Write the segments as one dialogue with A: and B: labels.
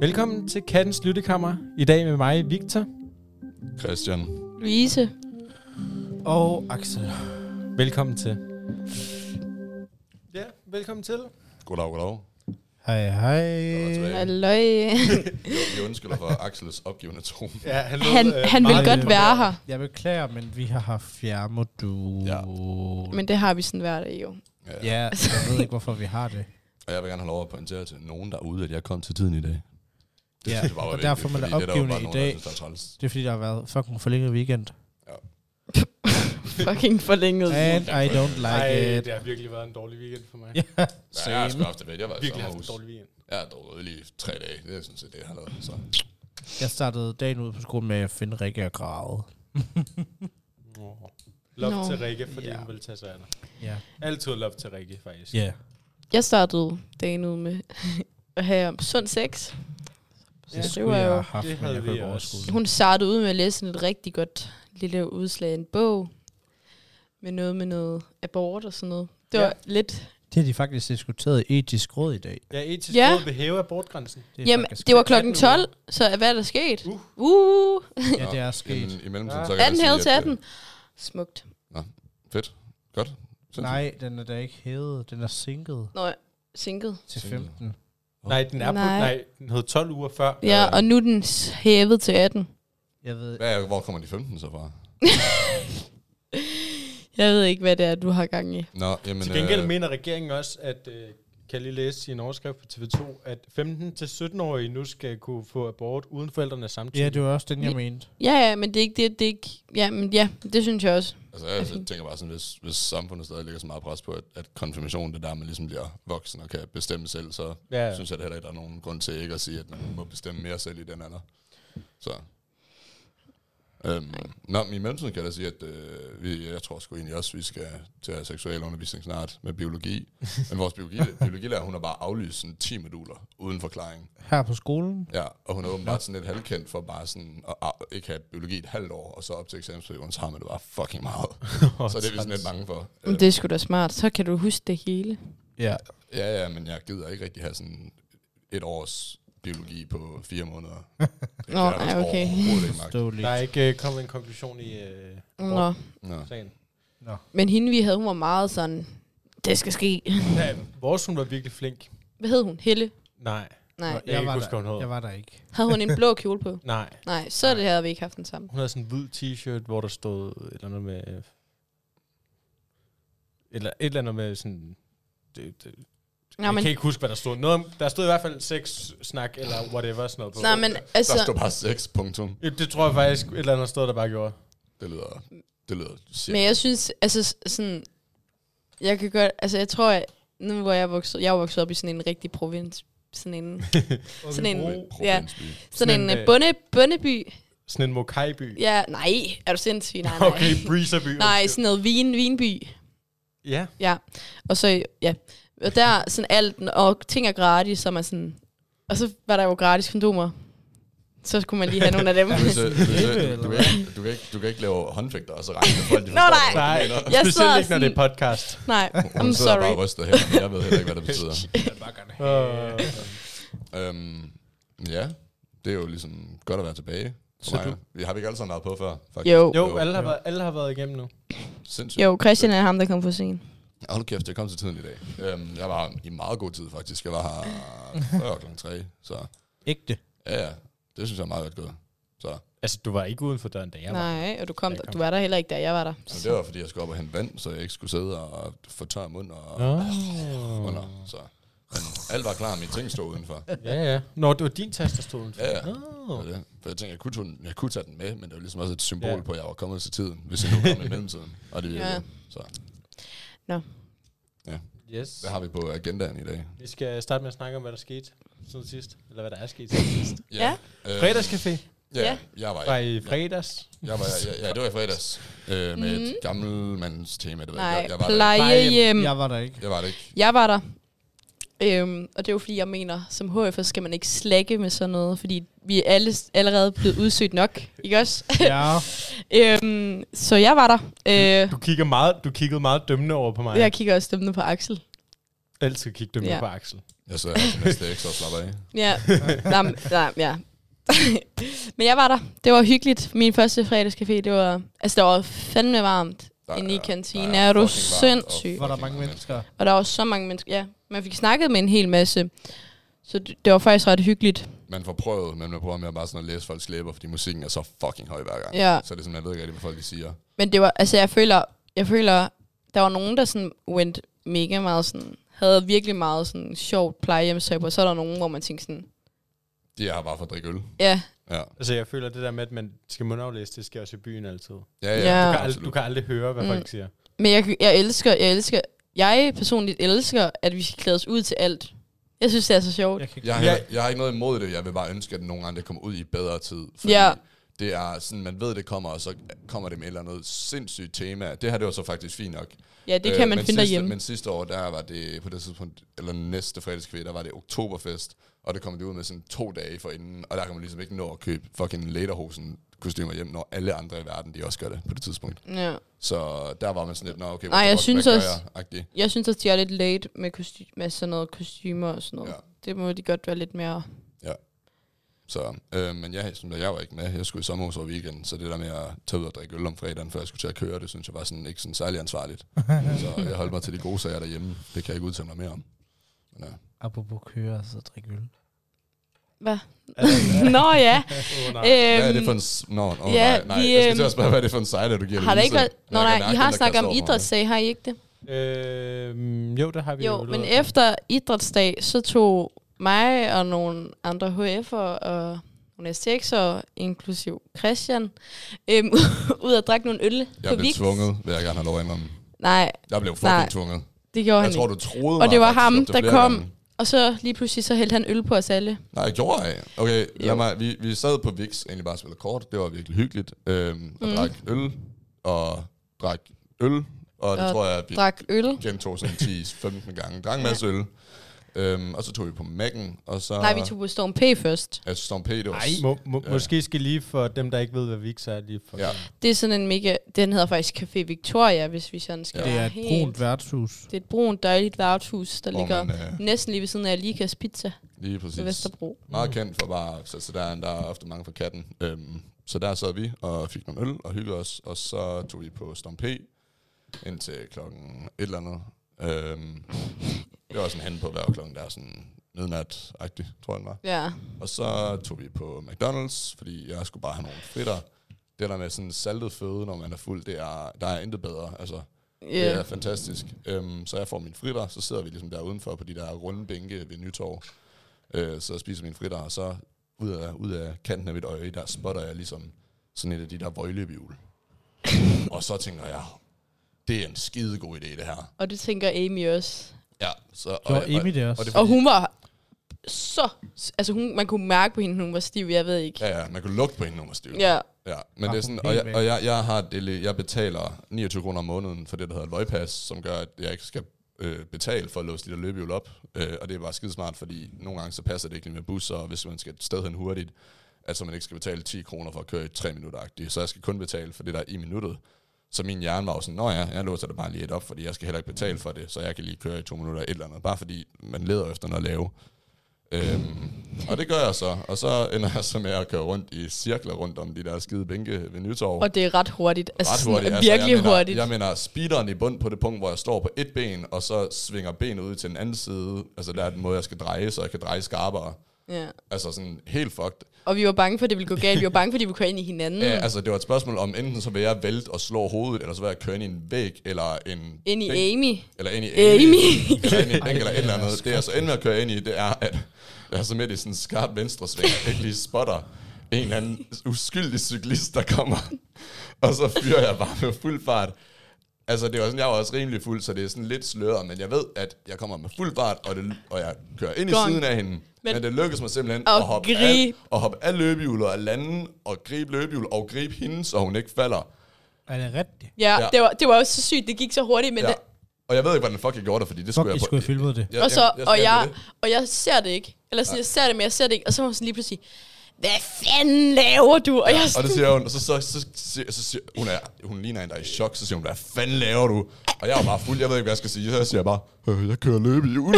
A: Velkommen til Kattens Lyttekammer. I dag med mig, Victor.
B: Christian.
C: Louise.
A: Og Axel. Velkommen til. Ja, velkommen til.
B: Goddag, goddag. Godt
D: Hej,
B: at være
D: hej.
B: tilbage.
C: Halløj.
B: Vi undskylder for Axels opgivende tone.
D: Ja, han,
C: Han,
A: øh,
C: han vil godt være her,
D: Jeg beklager, men vi har haft fjernmodul.
B: Ja.
C: men det har vi sådan hver dag jo.
B: Ja.
D: ja, jeg ved ikke, hvorfor vi har det.
B: Og jeg vil gerne have lov at pointere til nogen derude, at jeg kom til tiden i dag. Det
D: Ja,
B: synes jeg bare var
D: og
B: vigtigt,
D: derfor med
B: fordi
D: det
B: det er der jo
D: opgivende
B: bare
D: i
B: nogen, der
D: dag.
B: synes, der er træls.
D: Det er fordi, der har været fucking forlænget weekend.
C: Fucking forlænget.
D: And I don't like
A: Ej,
D: it.
A: det har virkelig været en dårlig weekend for mig.
D: Ja,
B: Ja, jeg har sgu
D: same.
B: haft det ved. Jeg var i
A: Virkelig haft en
B: sommerhus.
A: dårlig weekend.
B: Jeg har drukket lige tre dage. Det er sådan set det, jeg har lavet. Så.
D: Jeg startede dagen ud på skolen med at finde Rikke og græde.
A: Oh. Love
C: Nå.
A: til Rikke, fordi
D: Ja.
A: hun vil tage sig af dig.
D: Ja.
A: Altid love til Rikke, faktisk.
D: Ja.
C: Jeg startede dagen ud med at have sund sex.
D: Så
A: Ja, det
D: skulle
C: var
D: jeg
C: jo-
D: have haft,
A: det
D: men
A: havde
D: jeg kunne
A: vi
D: ikke
A: også.
D: overskue det.
C: Hun startede ud med at læse sådan et rigtig godt lille udslag af en bog. Med noget med noget abort og sådan noget. Det var
A: Ja.
C: ja. lidt...
D: Det har de faktisk diskuteret i etisk råd i dag.
A: Ja, etisk
C: Ja.
A: ja. råd vil hæve abortgrænsen.
D: Det er
C: Jamen,
D: faktisk-
C: det var klokken
A: 18 uger.
C: 12, så hvad er der sket?
A: Uh.
C: Uh. uh.
D: Ja, det er
B: Jamen,
D: sket.
B: I mellemtiden,
A: Ja.
B: så kan jeg
C: 18
B: sige,
C: hævet
B: at,
C: til
B: øh,
C: 18. Smukt.
B: Fedt. Godt. Sindssygt.
D: Nej, den er da ikke hævet. Den er sænket
C: Nå, sinket.
D: til
B: Sænket.
D: 15.
A: Nej, den er på,
C: Nej.
A: nej, den hed 12 uger før. Øh,
C: Ja, og nu er den hævet til 18.
D: Jeg ved,
B: Hvad, er- hvor kommer de 15 så fra?
C: Jeg ved ikke, hvad det er, du har gang i.
B: Nå, jamen,
A: Til gengæld
B: øh,
A: mener regeringen også, at, øh, kan jeg lige læse i en overskrift på TV2, at 15-17-årige nu skal kunne få abort uden forældrenes samtykke.
D: ja, det var også den, jeg mente.
C: Ja, ja, men det er ikke det, det er ikke... Ja, men ja, det synes jeg også.
B: altså, jeg, altså, tænker bare sådan, hvis, hvis samfundet stadig lægger så meget pres på, at, at konfirmationen, det der, man ligesom bliver voksen og kan bestemme selv, så
A: ja,
B: ja.
A: ja.
B: synes jeg da heller ikke, der er nogen grund til ikke at sige, at man må bestemme mere selv i den alder. Så. Øhm, nå, men i mellemtiden kan jeg da sige, at øh, vi, jeg tror sgu egentlig også, vi skal til at have seksuel undervisning snart med biologi. Men vores biologi, biologilærer, hun har bare aflyst sådan 10 moduler uden forklaring.
D: Her på skolen.
B: Ja, og hun er åbenbart sådan lidt halvkendt for bare sådan at ah, ikke have biologi et halvt år, og så op til eksamensperioden, så har man det bare fucking meget. så det er vi sådan lidt bange for.
C: Men det er sgu da smart. Så kan du huske det hele.
D: Ja.
B: Ja, ja, men jeg gider ikke rigtig have sådan et års biologi på fire måneder. Det
C: Nå,
B: kan jeg altså
C: ej, okay.
B: overhovedet ikke magt.
D: Forståeligt.
A: Der er ikke øh, kommet en konklusion i øh,
C: Nå.
B: Nå.
A: sagen.
C: Men hende, vi havde, hun var meget sådan... Det skal ske.
A: Ja, vores hun var virkelig flink.
C: Hvad hed hun? Helle?
A: Nej,
C: Nej.
A: Jeg kan
D: var
A: ikke huske, hvad hun
D: der,
A: hed.
D: jeg var der ikke.
C: Havde hun en blå kjole på?
A: nej.
C: Nej, så er det her, vi ikke haft den samme.
A: Hun havde sådan en hvid t-shirt, hvor der stod et eller andet med... øh, Eller et eller andet med sådan... Det, det,
C: Nå,
A: jeg
C: men,
A: kan ikke huske, hvad der stod. Noget om, der stod i hvert fald sex snak eller whatever sådan noget på.
C: nej, men
B: Der
C: altså...
B: stod bare 6, punktum.
A: Ja, Det tror jeg faktisk, et eller andet sted, der bare gjorde.
B: Det lyder, det lyder
C: Men
B: shit.
C: jeg synes, altså s- sådan... Jeg kan godt... Altså, jeg tror, at nu hvor jeg er vokset... Jeg er vokset op i sådan en rigtig provins... Sådan en... sådan en... Ja, sådan en øh, bunde, bundeby.
A: Sådan en Mokai-by.
C: Ja, nej. Er du sindssyg? Nej, nej.
A: Okay, Breezerby.
C: Nej, sådan noget vin, vinby.
A: Ja.
C: Ja, og så, ja. Og der er sådan alt, og ting er gratis, som er sådan... Og så var der jo gratis kondomer. Så skulle man lige have nogle af dem.
B: Louise, Louise, du, kan ikke, du, kan ikke, du kan ikke lave håndvægter og så regne med folk, de
C: Nå, nej.
B: hvad
A: Nej,
B: du mener.
C: Jeg
A: specielt
C: sidder
A: ikke, når det er podcast.
C: Nej,
B: Hun
C: I'm
B: sidder bare og ryster
C: sorry.
B: her, men jeg ved heller ikke, hvad det betyder.
A: Uh,
B: øhm, ja, det er jo ligesom godt at være tilbage.
A: Så
B: Så mig. Vi har vi ikke alle sammen været på før, faktisk.
C: Jo.
A: jo, alle har, været, alle har været igennem nu.
B: Sindssygt.
C: Jo, Christian er ham, der kom for sent.
B: Hold nu kæft, jeg kom til tiden i dag. Øhm, jeg var i meget god tid, faktisk. Jeg var her før kl. 3, så
D: Ægte.
B: ja, ja, det synes jeg er meget godt gået. Så men
A: Altså, du var ikke uden for døren, da jeg var.
C: Nej, og du, kom,
A: Jeg kom.
C: du var der heller ikke, da jeg var der.
B: det var, fordi jeg skulle op og hente vand, så jeg ikke skulle sidde og få tør mund og
A: Oh.
B: under. Så. Men alt var klar, mine ting stod udenfor.
A: Ja, ja. Nå, det var din taske, der stod udenfor.
B: Ja, ja.
A: Nå.
B: Oh. Det. For jeg tænkte, jeg kunne, tage den, jeg kunne tage den med, men det var ligesom også et symbol
A: Ja.
B: på, at jeg var kommet til tiden, hvis jeg nu kom i mellemtiden. Og det virkede.
C: Ja.
B: Så
A: Yes.
B: det har vi på agendaen i dag.
A: Vi skal starte med at snakke om, hvad der skete siden sidst. Eller hvad der er sket.
C: Ja.
B: Øh,
A: Fredagscafé
B: Ja,
C: Ja.
B: jeg var
A: var i fredags.
B: Jeg var, ja, ja, det var i fredags. Øh, med mm. et gammelmandstema. Det var,
C: Mhm. Nej,
B: jeg, jeg, var der,
C: plejehjem.
D: Jeg var der ikke.
B: ikke. jeg var det ikke.
C: Jeg var der. Øhm, og det er jo fordi, jeg mener, som HF skal man ikke slække med sådan noget, fordi vi er alle, allerede blevet udsøgt nok, ikke også?
D: Ja.
C: øhm, så jeg var der. Øh,
A: Du, kigger meget, du kiggede meget dømmende over på mig.
C: jeg kigger også stemmende på Axel.
A: Altid kigge dømmende
C: Ja.
A: på Axel.
B: Jeg sidder her til næste ekstra og slapper af.
C: Ja, nej, men- nej, ja. Men jeg var der. Det var hyggeligt. Min første fredagscafé, det var... Altså, det var fandme varmt
B: Der
C: inde i
B: er-
C: kantinen.
B: der
C: Er du
B: fucking varmt og
C: sindssyg?
D: Var der
B: fucking
D: mange mennesker?
C: Og der var så mange mennesker. Ja, man fik snakket med en hel masse. Så det, det var faktisk ret hyggeligt.
B: Man får prøvet, men man prøver mere bare sådan at læse folks læber, fordi musikken er så fucking høj hver gang.
C: Ja.
B: Så det er sådan, man ved ikke rigtig, hvad folk de siger.
C: Men det var... Altså, jeg føler... Jeg føler, der var nogen, der sådan went mega meget sådan... Havde virkelig meget sådan sjovt plejehjemstøj på. Så er der nogen, hvor man tænkte sådan...
B: De er her bare for at drikke øl.
C: Ja,
B: Ja,
A: Altså, jeg føler det der med, at man skal mundaflæse, det sker også i byen altid. Du
B: ja, ja.
C: Ja.
A: kan, aldrig,
B: absolut.
A: du kan aldrig høre, hvad mm.
C: Mm.
A: folk siger.
C: Men jeg, jeg elsker, jeg elsker, jeg personligt elsker, at vi skal klæde os ud til alt. Jeg synes, det er så sjovt.
D: Jeg kan ikke.
B: Jeg
D: Ja.
A: Ja.
B: har, heller- jeg har ikke noget imod det. Jeg vil bare ønske, at nogen andre kommer ud i bedre tid. Fordi
C: Ja.
B: det er sådan, man ved, det kommer, og så kommer det med et eller andet sindssygt tema. Det her, det var så faktisk fint nok.
C: Ja, det kan man
B: Øh, men
C: finde
B: sidste,
C: derhjemme.
B: Men sidste år, der var det på det tidspunkt, eller næste fredagskvæl, der var det oktoberfest, og det kom det ud med sådan to dage forinden, og der kan man ligesom ikke nå at købe fucking lederhosen kostymer hjem, når alle andre i verden, de også gør det på det tidspunkt.
C: Ja.
B: Så der var man sådan lidt, nå okay,
C: Nej, jeg synes også-
B: Jeg?
C: Jeg synes også, de er lidt late med, kosty- med sådan noget kostymer og sådan noget.
B: Ja.
C: Ja. Det må de godt være lidt mere...
B: Så, øh, men jeg, som jeg var ikke med, jeg skulle i sommerhus over weekenden, så det der med at tage ud og drikke øl om fredagen, før jeg skulle til at køre, det synes jeg var sådan ikke sådan særlig ansvarligt. så jeg holdt mig til de gode sager derhjemme. Det kan jeg ikke udtale mig mere om. Men, ja.
D: Apropos køre, så drik øl.
C: Hvad? Nå ja.
A: Åh, nej.
C: Øhm,
B: Hvad er det for en... s- Nå, no, oh,
C: ja,
B: nej, nej.
C: vi,
B: jeg skal til
C: øhm,
B: at spørge, hvad er det for en sejler, du giver
C: har der
B: det
C: ikke været... Nå nej, I har snakket om idrætssag, har I ikke det?
A: Øhm, jo, det har vi
C: Øh, Jo,
A: lavet.
C: men efter idrætsdag, så tog mig og nogle andre HF'er og nogle STX'er, inklusiv Christian, øhm, ud og drikke nogle øl på
B: Jeg blev
C: Vicks.
B: tvunget, vil jeg gerne have lov at indrømme.
C: Nej,
B: Jeg blev fucking
C: Nej.
B: tvunget.
C: det gjorde han
B: Jeg tror,
C: ikke.
B: du troede
C: Og det
B: mig
C: var
B: faktisk,
C: ham,
B: op til
C: der
B: flere
C: kom.
B: gange.
C: Og så lige pludselig, så hældte han øl på os alle.
B: Nej, gjorde jeg. Okay, lad
C: Jo.
B: mig, vi, vi sad på Vix, egentlig bare og spillede kort. Det var virkelig hyggeligt. Øhm, og
C: Mm.
B: mm. drak øl, og drak øl, og det
C: Og
B: tror jeg, at vi
C: Drak øl.
B: gentog sådan 10-15 gange. Drak en masse øl. Øhm, og så tog vi på Mac'en, og så...
C: Nej, vi tog på Storm P først.
B: Altså, Storm P, det var...
D: Ej.
A: Må, må,
B: Ja.
A: Måske skal lige for dem, der ikke ved, hvad Vix er, lige for...
B: Ja.
C: Det er sådan en mega... Den hedder faktisk Café Victoria, hvis vi sådan skal
D: Det er
C: være
D: et
C: helt-
D: brunt værtshus.
C: Det er et brunt, dejligt værtshus, der
B: Hvor
C: ligger
B: man, øh,
C: næsten lige ved siden af Likas Pizza
B: lige
C: på
B: præcis.
C: Vesterbro.
B: Meget kendt for bare, så, så der, er- der er ofte mange for katten. Øhm, så der sad vi og fik nogle øl og hyggede os, og så tog vi på Storm P indtil klokken et eller andet. Øhm, det var sådan hen på hver klokken, der er sådan midnat-agtigt, tror jeg den var.
C: Ja.
B: Og så tog vi på McDonald's, fordi jeg skulle bare have nogle fritter. Det der med sådan saltet føde, når man er fuld, det er, der er intet bedre. Altså,
C: Yeah.
B: det er fantastisk. Øhm, så jeg får min fritter, så sidder vi ligesom der udenfor på de der runde bænke ved Nytorv. Øh, så spiser min fritter, og så ud af, ud af kanten af mit øje, der spotter jeg ligesom sådan et af de der vøjløbehjul. og så tænker jeg, det er en skidegod idé, det her.
C: Og det tænker Amy også.
B: Ja, så, og,
D: Gjorde
B: jeg-
D: Amy det også?
B: er
C: Og
B: fordi-
C: hun var så... Altså, hun, man kunne mærke på hende, hun var stiv, jeg ved ikke.
B: Ja, ja, man kunne lugte på hende, når man var stiv.
C: Ja.
B: Ja, men
D: Var
B: det er sådan,
D: hun helt
B: og, jeg,
D: væk?
B: og jeg, jeg, har det, lidt- jeg betaler 29 kroner om måneden for det, der hedder et løgpas, som gør, at jeg ikke skal øh, betale for at låse de der løbehjul op. Øh, og det er bare skidesmart, fordi nogle gange så passer det ikke lige med busser, og hvis man skal et sted hen hurtigt, at så man ikke skal betale 10 kroner for at køre i 3 minutter -agtigt. Så jeg skal kun betale for det, der er i minuttet. Så min hjerne var jo sådan, nå ja, jeg låser det bare lige et op, fordi jeg skal heller ikke betale for det, så jeg kan lige køre i to minutter et eller andet. Bare fordi man leder efter noget at lave. Øhm, og det gør jeg så. Og så ender jeg så med at køre rundt i cirkler rundt om de der skide bænke ved Nytorv.
C: Og det er ret hurtigt. Altså,
B: Ret hurtigt.
C: Sådan, virkelig
B: jeg mener,
C: hurtigt.
B: Jeg mener, speederen i bund på det punkt, hvor jeg står på et ben, og så svinger benet ud til den anden side. Altså, der er den måde, jeg skal dreje, så jeg kan dreje skarpere.
C: Ja.
B: Altså sådan helt fucked.
C: Og vi var bange for, at det ville gå galt. Vi var bange for, at de ville køre ind i hinanden.
B: Mm. Ja, altså, det var et spørgsmål om, enten så vil jeg vælte og slå hovedet, eller så vil jeg køre ind i en væg, eller en...
C: Ind i
B: bænk,
C: Amy.
B: Eller ind i
C: Amy.
B: eller ind i en bænk, eller et
D: Ej,
B: eller
D: det er
B: andet. Det, jeg så endte med at køre ind i, det er, at jeg er så midt i sådan en skarp venstre sving, og ikke lige spotter en eller anden uskyldig cyklist, der kommer. Og så fyrer jeg bare med fuld fart. Altså, det var sådan, jeg var også rimelig fuld, så det er sådan lidt sløret, men jeg ved, at jeg kommer med fuld fart, og, det, og jeg kører ind i
C: Gong.
B: siden af hende. Men, men det lykkedes mig simpelthen
C: Og
B: at hoppe, af,
C: gribe.
B: at hoppe af løbehjulet og lande og gribe løbehjulet og gribe hende, så hun ikke falder.
D: Er det rigtigt?
C: Ja,
B: Ja.
C: ja. Det, var, det var også så sygt. Det gik så hurtigt, men
B: Ja.
C: ja.
B: Og jeg ved ikke, hvordan fuck jeg gjorde det, fordi det
D: Fuck,
B: skulle
D: I
B: jeg...
D: skulle have filmet det.
B: jeg,
C: og, så, og,
B: skal
C: jeg,
B: have det.
C: og jeg ser det ikke. Eller sådan, jeg ser det, men jeg ser det ikke. Og så var hun sådan lige pludselig, hvad fanden laver du? Og jeg er
B: Og det
C: sådan,
B: siger hun, og så, så, så, så, så siger, hun, er, hun ligner en, der er i chok, så siger hun, hvad fanden laver du? Og jeg er jo bare fuld, jeg ved ikke, hvad jeg skal sige. Så siger jeg bare, øh, jeg kører løbe i jul.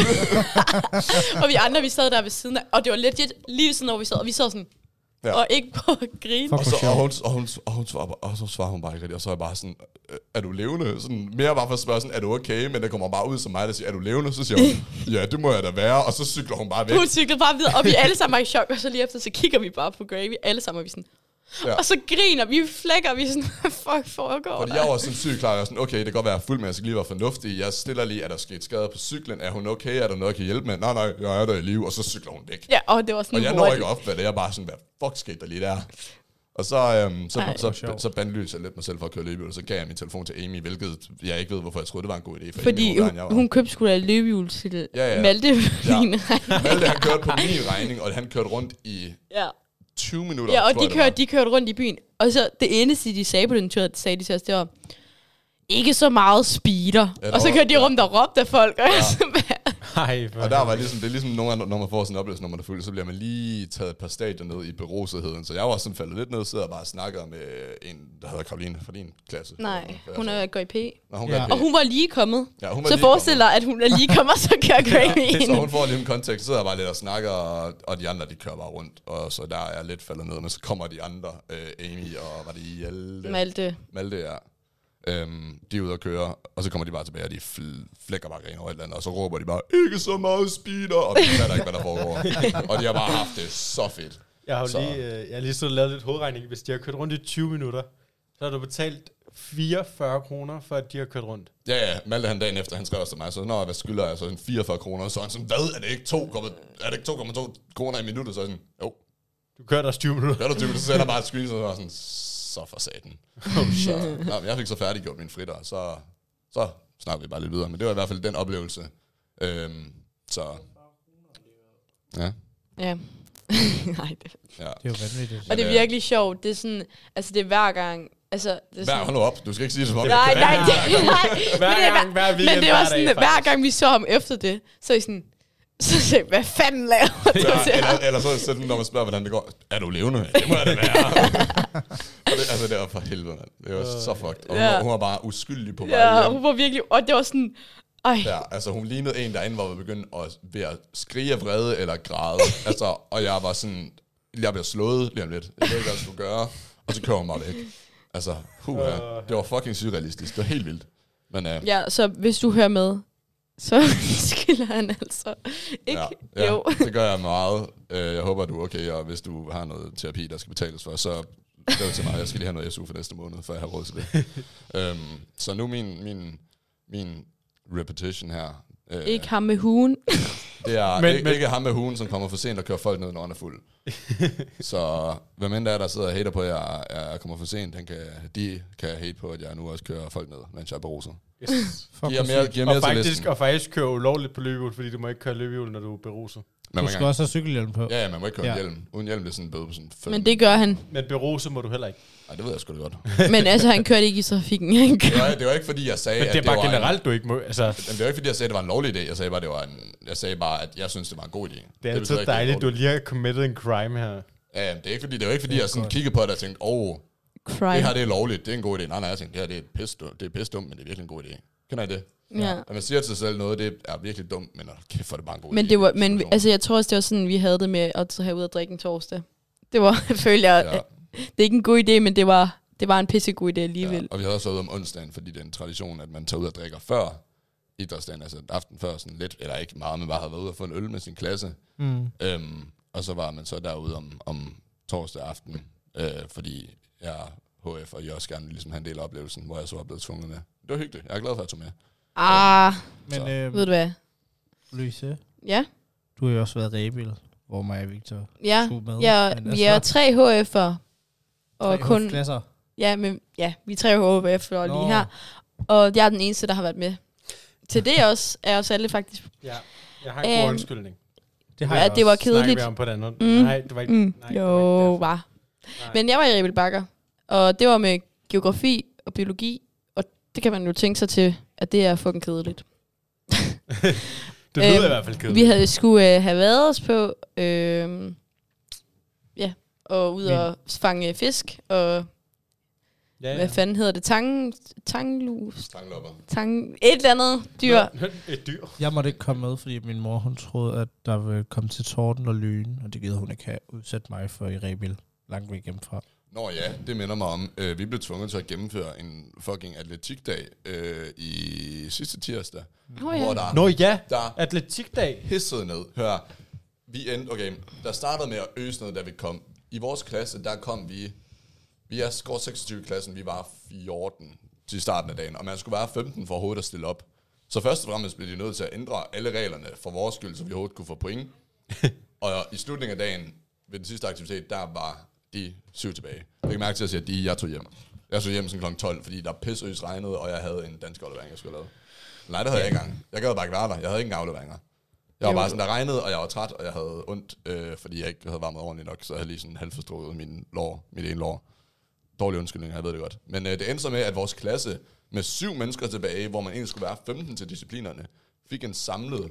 C: og vi andre, vi sad der ved siden af, og det var legit lige sådan, hvor vi sad, og vi sad sådan,
B: Ja.
C: ja. og ikke på at grine.
D: Fuck,
B: og,
D: hvor
B: så, og,
D: sjovt.
B: hun, og, hun, og, hun svarer, bare- og så svarer hun bare ikke rigtigt, og så er jeg bare sådan, "Øh, er du levende? Sådan, mere bare for at spørge, sådan, er du okay? Men det kommer bare ud som mig, der siger, er du levende? Så siger hun, ja, det må jeg da være, og så cykler hun bare væk.
C: Hun cyklede bare videre, og vi alle sammen var i chok, og så lige efter, så kigger vi bare på Gravy, alle sammen, og vi sådan,
B: Ja.
C: ja. og så griner vi, vi flækker, vi er sådan, hvad fuck foregår
B: Fordi
C: der?
B: jeg var sådan sygt klar, jeg var sådan, okay, det kan godt være jeg er fuld, men jeg skal lige være fornuftig. Jeg stiller lige, er der sket skade på cyklen? Er hun okay? Er der noget, jeg kan hjælpe med? Nej, nej, jeg er der i live, og så cykler hun væk.
C: Ja, og det var sådan
B: Og jeg når
C: hurtigt.
B: ikke op, hvad det er, jeg er bare sådan, hvad fuck skete der lige der? Og så, øhm, så,
C: Ej.
B: så, så, så bandlyste jeg lidt mig selv for at køre løbehjul, og så gav jeg min telefon til Amy, hvilket jeg ikke ved, hvorfor jeg troede, det var en god idé. For Amy,
C: Fordi
B: var bedre, end
C: hun,
B: jeg var.
C: hun købte sgu da et løbehjul til
B: Ja,
C: ja,
B: ja.
C: ja. Malte
B: Ja.
C: ja. min
B: Malte, han kørte på min regning, og han kørte rundt i
C: ja.
B: 20 minutter.
C: ja, og
B: tror
C: de
B: jeg, det var.
C: kørte, de kørte rundt i byen. Og så det eneste, de sagde på den tur, sagde de til os, det var, ikke så meget speeder.
B: Ja, der
C: Ja, og så
B: var-
C: kørte de rundt og råbte af folk, og ja. jeg så, "Hvad?"
A: Hej, for
B: Og der var ligesom, det er ligesom nogle gange, når man får sådan en oplevelse, når man er fuld, så bliver man lige taget et par stadier ned i berusetheden. Så jeg var sådan faldet lidt ned, sidder og bare snakker med en, der hedder Karoline fra din klasse.
C: Nej,
B: Hvad
C: hun
B: så?
C: er, går i P.
B: Nå, hun
A: Ja.
B: ja.
C: Og hun var lige kommet.
B: Ja, altså- hun var
C: så
B: lige
C: forestil dig, at hun er lige kommet, og så kører Gravy
B: Så
C: ind.
B: hun får lige en kontekst, så sidder jeg bare lidt og snakker, og, og de andre, de kører bare rundt. Og så der er jeg lidt faldet ned, men så kommer de andre, øh, Amy og var det Hjalte?
C: Malte.
B: Malte, ja. Øhm, de er ude at køre, og så kommer de bare tilbage, og de fl- flækker bare grin over et eller andet, og så råber de bare, ikke så meget speeder, og vi fatter ikke, hvad der foregår. og de har bare haft det så fedt.
A: Jeg har jo
B: Så-
A: lige, øh, jeg har lige siddet og lavet lidt hovedregning. Hvis de har kørt rundt i 20 minutter, så har du betalt 44 kroner for, at de har kørt rundt.
B: Ja, ja, Malte han dagen efter, han skrev også til mig, så når hvad skylder jeg så sådan 44 kroner, så er han sådan, hvad, er det ikke 2,2 er det ikke 2,2 kroner i minuttet? Så er jeg sådan, jo,
A: Du kørte også 20 minutter.
B: gør du typisk, så sender jeg bare et screenshot, og så er jeg sådan, så for satan.
A: Oh, shit.
B: Så, nå, men jeg fik så færdiggjort min fritter, så, så snakker vi bare lidt videre, men det var i hvert fald den oplevelse. Øhm, så, ja.
C: Ja. Nej, det,
B: Ja.
D: Det er jo vanvittigt.
C: og det
B: øh,
C: er virkelig sjovt. Det er sådan, altså det er hver gang. Altså, det
B: Hver,
C: er sådan,
B: hold nu op, du skal ikke sige det som om.
C: Nej,
B: jeg-
C: nej, det, nej.
A: Hver
C: Men det er
A: gang, hver weekend,
C: Men det var
A: hver
C: sådan,
A: dag,
C: at hver
A: faktisk.
C: gang vi så ham efter det, så er I sådan, så sagde jeg, hvad fanden laver du
B: Ja,
C: til ham?
B: eller, eller så sådan, når man spørger, hvordan det går. Er du levende? Det må jeg da være. og det, altså, det var for helvede, mand. Det var så fucked. Og hun,
C: Ja.
B: var- hun var bare uskyldig på vej
C: Ja,
B: ja,
C: hun
B: hjem.
C: var virkelig, og det var sådan, ej,
B: Ja, altså hun lignede en, der inde var begyndt at, ved at skrige af vrede eller græde. altså, og jeg var sådan, jeg bliver slået lige om lidt. Jeg ved ikke, hvad jeg skulle gøre. Og så kører hun bare væk. Altså, huha.
C: Øh.
B: Det var fucking surrealistisk. Det var helt vildt. Men øh,
C: ja, så hvis du hører med, så skiller han altså, ikke?
B: Ja, ja,
C: Jo.
B: det gør jeg meget. Øh, Jeg håber, du er okay, og hvis du har noget terapi, der skal betales for, så skriv til mig. Jeg skal lige have noget SU for næste måned, før jeg har råd til det. øhm, så nu min, min, min repetition her. Øh,
C: Ikke ham med huen.
B: Det er
A: Men-
B: men,
A: men-
B: ikke, men, ikke ham med hugen, som kommer for sent og kører folk ned, når han er fuld. så hvem end der er, der sidder og hater på, at jeg, jeg kommer for sent, han kan, de kan hate på, at jeg nu også kører folk ned, mens jeg er beruset.
A: Yes.
D: Fuck,
B: Giver
D: hvor
B: mere,
D: sygt.
B: giver mere
A: Og
B: til
A: faktisk,
B: listen.
A: og faktisk køre ulovligt på løbehjul, fordi du må ikke køre løbehjul, når du er beruset.
B: Men
D: Du
B: man
D: skal
B: kan,
D: også have cykelhjelm på.
B: ja, ja, man må ikke køre ja.
D: Ja.
B: hjelm. Uden hjelm bliver sådan en bøde på sådan fem.
C: Men det gør han.
A: Men beruset må du heller ikke.
B: Ej, det ved jeg sgu da godt.
C: Men altså, han kørte ikke i trafikken. Han
B: Det
C: kørte.
B: var, det var ikke fordi, jeg sagde,
A: Men det
B: at
A: er bare
B: var
A: generelt, du ikke må. Altså,
B: En, jamen, det var ikke fordi, jeg sagde, at det var en lovlig idé. Jeg sagde bare, det var en, jeg sagde bare at jeg synes, det var en god idé.
A: det er
B: betyder
A: altid
B: ikke, det
A: dejligt, du
B: lovligt.
A: lige har committed en crime her.
B: Ja, jamen, det er ikke fordi, det var ikke fordi, jeg sådan kiggede på det og tænkte, åh, oh, det her
C: Crime.
B: det er lovligt, det er en god idé. Nej, nej, jeg tænkte, det her det er pisse dumt, det er pisse dumt, men det er virkelig en god idé. Kender I det?
C: Ja.
B: At man siger til sig selv noget, det er virkelig dumt, men åh, kæft, for det bare en god
C: Men,
B: idé.
C: det var, men
B: Situation.
C: altså, jeg tror også, det var sådan, vi havde det med at tage ud og drikke en torsdag. Det var, følte jeg,
B: Ja.
C: ja. det er ikke en god idé, men det var, det var en pissegod idé alligevel.
B: Ja, og vi havde også været ude om onsdagen, fordi det er en tradition, at man tager ud og drikker før idrætsdagen, altså aften før, sådan lidt, eller ikke meget, men bare havde været ude og få en øl med sin klasse. Mm. Øhm, og så var man så derude om, om torsdag aften, øh, fordi jeg, HF og jeg også gerne ville ligesom have en del af oplevelsen, hvor jeg så var blevet tvunget med. Det var hyggeligt. Jeg er glad for, at jeg tog med.
C: Ah,
D: Men
B: Så.
D: øh,
C: ved du hvad?
D: Louise,
C: Ja,
D: du har jo også været rebil, hvor mig og Victor
C: ja.
D: skulle med.
C: Ah, ja
D: men altså-
C: vi er tre HF'er. Og
D: tre
C: kun,
D: Klasser.
C: ja, men, ja, vi er tre HF'er
D: Nå.
C: lige her. Og jeg er den eneste, der har været med. Til det også, er os alle faktisk.
A: Ja, jeg har en god
C: Øhm,
A: undskyldning.
D: Det har
C: Ja,
D: jeg
C: det
D: også.
C: var kedeligt.
A: Snakker vi om på den anden.
C: Mm.
A: Nej, det var ikke...
C: Mm,
A: Nej, det var
C: jo,
A: ikke derfor.
C: var.
A: Nej.
C: Men jeg var i Rebel Bakker, og det var med geografi og biologi, og det kan man jo tænke sig til Og det er fucking kedeligt.
A: Det lyder
C: Øhm,
A: i hvert fald kedeligt.
C: Vi havde, skulle øh, have været os på, øh, ja, og ud
A: Men-
C: og fange fisk, og
A: ja,
C: hvad fanden hedder det? Tang, tanglus?
B: Tanglopper.
C: Tang, et eller andet dyr.
A: Et dyr.
D: Jeg måtte ikke komme med, fordi min mor hun troede, at der ville komme til torden og lyne, og det gider hun ikke have udsat mig for i Rebil langt væk hjemmefra.
B: Nå ja, det minder mig om. Øh, vi blev tvunget til at gennemføre en fucking atletikdag øh, i sidste tirsdag.
C: Nå ja.
B: Hvor der,
A: Nå ja,
B: der
A: atletikdag.
B: pissede ned. Hør, vi endte, okay, der startede med at øse noget, da vi kom. I vores klasse, der kom vi, vi er skår 26 i klassen, vi var 14 til starten af dagen, og man skulle være 15 for overhovedet at stille op. Så først og fremmest blev de nødt til at ændre alle reglerne for vores skyld, så vi overhovedet kunne få point. og i slutningen af dagen, ved den sidste aktivitet, der var de syv tilbage. Jeg kan mærke til at sige, at de, jeg tog hjem. Jeg tog hjem sådan kl. 12, fordi der pisseøs regnede, og jeg havde en dansk aflevering, jeg skulle lave. Nej, det havde jeg ikke engang. Jeg gad bare ikke være der. Jeg havde ikke engang afleveringer. Jeg var bare sådan, der regnede, og jeg var træt, og jeg havde ondt, øh, fordi jeg ikke havde varmet ordentligt nok, så jeg havde lige sådan halvforstrået min lår, mit ene lår. Dårlig undskyldning, jeg ved det godt. Men øh, det endte så med, at vores klasse med syv mennesker tilbage, hvor man egentlig skulle være 15 til disciplinerne, fik en samlet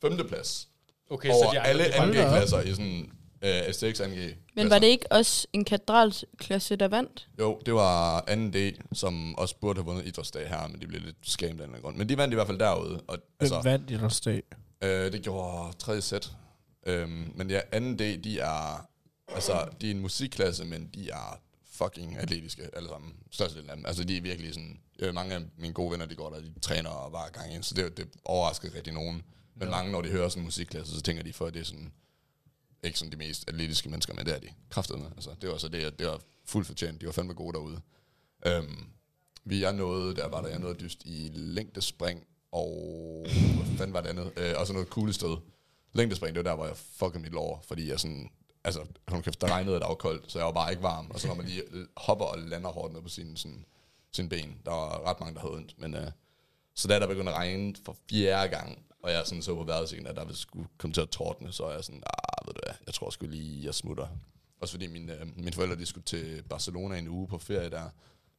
B: femteplads
A: Okay,
B: over
A: de andre-
B: alle
A: Hold da op.
B: NG-klasser i sådan øh, S6 NG.
C: Men
A: altså-
C: var det ikke også en katedralklasse, der vandt?
B: Jo, det var 2D, som også burde have vundet idrætsdag her, men de blev lidt skamet af en eller anden grund. Men de vandt i hvert fald derude. Og,
D: Altså. Hvem vandt i deres dag?
B: Øh, det gjorde tredje sæt. Øhm, men ja, anden D, de er... Altså, de er en musikklasse, men de er fucking atletiske alle sammen. Størstedelen af dem. Altså, de er virkelig sådan... Øh, mange af mine gode venner, de går der, de træner og var gang ind, så det, det overraskede rigtig nogen. Men ja. mange, når de hører sådan en musikklasse, så tænker de for, at det er sådan... Ikke sådan de mest atletiske mennesker, men det er de. Kraftedeme. Altså, det var så det, at det var fuldt fortjent. De var fandme gode derude. Øhm, vi er noget, der var der, jeg nåede dyst i længdespring, og hvad fanden var det andet? Øh, og så noget kuglestød. Længdespring, det var der, hvor jeg fuckede mit lår, fordi jeg sådan, altså, hun kæft, der regnede et afkoldt, så jeg var bare ikke varm. Og så når man lige hopper og lander hårdt ned på sine, sådan, sine ben, der var ret mange, der havde ondt. Men, øh, så da der begyndte at regne for fjerde gang, og jeg sådan så på vejrudsigten, at der ville skulle komme til at tordne, så er jeg sådan, ah, ved du hvad, jeg tror sgu lige, jeg smutter. Også fordi mine, øh, mine forældre, de skulle til Barcelona en uge på ferie der,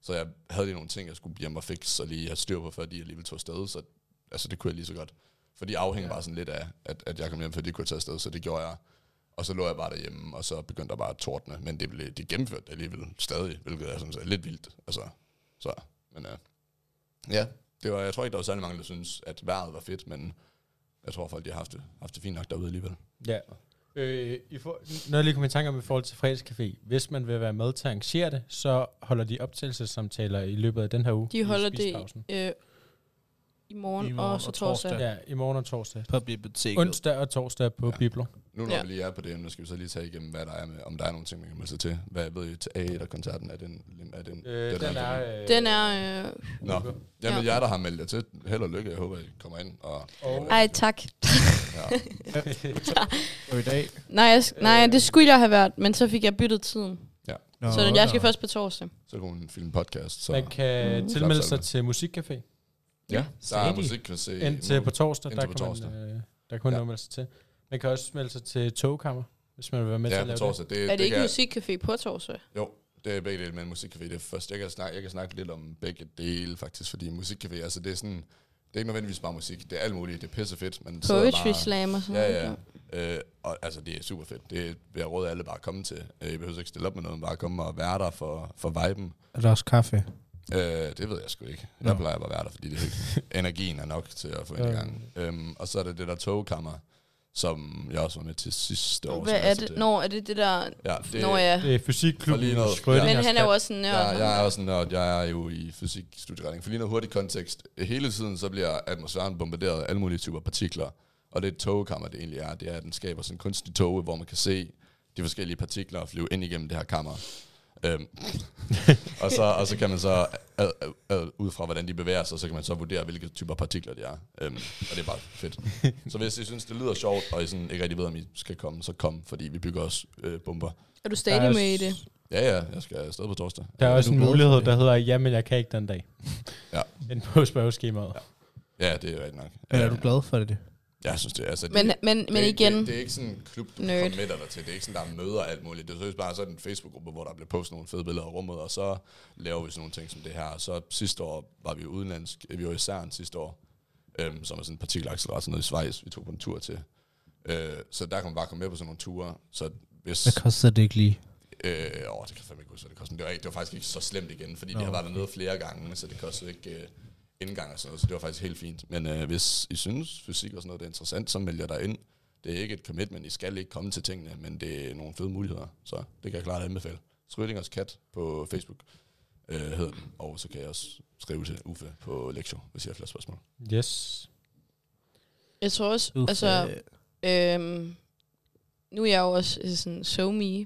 B: så jeg havde lige nogle ting, jeg skulle hjem og fikse, og lige have styr på, før de alligevel tog afsted, så altså, det kunne jeg lige så godt. For de afhænger bare sådan lidt af, at, at jeg kom hjem, før de kunne tage afsted, så det gjorde jeg. Og så lå jeg bare derhjemme, og så begyndte der bare at tordne, men det blev det gennemført alligevel stadig, hvilket er sådan set lidt vildt. Altså, så, men øh, ja, det var, jeg tror ikke, der var særlig mange, der synes, at vejret var fedt, men jeg tror folk, de har haft det, haft det fint nok derude alligevel.
A: Ja. Øh, i for, noget jeg lige kom i tanke om i forhold til fredagscafé. Hvis man vil være med til at arrangere det, så holder de optagelsessamtaler i løbet af den her uge.
C: De holder
A: i
C: det
A: spisepausen.
C: øh, i, morgen,
D: I morgen
C: og så
D: og
C: torsdag.
D: torsdag.
C: torsdag.
A: Ja, i morgen og torsdag.
D: På biblioteket.
A: Onsdag og torsdag på
B: Ja.
A: ja. Bibler.
B: Nu når ja.
C: Ja.
B: vi lige er på det emne, skal vi så lige tage igennem, hvad der er med, om der er nogle ting, man kan melde sig til. Hvad ved I til A1-koncerten? Er den, er den,
A: Øh, den, den er... Øh,
C: Den er... Øh,
B: Nå,
A: Nå.
B: jamen
C: Ja.
B: jer, der har meldt jer til, held og lykke. Jeg håber, I kommer ind. Og,
A: Og-
C: ej, tak.
B: ja.
D: Og i dag.
C: Nej, jeg, sk- nej,
A: Øh.
C: det skulle jeg have været, men så fik jeg byttet tiden.
D: Nå,
C: Så jeg skal
D: nå.
C: først på torsdag.
B: Så kunne hun filme podcast. Så.
A: Man kan
C: Mm.
A: tilmelde
B: Klapsalve.
A: sig til Musikcafé
B: ja, der
A: sagde
B: er
A: de.
B: musik, kan se.
A: indtil på torsdag. Der
B: indtil
A: kan,
B: på
A: Man, øh, der kan man
B: Ja.
A: ja. melde sig til. Man kan også melde sig til Togkammer, hvis man vil være med til
B: Ja,
A: at
B: på
A: lave det.
B: torsdag. Det,
C: Er det, ikke
B: kan,
C: musikcafé på torsdag?
B: Det er begge dele, men musikcafé, det er først. Jeg kan, snakke, jeg kan snakke lidt om begge dele, faktisk, fordi musikcafé, altså det er sådan, det er ikke nødvendigvis bare musik, det er alt muligt, det er pisse fedt. Man sidder
C: Poetry
B: bare-
C: slam og sådan
B: Ja, ja.
C: noget.
B: Øh, og, altså, det er super fedt. Det vil jeg råde alle bare at komme til. Øh, I behøver ikke stille op med noget, men bare komme og være der for, for viben.
D: Er der også kaffe?
B: Øh, det ved jeg sgu ikke. Jeg
D: Nå.
B: plejer bare at være der, fordi det er ikke. energien er nok til at få ind i
A: Ja.
B: gang. Øhm, og så er det det der togkammer, som jeg også var med til sidste år.
C: Hvad
B: som jeg
C: er
B: så
C: det?
B: til.
C: Nå, er det det der...
B: ja, det,
C: Nå ja.
A: Det er fysikklubben.
B: For lige noget.
A: Schrödingers
C: Men han er jo også en nørd.
B: Jeg, jeg er
C: ham.
B: også en nørd. Jeg er jo i fysikstudieretning. For lige noget hurtig kontekst. Hele tiden så bliver atmosfæren bombarderet af alle mulige typer partikler. Og det togkammer, det egentlig er, det er, at den skaber sådan en kunstig tåge, hvor man kan se de forskellige partikler flyve ind igennem det her kammer. Øhm. og, så, og så kan man så, ad, ad, ad, ud fra hvordan de bevæger sig, så kan man så vurdere, hvilke typer partikler de er. Øhm, og det er bare fedt. Så hvis I synes, det lyder sjovt, og I sådan ikke rigtig ved, om I skal komme, så kom, fordi vi bygger også øh, bomber.
C: Er du
A: Der
C: stadig
A: er
C: med i det?
A: s-
B: Ja, ja, jeg skal afsted på torsdag. Øh,
A: Der er
D: Er
A: også
D: du
A: en
D: glad for
A: mulighed,
D: det?
A: der hedder, ja, men jeg kan ikke den dag.
B: Ja.
A: Den på spørgeskemaet.
B: Ja, det er rigtigt nok.
D: Men
B: Ja.
D: er du glad for det?
B: Jeg synes det, altså,
C: Men,
B: det,
C: men, men
B: det, er ikke-
C: igen,
B: Det, det, er ikke sådan en klub, du
C: nerd.
B: formitter dig til. Det er ikke sådan, der er møder og alt muligt. Det er seriøst bare sådan en Facebook-gruppe, hvor der bliver postet nogle fede billeder af rummet, og så laver vi sådan nogle ting som det her. Og så sidste år var vi udenlandsk, øh, vi var i CERN sidste år, øhm, som er sådan en partikelaccelerator nede i Schweiz, vi tog på en tur til. Øh, så der kan man bare komme med på sådan nogle ture. Så hvis,
D: Hvad koster det ikke lige?
B: Øh, åh, det kan jeg fandme ikke huske, hvad det kostede. Men Det var, ikke, det var faktisk ikke så slemt igen, fordi Nå,
D: Nå,
B: de har været
D: okay.
B: dernede flere gange, så det kostede ikke øh, indgang og sådan noget, så det var faktisk helt fint. Men øh, hvis I synes, fysik og sådan noget det er interessant, så melder dig ind. Det er ikke et commitment, I skal ikke komme til tingene, men det er nogle fede muligheder, så det kan jeg klart anbefale. Skrydingers Kat på Facebook øh, hedder den, og så kan jeg også skrive til Uffe på lektion, hvis I har flere spørgsmål.
A: Yes.
C: jeg tror også,
D: Uff,
C: altså,
D: øh,
C: øhm, nu er jeg jo også øh, sådan so me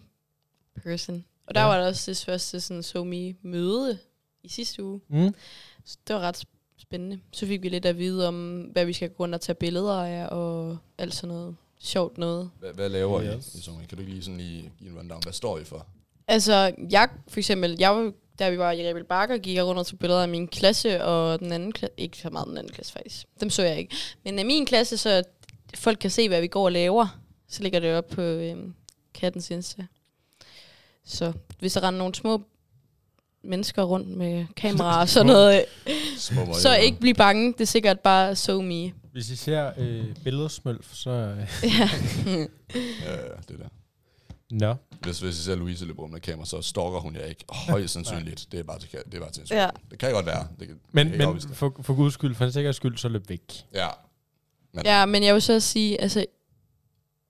C: person. Og der
A: Ja.
C: var der også det første sådan so me møde i sidste uge.
A: Mm.
C: Så det var ret spændende. Så fik vi lidt at vide om, hvad vi skal gå rundt og tage billeder af, og alt sådan noget sjovt noget.
B: Hvad, hvad laver yes.
A: Yes.
B: I i sommer? Kan du ikke lige, sådan lige give en rundown? Hvad står I for?
C: Altså, jeg for eksempel, jeg var, da vi var i Rebel Bakker, gik jeg rundt og tog billeder af min klasse, og den anden klasse, ikke så meget den anden klasse faktisk, dem så jeg ikke. Men af min klasse, så folk kan se, hvad vi går og laver, så ligger det op på øhm, kattens Insta. Så hvis der render nogle små mennesker rundt med kameraer og sådan noget,
B: Små møger.
C: så ikke blive bange, det er sikkert bare so me.
A: Hvis I ser øh, billedsmølf, så... Øh,
C: Ja.
B: Ja, ja, det der.
A: Nå.
B: Hvis, hvis især Louise løber om med kamera, så stalker hun jer ikke. Højst sandsynligt. det er bare til, det er bare til ja.
C: ja.
B: Det kan godt være. Det kan,
A: Men,
B: det kan
A: men
B: afvise det.
A: for, for guds skyld, for en sikkerheds skyld, så løb væk.
B: Ja.
C: Ja, men jeg vil så sige, altså,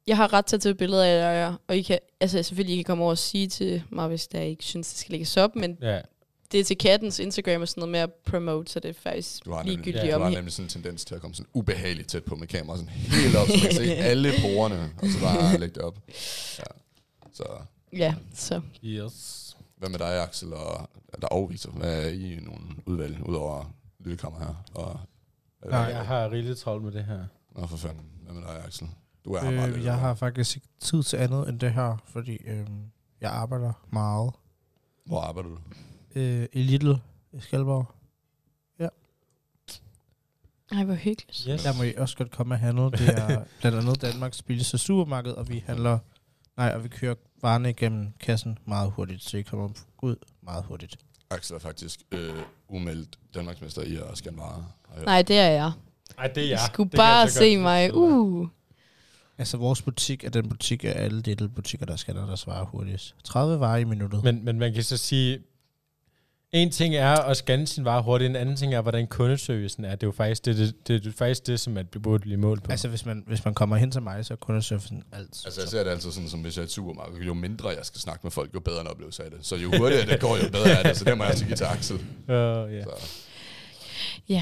C: jeg har ret til at tage billeder af jer, og I kan, altså selvfølgelig, I kan komme over og sige til mig, hvis der ikke synes, det skal lægges op, men
A: Ja.
C: det er til kattens Instagram og sådan noget med at promote, så det er faktisk
B: Du har, nemlig,
C: ligegyldigt
B: ja, du
C: om
B: har
C: he-
B: nemlig sådan en tendens til at komme sådan ubehageligt tæt på med kamera, sådan helt op, så man kan se alle porerne, og så bare lægge det op. Ja. Så
C: Ja, så.
A: Yes.
B: hvad med dig, Axel, og der overviser? Hvad er I i nogle udvalg, udover lydkammer her? Og,
D: Nej,
A: Jeg har rigeligt travlt med det her.
B: Nå, for fanden. Hvad med dig, Axel? Du er her bare
D: Øh,
B: lidt,
D: jeg
B: eller?
D: har faktisk ikke tid til andet end det her, fordi øh, jeg arbejder meget
B: Hvor arbejder du?
D: øh, i Little i Skalborg.
C: Ej, hvor hyggeligt.
A: Yes.
D: Der må I også godt komme og handle. Det er blandt andet Danmarks billigste supermarked, og vi handler... Nej, og vi kører varerne igennem kassen meget hurtigt, så I kommer ud meget hurtigt.
B: Axel er faktisk øh, umeldt Danmarksmester i at scanne varer. har jeg hørt.
C: Nej, det er jeg.
A: Ej, det er
C: I
A: jeg.
C: skulle
A: Det kan jeg
C: bare
A: så godt
C: se mig.
A: forestille mig.
C: Uh.
D: Altså, vores butik er den butik af alle little butikker, der scanner deres varer hurtigst. 30 varer i
C: Uh.
D: minuttet.
A: Men, men man kan så sige, en ting er at scanne sin vare hurtigt, en anden ting er, hvordan kundeservicen er. Det er jo faktisk det, det, det, det, er faktisk det som man burde blive målt på.
D: Altså, hvis man, hvis man kommer hen til mig, så er kundeservicen alt.
B: Altså, jeg ser det altid sådan, som hvis jeg er i et supermarked. Jo mindre jeg skal snakke med folk, jo bedre en oplevelse er det. Så jo hurtigere det går, jo bedre er det. Så det må jeg også give til Axel.
A: Uh, yeah.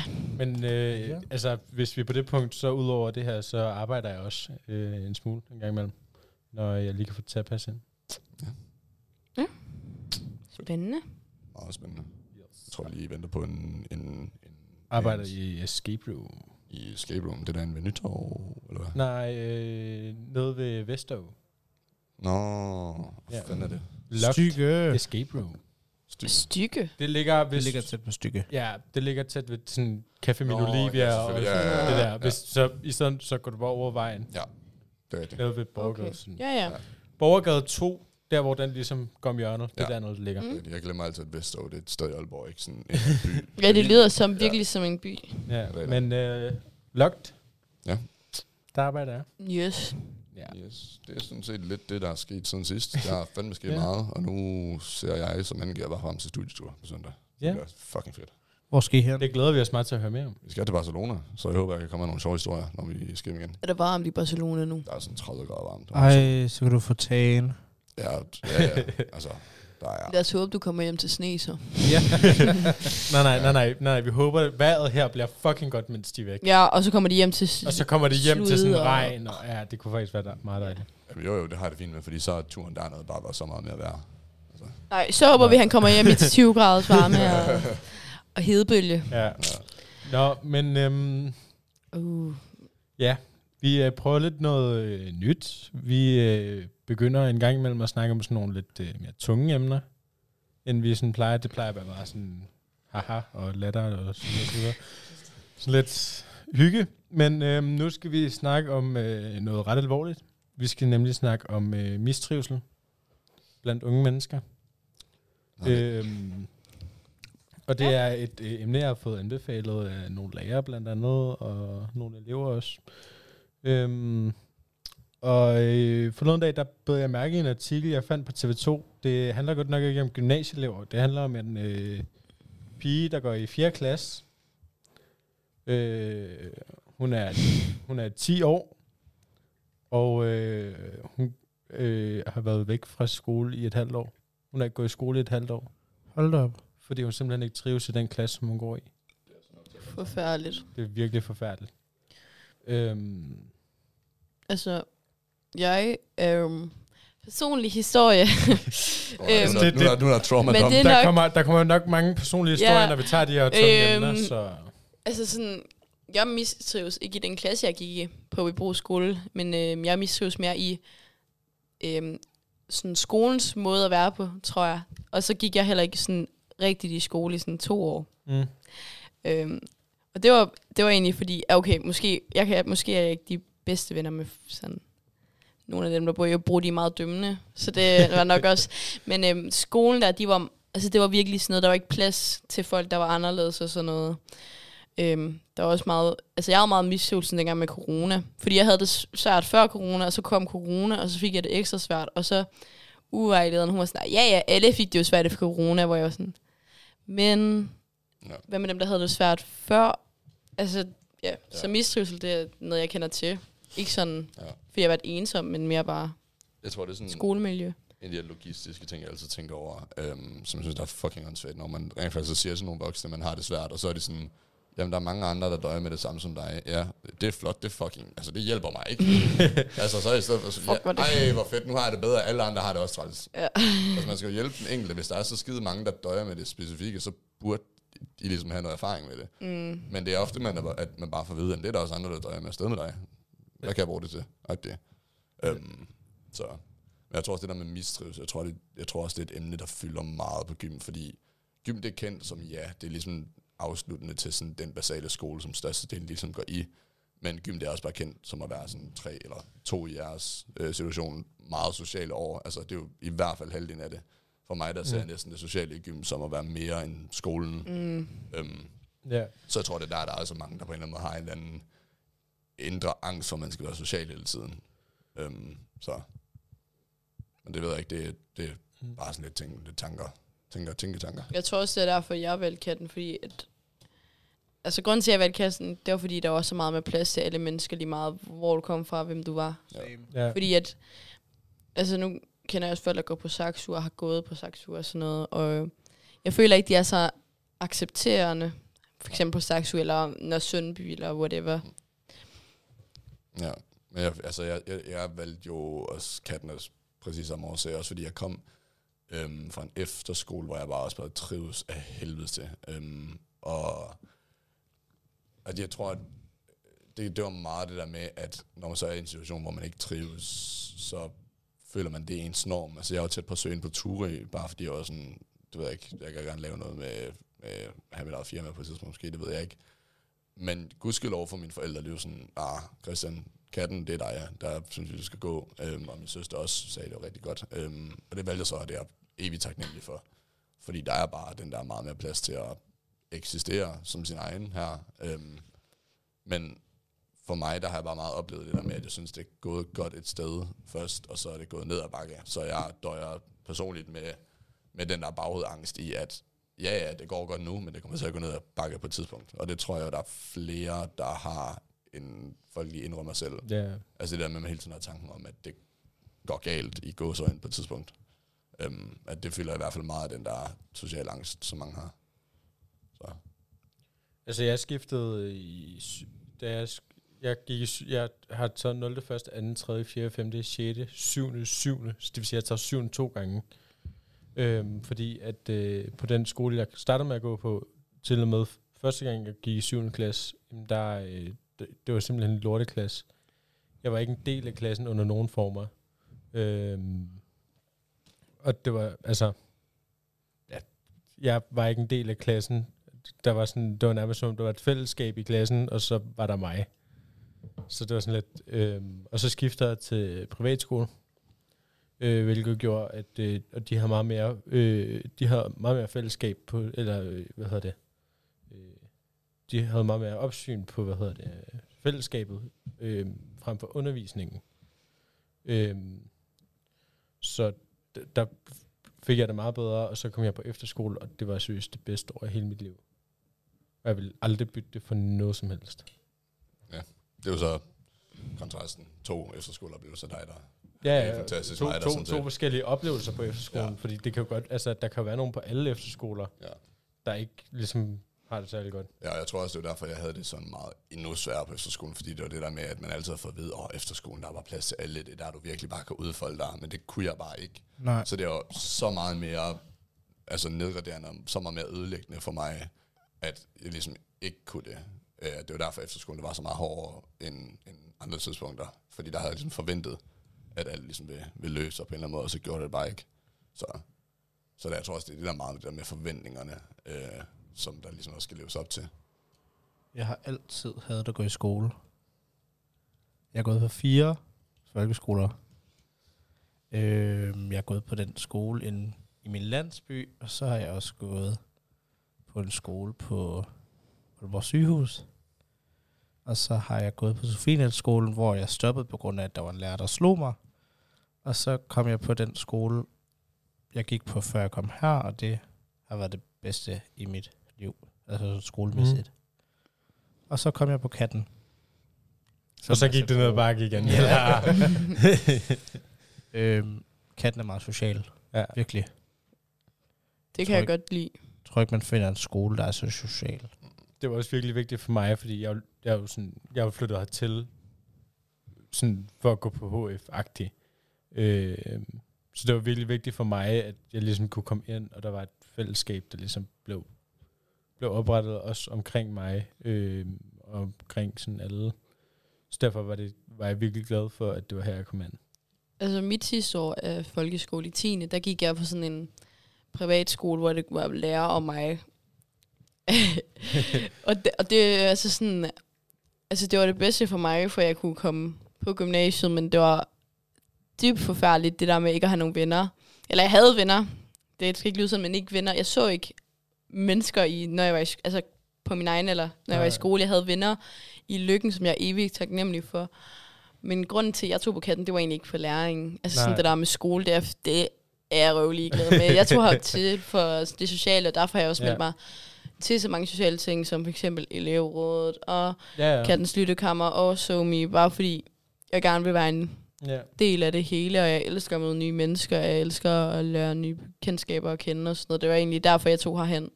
B: Så,
A: Men øh,
D: Ja.
A: ja. altså, hvis vi er på det punkt, så ud over det her, så arbejder jeg også øh, en smule en gang imellem, når jeg lige kan få det til at passe ind.
C: Spændende.
B: meget spændende. Jeg tror, vi lige venter på en... en, en
A: Arbejder
B: en,
A: i Escape Room.
B: I escape room. Det der er en ved nytår, eller hvad?
A: Nej, øh, nede ved Vestov.
B: Nå, hvad
A: Ja.
B: fanden er det?
A: Locked
D: Stykke.
A: Escape Room.
B: Styg.
C: Stykke.
A: Det ligger,
D: Det
A: hvis,
D: ligger tæt på stykke.
A: Ja, det ligger tæt ved sådan Café
B: Nå,
A: Min
B: ja,
A: Olivia ja, og sådan
B: selvfølgelig. Ja, ja,
A: det
B: ja,
A: der.
B: ja.
A: Hvis, så i stedet så går du bare over vejen.
B: Det er rigtigt.
A: Nede ved Borgergade.
C: Okay.
A: Okay.
C: Ja, ja.
A: Borgergade 2, der hvor den ligesom går om hjørnet. Det
B: Ja.
A: er der noget, der ligger.
C: Mm.
B: Jeg glemmer altid, at Vestov det er et sted i Aalborg, ikke sådan en by.
C: Ja, det lyder som
B: Ja.
C: virkelig som en by.
A: Ja,
B: det er
A: men øh, locked.
B: Ja.
A: Der arbejder jeg.
C: Yes.
A: Ja.
B: Yes, det er sådan set lidt det, der er sket siden sidst. Der er fandme sket
A: Ja.
B: meget, og nu ser jeg som angiver bare frem til studietur på søndag.
A: Ja.
B: Det er fucking fedt.
D: Hvor skal I hen?
A: Det glæder vi os meget til at høre mere om.
B: Vi skal til Barcelona, så jeg håber, jeg kan komme med nogle sjove historier, når vi skal hjem igen.
C: Er der varmt i Barcelona nu?
B: Der er sådan 30 grader varmt.
D: Ej, så kan du få tagen.
B: Ja, ja, ja. Altså, der er...
C: Lad os håbe, du kommer hjem til sne, så.
A: Ja. nej, nej, nej, nej, nej, vi håber, at vejret her bliver fucking godt, mens de er væk.
C: Ja, og så kommer de hjem til... s-
A: Og så kommer det hjem til sådan
C: Sludder.
A: regn, og ja, det kunne faktisk være der- meget dejligt.
B: Jamen, jo, jo, det har jeg det fint med, fordi så er turen dernede bare var så meget mere værd.
C: Nej, så håber vi, han kommer hjem i 20 graders varme og, og hedebølge.
A: Ja. Øh, Nå, men øhm,
C: Uh.
A: Vi øh, prøver lidt noget øh, nyt. Vi øh, begynder en gang imellem at snakke om sådan nogle lidt øh, mere tunge emner, end vi sådan plejer. Det plejer at være bare sådan haha og latter og sådan noget. Sådan, noget. sådan lidt hygge. Men øhm, nu skal vi snakke om øh, noget ret alvorligt. Vi skal nemlig snakke om øh, mistrivsel blandt unge mennesker.
B: Øh,
A: Øhm, og det er et øh, emne, jeg har fået anbefalet af nogle lærere blandt andet, og nogle elever også. Øhm, og øh, forleden dag, der bød jeg mærke i en artikel, jeg fandt på TV2. Det handler godt nok ikke om gymnasieelever. Det handler om en øh, pige, der går i 4. klasse. Øh, hun, er, hun er 10 år, og øh, hun øh, har været væk fra skole i et halvt år. Hun har ikke gået i skole i et halvt år,
D: Hold da op.
A: fordi hun simpelthen ikke trives i den klasse, som hun går i.
C: Forfærdeligt.
A: Det er virkelig forfærdeligt. Øhm,
C: Altså, jeg er øhm, personlig historie.
B: øh,
A: det-
B: nu, er, nu er der trauma
C: men
B: men
C: det-
B: det,
C: er
A: der,
C: nok-
A: kommer, der kommer nok mange personlige
C: Ja.
A: historier, ja. når vi tager de her tunge
C: Øhm,
A: øhm, emner, så...
C: Altså sådan, jeg mistrives ikke i den klasse, jeg gik i på Vibro skole, men øh, jeg mistrives mere i øh, sådan skolens måde at være på, tror jeg. Og så gik jeg heller ikke sådan rigtigt i skole i sådan to år.
A: Mm.
C: Øhm, og det var, det var egentlig fordi, ja, okay, måske, jeg kan, måske er jeg ikke de bedste venner med sådan nogle af dem, der bor i Ørebro, de er meget dømmende, så det var nok også. Men øhm, skolen der, de var, altså det var virkelig sådan noget, der var ikke plads til folk, der var anderledes og sådan noget. Øhm, der var også meget, altså jeg havde meget mistrivsel dengang med corona, fordi jeg havde det s- svært før corona, og så kom corona, og så fik jeg det ekstra svært, og så uvejlederen, hun var sådan, ja ja, alle fik det jo svært efter corona, hvor jeg var sådan, men
B: Ja.
C: hvad med dem, der havde det svært før? Altså, ja, ja. så
B: Ja.
C: mistrivsel, det er noget, jeg kender til. Ikke sådan,
B: Ja. Mm.
C: ja. fordi jeg har været ensom, men mere bare
B: jeg tror, det er sådan
C: skolemiljø.
B: en af de her logistiske ting, jeg altid tænker over, øhm, som jeg synes, der er fucking åndssvagt, når man rent faktisk så siger til nogle voksne, man har det svært, og så er det sådan, jamen der er mange andre, der døjer med det samme som dig. Ja, det er flot, det er fucking, altså det hjælper mig ikke. altså så er i stedet for sådan,
C: Fuck, hvor er
B: ja,
C: det-
B: ej hvor fedt, nu har jeg det bedre, alle andre har det også træls.
C: Ja.
B: altså man skal jo hjælpe den enkelte, hvis der er så skide mange, der døjer med det specifikke, så burde I ligesom have noget erfaring med det.
C: Mm.
B: Men det er ofte, man er, at man bare får at vide, at det er der også andre, der døjer med afsted med dig. Hvad kan jeg bruge det til? Og det. Øhm, så. Men jeg tror også, det der med mistrivsel, jeg tror, det, jeg tror også, det er et emne, der fylder meget på gym, fordi gym, det er kendt som, ja, det er ligesom afsluttende til sådan den basale skole, som størstedelen ligesom går i. Men gym, det er også bare kendt som at være sådan tre eller to i jeres øh, situation meget sociale år. Altså, det er jo i hvert fald halvdelen af det. For mig, der ser jeg næsten det sociale i gym som at være mere end skolen.
C: Mm.
B: Øhm,
A: Ja.
B: så jeg tror, det er der, der er så mange, der på en eller anden måde har en eller anden indre angst for, at man skal være social hele tiden. Øhm, så. Men det ved jeg ikke, det, det er
A: Mm.
B: bare sådan lidt, ting, lidt tanker, tænker, tænketanker.
C: Jeg tror også, det er derfor, jeg valgte katten, fordi at, altså grunden til, at jeg valgte katten, det var fordi, der var så meget med plads til alle mennesker lige meget, hvor du kom fra, hvem du var.
A: Ja.
C: Fordi at, altså nu kender jeg også folk, der går på Saxu og har gået på Saxu og sådan noget, og jeg føler ikke, de er så accepterende, for eksempel på Saxu eller Nørresundby eller whatever.
B: Ja, men jeg, altså, jeg, jeg, jeg valgte jo også Katniss præcis samme årsag, også fordi jeg kom øhm, fra en efterskole, hvor jeg bare også bare trives af helvede til. Øhm, og at jeg tror, at det, det var meget det der med, at når man så er i en situation, hvor man ikke trives, så føler man, det er ens norm. Altså jeg var tæt på at søge ind på Ture, bare fordi jeg var sådan, du ved jeg ikke, jeg kan gerne lave noget med, med have mit eget firma på et tidspunkt, måske, det ved jeg ikke. Men gudskelov for mine forældre, det var sådan, ah, Christian, katten, det er dig, ja. der synes vi, du skal gå. Øhm, og min søster også sagde, det var rigtig godt. Øhm, og det valgte jeg så, og det er jeg evigt taknemmelig for. Fordi der er bare den der meget mere plads til at eksistere som sin egen her. Øhm, men for mig, der har jeg bare meget oplevet det der med, at jeg synes, det er gået godt et sted først, og så er det gået ned ad bakke. Så jeg døjer personligt med, med den der baghovedangst i, at ja, ja, det går godt nu, men det kommer til at gå ned ad bakke på et tidspunkt. Og det tror jeg, der er flere, der har, end folk lige indrømmer selv.
A: ja.
B: Altså det der med, at man hele tiden har tanken om, at det går galt i gåsøjne på et tidspunkt. Øhm, at det fylder i hvert fald meget af den der sociale angst, som mange har. Så
A: Altså, jeg skiftede i... sy- Da jeg, sk- jeg, gik i, sy- jeg har taget 0. 1., 2., 3., 4., 5., 6., 7., 7. Så det vil sige, at jeg tager 7. to gange. Øhm, fordi at øh, på den skole, jeg startede med at gå på, til og med f- første gang, jeg gik i 7. klasse, jamen, der, øh, det, det var simpelthen en lorteklasse. Jeg var ikke en del af klassen under nogen former. Øhm, og det var, altså... Ja, jeg var ikke en del af klassen der var sådan, det var nærmest som, om, der var et fællesskab i klassen, og så var der mig. Så det var sådan lidt, øh, og så skifter jeg til privatskole, øh, hvilket gjorde, at øh, og de har meget mere, øh, de har meget mere fællesskab på, eller øh, hvad hedder det, øh, de havde meget mere opsyn på, hvad hedder det, øh, fællesskabet, øh, frem for undervisningen. Øh, så d- der fik jeg det meget bedre, og så kom jeg på efterskole, og det var seriøst det bedste år i hele mit liv. Og jeg vil aldrig bytte det for noget som helst.
B: Det er jo så kontrasten. To efterskoleoplevelser, dig der.
A: Ja,
B: Det er
A: ja,
B: fantastisk
A: to,
B: mig, der
A: to,
B: sådan
A: to
B: set-
A: forskellige oplevelser på efterskolen,
B: Ja.
A: ja. fordi det kan jo godt, altså der kan jo være nogen på alle efterskoler,
B: Ja.
A: der ikke ligesom har det særlig godt.
B: Ja, og jeg tror også, det var derfor, jeg havde det sådan meget endnu sværere på efterskolen, fordi det var det der med, at man altid har fået at vide, at efterskolen, der var plads til alle, det er der du virkelig bare kan udfolde dig, men det kunne jeg bare ikke.
D: Nej.
B: Så det var så meget mere altså nedgraderende, og så meget mere ødelæggende for mig, at jeg ligesom ikke kunne det. Øh, Det var derfor, efterskolen var så meget hårdere end, end andre tidspunkter, fordi der havde jeg ligesom forventet, at alt ligesom ville, ville løse sig på en eller anden måde, og så gjorde det bare ikke. Så, så der, jeg tror også, det er det der meget med, det der med forventningerne, øh, som der ligesom også skal leves op til.
D: Jeg har altid hadet at gå i skole. Jeg er gået på fire folkeskoler. Øhm, jeg er gået på den skole inde i min landsby, og så har jeg også gået på en skole på Aalborg sygehus. Og så har jeg gået på Sofienhældsskolen, hvor jeg stoppede på grund af, at der var en lærer, der slog mig. Og så kom jeg på den skole, jeg gik på, før jeg kom her, og det har været det bedste i mit liv, altså skolemæssigt. Og så kom jeg på katten.
A: Og så gik det ned ad bakke igen.
D: Ja. øhm, katten er meget social.
A: Ja.
D: Virkelig.
C: Det
D: Tror
C: kan jeg
D: ikke-
C: godt lide.
D: Jeg tror ikke, man finder en skole, der er så social.
A: det var også virkelig vigtigt for mig, fordi jeg, jeg, er jo sådan, jeg er jo flyttet hertil sådan for at gå på HF-agtig. Øh, så det var virkelig vigtigt for mig, at jeg ligesom kunne komme ind, og der var et fællesskab, der ligesom blev, blev oprettet også omkring mig, øh, og omkring sådan alle. Så derfor var, det, var jeg virkelig glad for, at det var her, jeg kom ind.
C: Altså mit sidste år af folkeskole i 10. der gik jeg på sådan en privatskole, hvor det var lærer og mig. og, det, og det er altså sådan, altså det var det bedste for mig, for jeg kunne komme på gymnasiet, men det var dybt forfærdeligt, det der med ikke at have nogen venner. Eller jeg havde venner. Det skal ikke lyde sådan, men ikke venner. Jeg så ikke mennesker i, når jeg var i, sk- altså på min egen eller når jeg var i
A: Nej.
C: skole. Jeg havde venner i lykken, som jeg er evigt taknemmelig for. Men grunden til, at jeg tog på katten, det var egentlig ikke for læringen. Altså sådan
A: Nej.
C: det der med skole, det er, det er jeg røvlig glad med. Jeg tog her til for det sociale, og derfor har jeg også
A: Ja.
C: meldt mig til så mange sociale ting, som for eksempel elevrådet og
A: Ja,
C: ja. kattens lyttekammer og SoMe, bare fordi jeg gerne vil være en
A: ja.
C: del af det hele, og jeg elsker at møde nye mennesker, og jeg elsker at lære nye kendskaber at kende og sådan noget. Det var egentlig derfor, jeg tog herhen.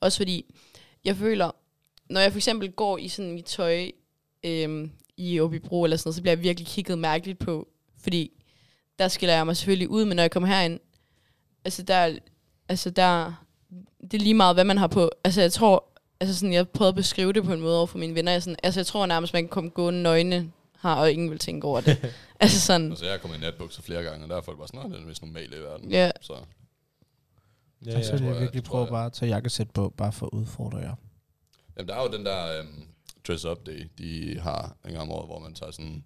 C: Også fordi, jeg føler, når jeg for eksempel går i sådan mit tøj øhm, i Åbibro eller sådan noget, så bliver jeg virkelig kigget mærkeligt på, fordi der skiller jeg mig selvfølgelig ud, men når jeg kommer herind, altså der, altså der, det er lige meget, hvad man har på. Altså jeg tror, altså sådan, jeg prøvede at beskrive det på en måde over for mine venner. Jeg sådan, altså jeg tror nærmest, man kan komme gående nøgne her, og ingen vil tænke over det. altså sådan.
B: Altså, jeg er kommet i natbukser flere gange, og der er folk bare sådan, "Nå, det er den mest normale i verden.
C: Ja.
B: Så
A: ja,
D: Ja, så
A: ja.
D: vil
B: tror
D: jeg
B: jeg-
D: virkelig
B: tror
D: prøve
B: jeg.
D: bare at tage jakkesæt på, bare for at udfordre jer.
B: Jamen, der er jo den der øhm, dress-up day, de har en gang om året, hvor man tager sådan,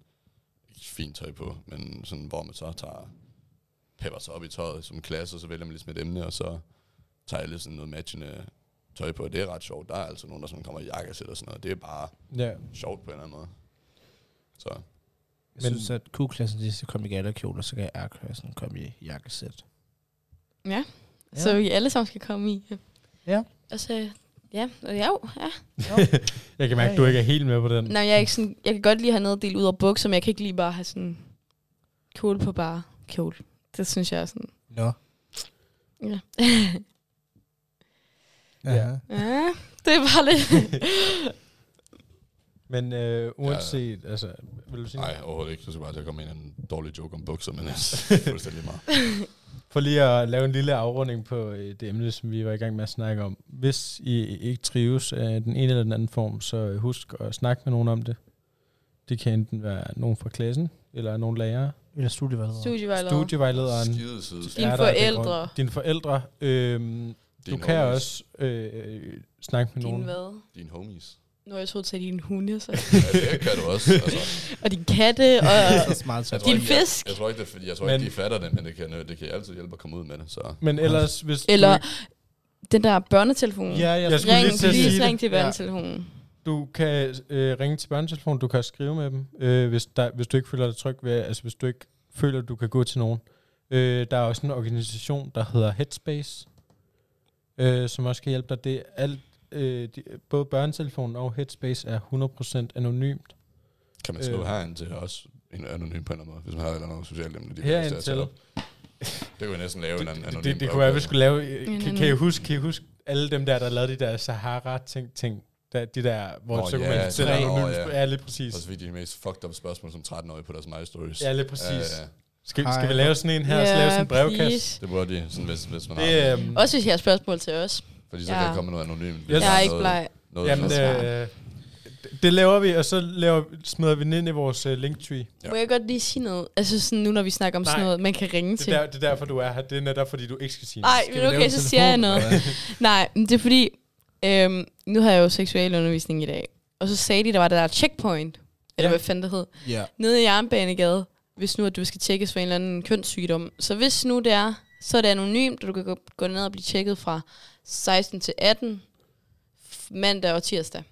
B: ikke fint tøj på, men sådan, hvor man så tager, pepper sig op i tøjet som klasse, og så vælger man ligesom et emne, og så tager alle sådan noget matchende tøj på, og det er ret sjovt. Der er altså nogen, der sådan kommer i jakkesæt og sådan noget. Det er bare
A: ja.
B: sjovt på en eller anden måde. Så
D: Jeg
A: Men-
D: synes, at Q-klassen de skal komme i gallerkjole, og så kan R-klassen komme i jakkesæt.
C: Ja,
D: Ja.
C: så vi alle sammen skal komme i.
D: Ja.
C: Og så, ja, og ja, jo, ja.
A: Jeg kan mærke,
D: Ja,
A: at du
D: ja.
A: ikke er helt med på den.
C: Nå, jeg, er ikke sådan, jeg kan godt lige have noget delt ud af bukser, men jeg kan ikke lige bare have sådan kjole på bare kjole. Det synes jeg er sådan,
D: Nå.
C: ja.
A: Ja.
D: Ja.
C: ja det er bare lidt...
A: Men øh, uanset, altså, vil du sige noget?
B: nej, overhovedet ikke. Så skal jeg bare til at komme ind i en dårlig joke om bukser, men altså, fuldstændig meget.
A: For lige at lave en lille afrunding på øh, det emne, som vi var i gang med at snakke om. Hvis I ikke trives af den ene eller den anden form, så øh, husk at snakke med nogen om det. Det kan enten være nogen fra klassen, eller nogen lærere,
D: Eller studievejleder.
C: Studievejleder.
A: studievejlederen,
B: Skide side.
C: Dine
A: er der af den grund.
C: forældre.
A: dine forældre, øhm, Du kan også øh, øh, snakke med
C: Din
A: nogen.
C: hvad?
B: Din homies.
C: Nu er jeg så til dine hunde, så.
B: Ja, det kan du også. Altså,
C: og din katte, og
D: Så smart så
B: jeg tror
C: din
B: ikke,
C: fisk.
B: jeg tror ikke, det, er fordi- jeg tror ikke
A: Men-
B: de fatter det, men det kan, det kan altid hjælpe at komme ud med det. Så.
A: Men ellers, hvis
C: Eller
A: du,
C: den der børnetelefon.
D: Ja, jeg,
A: Jeg
D: skulle
A: skulle
D: lige
A: lige
C: Ring,
A: til at sige
C: please
A: det.
C: ring til børnetelefonen.
A: du kan øh, ringe til børnetelefonen, du kan skrive med dem, øh, hvis, der, hvis du ikke føler dig tryg ved, altså hvis du ikke føler, du kan gå til nogen. Øh, der er også en organisation, der hedder Headspace, øh, som også kan hjælpe dig. Det er alt, øh, de, både børnetelefonen og Headspace er 100% anonymt.
B: Kan man skrive
A: Øh.
B: øh. herind til os? En anonym på en eller anden måde, hvis man har et eller andet socialt emne. de vil have os
A: Herind
B: til at
A: til.
B: tage op. Det kunne jeg næsten lave altså, en an- anonym
A: Det, det, det kunne være, at vi skulle lave... øh,
C: En
A: Kan, kan, I
C: anonym.
A: huske, kan I huske alle dem der, der lavede de der Sahara-ting-ting? Der, de der, hvor
B: Nå,
A: så kunne
B: ja,
A: man stille
B: ja,
A: anonymt.
B: ja.
A: Ja, lige præcis.
B: Også fordi de er de mest fucked up spørgsmål som 13-årige på deres My Stories.
A: Ja, lige præcis.
B: Ja, ja.
A: Skal,
D: Hej.
A: skal vi lave sådan en her, og så lave sådan en brevkasse?
C: please.
B: Det burde de, sådan, hvis, hvis man har
A: Det, øhm,
C: Også hvis I har spørgsmål til os.
B: Fordi så
C: Ja.
B: kan der komme noget anonymt.
A: Jeg
C: Jeg er
A: synes-
C: ikke bleg.
B: Noget,
A: jamen,
B: noget,
A: det, øh, det laver vi, og så laver, smider vi den ind i vores uh, linktree.
B: Ja.
C: Må jeg godt lige sige noget? Altså sådan nu, når vi snakker om sådan
A: Nej.
C: noget, man kan ringe
A: Det
C: til.
A: er, der, det er derfor, du er her. Det er netop, fordi du ikke skal sige noget.
C: Ej,
A: Skal vi
C: men
A: lave
C: okay,
A: en
C: så
A: telefon?
C: siger jeg noget. Nej, men det er fordi, øhm, nu har jeg jo seksualundervisning i dag. Og så sagde de, der var det der checkpoint, eller
A: Ja.
C: hvad fanden det hed,
D: Ja.
C: nede i Jernbanegade, hvis nu at du skal tjekkes for en eller anden kønssygdom. Så hvis nu det er, så er det anonymt, og du kan gå, gå ned og blive tjekket fra 16 til 18, f- mandag og tirsdag.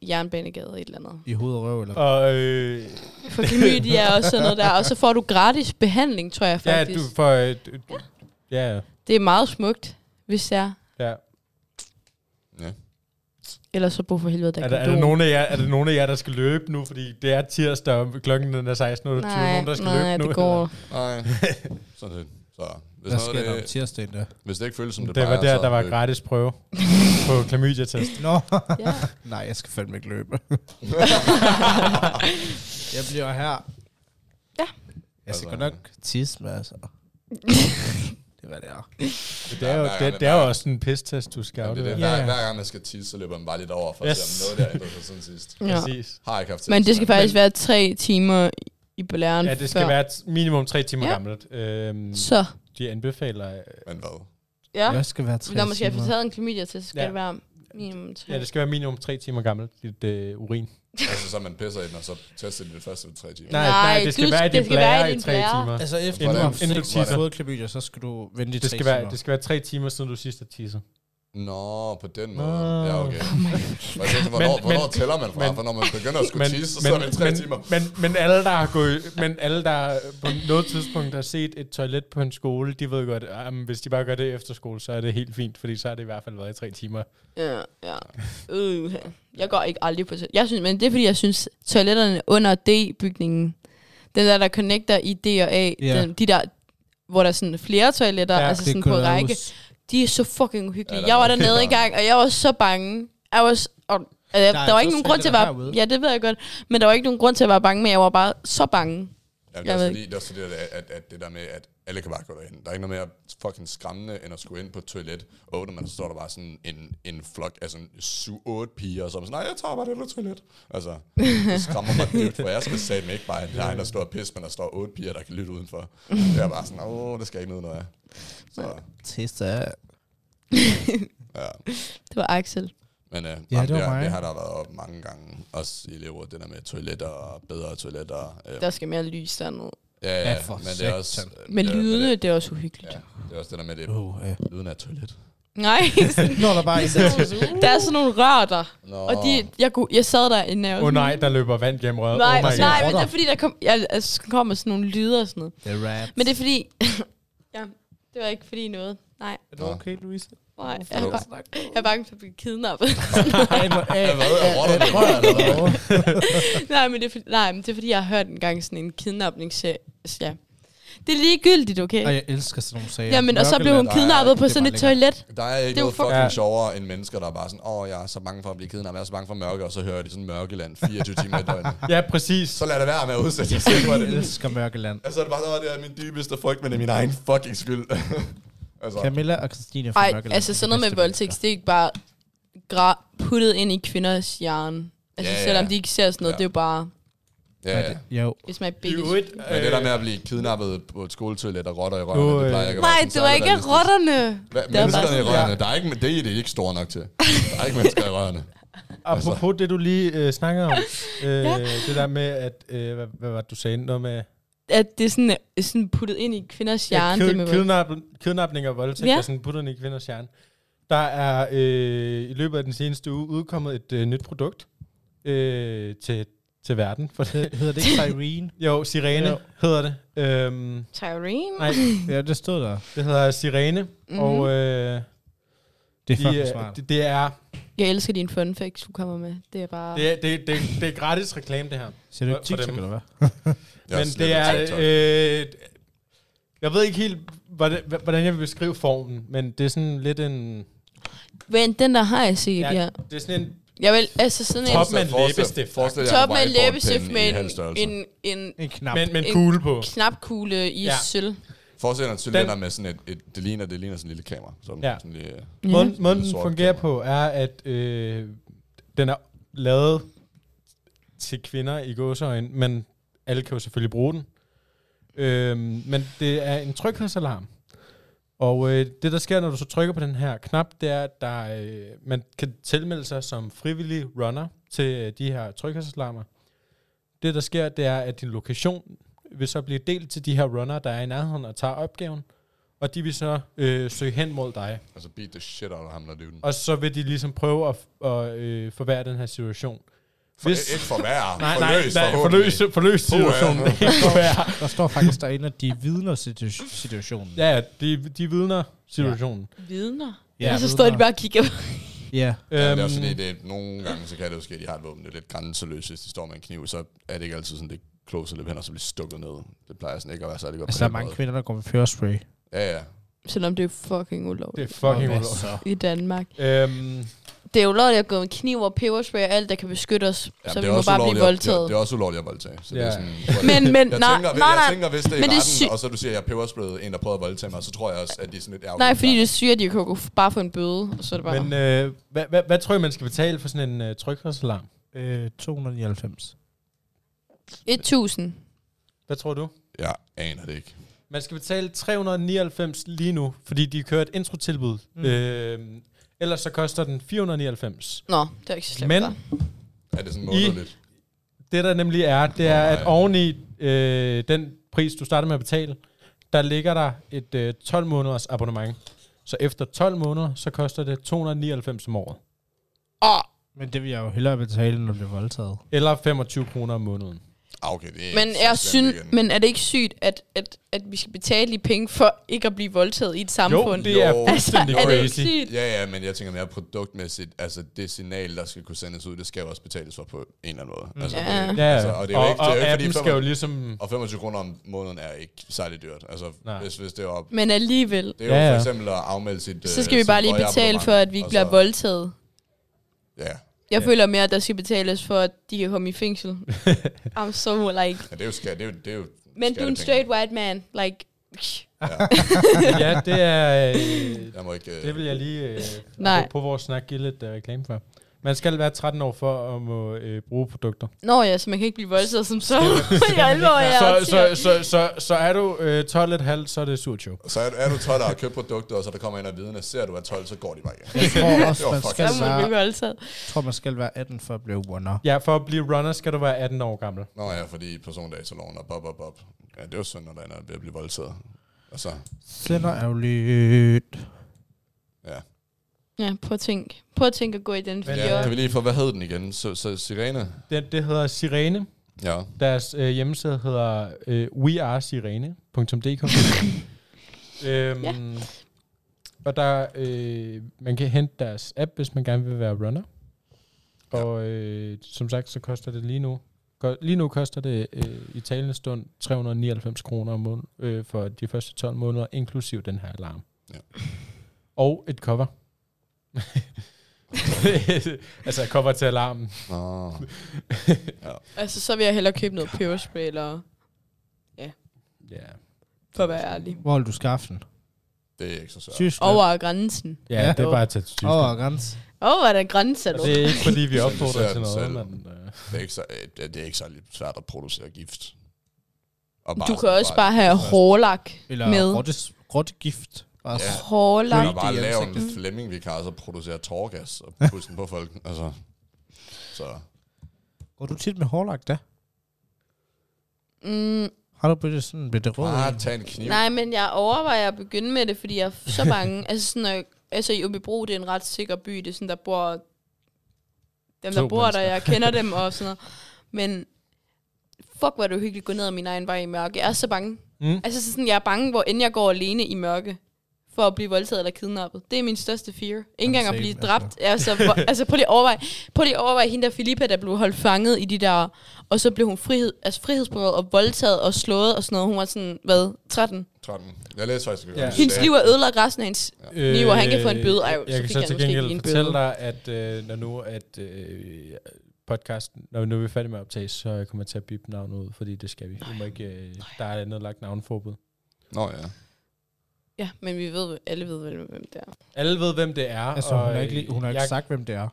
C: i Jernbanegade et eller andet.
D: I hoved og røv, eller?
A: Og øh,
C: For klamydia og sådan noget der. Og så får du gratis behandling, tror jeg
A: ja,
C: faktisk.
A: du får... Øh, d- ja, ja.
C: Det er meget smukt, hvis jeg...
A: ja.
B: Ja.
C: Ellers så brug for helvede, der
A: Er, der, er, der nogen af jer, er der nogen af jer, der skal løbe nu? Fordi det er tirsdag, og klokken den er 16.28.
C: Nej,
A: Nogen, der skal
C: nej,
A: løbe nu?
C: det går.
B: Nej. Sådan set. Så, hvis,
D: Hvad sker
B: noget,
D: der om
B: det,
D: tirsdagen der?
B: hvis det ikke føles som
A: Det,
B: det,
A: det
B: plejer, altså
A: var der,
B: så
A: der
B: er
A: var
B: det-
A: gratis prøve på klamydia-test.
D: Nå.
C: Ja.
D: Nej, jeg skal fandme ikke løbe. jeg bliver her.
C: Ja.
D: Jeg
B: Altså,
D: skal godt nok tisse med, altså. det var det er.
A: Det er jo,
B: hver gang,
A: det, det
B: hver
A: er jo
B: gang.
A: også sådan en pisttest, du skal
B: Jamen, det er
A: aflevere.
B: det.
A: Ja,
B: Hver, hver gang man skal tisse, så løber man bare lidt over for at
A: Yes.
B: se, om noget der ændrer sig siden sidst.
C: ja.
A: præcis.
B: Har ikke haft
C: Men det skal
B: men-
C: faktisk være tre timer i belæren
A: Ja, det skal
C: før.
A: være t- minimum tre timer
C: Ja.
A: ja. gammelt. Øhm,
C: Så.
A: de anbefaler... øh,
B: Men hvad?
C: Ja.
D: Jeg skal være tre
C: Når man skal have
D: timer.
C: taget en klamydia til, så skal
A: Ja.
C: det være minimum tre.
A: Ja, det skal være minimum tre timer gammelt, dit øh, urin.
B: Altså, så man pisser i den, og så tester de det første ved tre timer.
C: Nej,
A: det skal
C: du
A: være i
C: skal- det
A: din
C: skal være
A: blære
C: i
A: i
C: din
A: tre
C: blære.
A: timer.
D: Altså efter
B: Hvordan-
D: du har
A: inden du
D: seks
A: tisser.
D: fået klamydia, så skal du vente i
A: Det
D: tre
A: skal, være,
D: timer.
A: det skal være tre timer, siden du sidst har tisset.
B: Nå, på den
A: Nå. Oh
B: måde. Ja, okay. Men jeg tænkte, hvornår,
A: Men-
B: hvornår
A: men-
B: tæller man fra?
A: men-
B: For når man begynder at skulle tisse, så er det tre
A: men,
B: timer.
A: men, men, alle, der har gået, men alle, der på noget tidspunkt har set et toilet på en skole, de ved godt, at hvis de bare gør det efter skole, så er det helt fint, fordi så har det i hvert fald været i tre timer.
C: Ja, ja. Øh, jeg går ikke aldrig på toilet. Jeg synes, men det er fordi, jeg synes, toiletterne under D-bygningen, den der, der connecter i D og A,
D: Ja.
C: ja. den, de der, hvor der er sådan flere toiletter,
A: Ja,
C: ja, altså
D: Det
C: sådan på
D: kunne jeg
C: række,
D: huske.
C: de er så fucking uhyggelige.
B: Ja,
C: Ja,
B: der
C: jeg
B: var
C: var
B: helt
C: dernede
B: varmt.
C: engang, og jeg var så bange. Jeg var s- og, øh, der,
D: så
C: var ikke nogen grund til at være...
D: herude.
C: Ja, det ved jeg godt. Men der var ikke nogen grund til at være bange, men jeg var bare så bange.
B: Ja, det
C: Jeg
B: er også
C: ved
B: fordi, det, er også fordi at, at, at det der med, at alle kan bare gå derhen. Der er ikke noget mere fucking skræmmende, end at skulle ind på et toilet, og åbner man, så står der bare sådan en, en flok af sådan 7-8 piger, og så er man sådan, nej, jeg tager bare det der toilet. Altså, det skræmmer mig dybt, for jeg skal satme ikke bare nej, der står pis, men der står 8 piger, der kan lytte udenfor. Det er bare sådan, åh, det skal jeg ikke nyde noget af. Så,
D: Tisse af.
B: ja.
C: Det var Axel.
B: Men øh,
D: det
B: ja,
D: var
B: det, det, har,
D: mig.
B: det har der været op mange gange, også i elevrådet, det der med toiletter og bedre toiletter. Øh,
C: Der skal mere lys dernede.
B: ja,
D: Ja,
B: ja,
D: for
B: men det er også...
D: satan.
B: øh,
C: Men
B: det er-
C: lydene,
B: det,
C: det er også uhyggeligt.
B: ja, det er også det der med det
D: Oh, ja.
B: lyden af et toilet.
C: Nej,
D: Når der bare er
C: der er sådan nogle rør der.
B: Nå.
C: Og de, jeg, kunne, jeg sad der en
A: Åh oh, nej, der løber vand gennem røret.
C: Nej,
A: oh my
C: oh nej,
A: God.
C: men det er fordi, der kom, ja, altså, der kommer sådan nogle lyder og sådan noget.
D: The rap.
C: Men det er fordi... ja, det var ikke fordi noget. Nej,
D: Er du okay, Louise?
C: nej. Jeg er, bare, jeg er bange for at blive kidnappet.
B: Ja, hvad? Er rotterne i røret, eller hvad?
C: nej, men det er, fordi- nej, men det er fordi, jeg har hørt engang sådan en kidnapningsserie. Altså, Ja. Det er ligegyldigt, okay?
D: Og jeg elsker sådan nogle sager.
C: Ja, men og så blev hun
D: Mørkeland.
C: kidnappet
D: Nej,
C: på
D: det er
C: sådan
D: bare
C: et
D: lækkert.
C: toilet.
B: Der er ikke
C: Det er jo
B: noget fucking
A: fucking-
B: sjovere end mennesker, der er bare sådan, åh, jeg er så bange for at blive kidnappet, jeg er så bange for mørke, og så hører de sådan mørkeland 24 timer i døgnet.
A: Ja, præcis.
B: Så lad det være med at udsætte jer selv for
D: Jeg
B: det.
D: elsker Mørkeland.
B: Altså, det er bare, åh, det er min dybeste frygt, men det er min egen fucking skyld. altså,
D: Camilla og Christine fra
C: Nej,
D: Mørkeland.
C: altså sådan noget med voldtægt, det er ikke bare gra- puttet ind i kvinders hjerne. Altså
B: Ja,
C: ja,
B: ja.
C: selvom de ikke ser sådan noget,
B: Ja.
C: ja. det er jo bare...
B: ja, Ja, ja.
D: Men, jo.
C: It's my
A: I
C: biggest...
A: øvrigt,
B: Men det der med
A: øh,
B: at blive kidnappet på et skoletoilet og rotter i
A: Nu,
B: rørene,
A: øh,
B: det plejer ikke at være
C: Nej,
B: sådan
C: det var
B: særlig realistisk.
C: ikke rotterne.
B: Hvad,
C: var
B: menneskerne
C: bare
B: i
C: sådan-
B: rørene, der er ikke, det er det ikke store nok til. Der er ikke mennesker i rørene.
A: Apropos det, du lige øh, snakker om, øh,
C: Altså- Ja.
A: det der med, at, øh, hvad, hvad var det, du sagde, noget med
C: At det er sådan, øh, sådan puttet ind i kvinders hjerne. det med vold.
A: kidnap, kidnapning og voldtægt,
C: Ja.
A: ja. og sådan putterne i kvinders hjerne. Der er øh, i løbet af den seneste uge udkommet et øh, nyt produkt øh, til, til verden. For det.
D: Hed- Hedder det ikke Irene?
A: Jo, Sirene
D: Jo.
A: jo. hedder det. Øhm,
C: Tyrene.
A: nej,
D: ja, det stod der.
A: det hedder Sirene,
C: Mhm.
A: mm-hmm. og øh,
D: Det er
A: de,
D: fucking
A: øh,
D: smart.
A: det, det, er,
C: Jeg elsker dine fun facts, du kommer med. Det er bare...
A: det, er- det, det, det er gratis reklame, det her.
D: Ser du ikke
A: for- for
D: TikTok,
A: dem.
D: eller hvad?
B: Jeg
A: Men
B: sletter
A: det er... Øh,
B: TikTok.
A: jeg ved ikke helt, hvordan, hvordan jeg vil beskrive formen, men det er sådan lidt en...
C: Men den der har jeg set, ja.
A: Ja.
C: ja.
A: Det er sådan en...
C: Jeg vil, altså sådan en...
A: Top
B: Forestil-
A: med en
B: forestil-
A: læbestift.
B: forestil jer,
C: Top
B: at
C: med en
B: whiteboard-pen
C: læbestift
B: i
C: med
B: halv
C: en,
B: størrelse.
C: en, en
D: En knap.
A: Men, men
C: En-
A: kugle på.
C: knapkugle i ja.
A: Ja.
C: sølv.
B: Forestil dig en cylinder med sådan et, et det, ligner, det ligner sådan en lille kamera. Sådan,
A: Ja.
B: sådan lige, øh,
A: Måden, måden
B: Lille
A: den
B: sort
A: fungerer
B: kamera.
A: på er, at øh, den er lavet til kvinder i gåseøjne, men alle kan jo selvfølgelig bruge den. Øh, men det er en tryghedsalarm. Og øh, det, der sker, når du så trykker på den her knap, det er, at der, øh, man kan tilmelde sig som frivillig runner til øh, de her tryghedsalarmer. Det, der sker, det er, at din lokation vil så blive delt til de her runner, der er i nærheden og tager opgaven, og de vil så øh, søge hen mod dig.
B: altså beat the shit out af ham, der løber.
A: Og så vil de ligesom prøve at, at øh, forværre den her situation.
B: For,
A: hvis-
B: ikke for værre.
A: Nej, nej,
B: forløs,
A: nej forløs, forløs situationen.
B: Puha.
A: Ikke forværre.
D: Der står faktisk derinde, at de vidner situ- situationen.
A: Ja, ja, de, de vidner situationen.
C: Vidner.
D: Ja,
C: Ja, og så Altså, står de
D: vidner.
C: bare og kigger.
D: Ja.
B: Ja,
A: Øhm,
B: det er også
D: Øhm.
B: fordi, det er, nogle gange så kan det jo ske, at de har et våben, det er lidt grænseløst. Hvis de står med en kniv, så er det ikke altid sådan, det klogeste at løbe hen og så blive stukket ned. Det plejer sådan ikke at være særlig godt.
D: Altså,
B: på
D: der
B: den
D: er mange
B: måde.
D: kvinder, der går med førspray.
B: Ja, ja.
C: Selvom det er fucking
A: det
C: ulovligt
A: er fucking
D: Og hvad
A: ulovligt.
D: så?
C: i Danmark.
A: Øhm,
C: Det er ulovligt at gå med kniv og peberspray og alt, der kan beskytte os.
B: ja
C: Ja, så
B: det
C: vi
B: er
C: må
B: også
C: bare
B: ulovligt
C: blive
B: at-
C: voldtaget.
B: Det, det er også ulovligt at voldtage. Så ja. det
A: Ja.
B: er sådan,
C: Men, men,
B: jeg
C: nej,
B: tænker,
C: nej,
B: jeg
C: nej.
B: tænker, hvis det er i
C: men det er
B: retten,
C: sy-
B: og så du siger, at jeg pebersplayede en, der prøvede at voldtage mig, så tror jeg også, at de er sådan lidt ærgerlige.
C: Nej, fordi det syger, at de kan gå- bare få en bøde. Og så er det bare...
A: men øh, hvad, hvad, hvad tror I, man skal betale for sådan en øh, tryghedsalarm?
D: Øh, 299.
A: øh,
C: 1000.
A: Hvad tror du?
B: Jeg aner det ikke.
A: Man skal betale 399 lige nu, fordi de kører et introtilbud.
D: Mm.
A: Mm. Øh, ellers så koster den 499.
C: Nå, det er ikke så slemt.
A: Men-
C: hva'?
B: Er det sådan månedligt?
A: Det der nemlig er, det
B: Åh,
A: er,
B: nej.
A: at oveni øh, den pris, du starter med at betale, der ligger der et øh, 12 måneders abonnement. Så efter 12 måneder, så koster det 299 om året.
C: Åh,
D: Men det vil jeg jo hellere betale, når det bliver voldtaget.
A: Eller 25 kroner om måneden.
B: Ah, okay, det er
C: men,
B: ikke så
C: jeg
B: slemt
C: synes,
B: igen.
C: men er det ikke sygt, at, at, at vi skal betale de penge for ikke at blive voldtaget i et samfund?
A: det er
B: Jo.
A: fuldstændig
B: Altså,
C: er det ikke
A: crazy.
C: sygt?
B: Ja, ja, men jeg tænker mere produktmæssigt, altså det signal, der skal kunne sendes ud, det skal jo også betales for på en eller anden måde. Altså,
C: Ja.
B: det,
A: Ja,
B: altså, og det er jo ikke,
A: og
B: det er jo ikke fordi,
A: appen skal jo
B: 25
A: ligesom...
B: og 25 kroner om måneden er ikke særlig dyrt. Altså,
A: Nej.
B: hvis, hvis det er op.
C: Men alligevel.
B: Det er jo
A: Ja,
B: ja,
A: ja.
B: for eksempel at afmelde sit...
C: Så
B: øh,
C: skal vi
B: sit
C: bare lige
B: høje
C: betale for,
B: abonnement,
C: at vi ikke
B: og
C: bliver
B: så-
C: voldtaget.
B: Ja,
C: Jeg
A: Ja.
C: føler mere, at der skal betales for, at de kan komme i fængsel. I'm so like...
B: men det er jo skat, det er jo, det er jo
C: Men du er
B: skattepenge.
C: en straight white man. Like...
A: ja, det er... Øh,
B: Jeg må ikke... øh,
A: det vil jeg lige... Øh,
C: Nej.
A: På, på vores snak give lidt øh, reklame for. Man skal være 13 år for at må øh, bruge produkter.
C: Nå ja, så man kan ikke blive voldtaget som så. jeg alvor, jeg
A: Så,
C: er
A: så, så,
C: så,
A: så, så er du øh, 12,5, så er det surt jo.
B: Så er, er du 12 og har købt produkter, og så der kommer en af vidne, ser du er 12, så går de bare igen.
D: Jeg tror også,
B: Det var
D: man
B: fucking
D: skal,
A: Altså-
C: må man blive
D: være,
C: voldtaget.
D: jeg tror, man skal være 18 for at blive runner.
A: Ja, for at blive runner skal du være 18 år gammel.
B: Nå ja, fordi persondataloven og bob, bob, bob. Ja, det er jo synd, når der er ved at blive voldtaget. Altså, Og så,
D: Sender er jo lidt...
B: ja.
C: Ja, prøv at tænke. Prøv at tænke at gå i den
A: Men,
C: fire.
B: ja.
A: ja.
B: Kan vi lige få, hvad hed den igen? Så, så Sirene?
A: Det, det hedder Sirene.
B: Ja.
A: Deres øh, hjemmeside hedder øh, wearesirene.dk øhm,
C: Ja.
A: ja. Og der, øh, man kan hente deres app, hvis man gerne vil være runner. Og øh, som sagt, så koster det lige nu. ko- Lige nu koster det øh, i talende stund 399 kroner om måneden øh, for de første 12 måneder, inklusiv den her alarm.
B: Ja.
A: Og et cover. altså et cover til alarmen.
B: Nå.
C: Altså, så vil jeg hellere købe noget peberspray, eller...
A: Ja.
C: For at være ærlig.
D: Hvor vil du skaffe den?
B: Det er ikke så svært.
D: Tyskland?
C: Over grænsen.
A: Ja,
D: Ja.
A: det er bare at tage til Tyskland.
D: Over grænsen.
C: Åh, oh, hvor er der grænser
A: Og
C: nu?
A: det er ikke, fordi vi
B: Hvis man
A: opfordrer
B: ser
A: til
B: den
A: noget,
B: selv.
A: men... Øh,
B: Det er ikke, så, øh, det det er ikke særlig svært at producere gift. Og
C: Du kan også bare have hårlak
D: Eller
C: med.
D: Rottes, rottegift. Bare
B: Ja.
D: ja.
C: Hårlak.
B: Eller bare
D: i
B: lave en
D: ansigtet.
B: Flemming, vi kan altså producere tårgas og puste den på folk. Altså, så
D: Går du tit med hårlagt, da?
C: Mm,
D: Har du blevet sådan blevet det rød?
B: bare tag en kniv.
C: nej, men jeg overvejer at begynde med det, fordi jeg er så bange. altså, sådan, at, altså i Åbibro, det er en ret sikker by. Det er sådan, der bor... Dem, der
A: To
C: bor der,
A: mennesker.
C: jeg kender dem og sådan noget. Men fuck, hvor er det uhyggeligt at gå ned ad min egen vej i mørke. Jeg er så bange.
A: Mm.
C: Altså så sådan, jeg er bange, hvor end jeg går alene i mørke for at blive voldtaget eller kidnappet. Det er min største fear. Ikke engang at
D: same,
C: blive
D: altså.
C: dræbt. Altså, hvor, altså prøv lige at overveje, prøv lige at overveje hende der Filippa, der blev holdt fanget i de der... Og så blev hun frihed, altså frihedsberøvet og voldtaget og slået og sådan noget. Hun var sådan, hvad, 13?
B: 13. Jeg læste faktisk ikke.
A: Ja.
B: Ja.
C: Hendes liv er ødelagt resten af hendes...
A: Øh,
C: Niver, Altså, han kan få en bøde. Ej,
A: jeg,
C: så
A: jeg kan
C: fik
A: så
C: han
A: til
C: måske lige
A: gengæld
C: en
A: fortælle
C: bøde.
A: dig, at øh, når nu at øh, podcasten, når nu er vi er færdige med at optage, så kommer jeg til at bippe navnet ud, fordi det skal vi. Vi må ikke, øh, der er andet lagt navnforbud.
B: Nå ja.
C: Ja, men vi ved, alle ved vel, hvem det er.
A: Alle ved, hvem det er.
D: Altså, hun har
A: øh,
D: ikke, lige- hun har ikke
A: jeg,
D: sagt, hvem det er.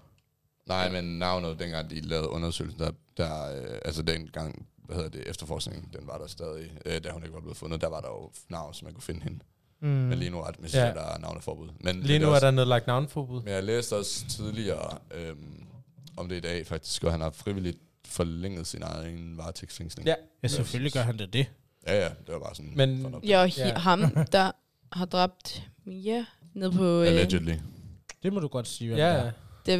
B: Nej, men navnet, dengang de lavede undersøgelsen, der, der øh, altså dengang, hvad hedder det, efterforskningen, den var der stadig, øh, da hun ikke var blevet fundet, der var der jo navn, så man kunne finde hende.
D: Mm.
B: Mm. Men lige nu er det,
A: Ja.
B: ja. der er navneforbud. Men
A: Lige nu
B: det
A: er
B: også,
A: der nedlagt navnforbud.
B: Men jeg læste også tidligere, øhm, om det i dag faktisk, og han har frivilligt forlænget sin egen varetægtsfængsling.
A: Ja.
D: Ja, selvfølgelig gør han det det.
B: ja, ja, det var bare sådan.
A: Men-
B: for en opdagelse.
C: Ja, og hi-
A: Ja.
C: ham, der har dræbt Mia nede på øh,
B: Allegedly.
D: Det må du godt sige, hvem
A: Ja,
D: det er.
A: ja.
C: det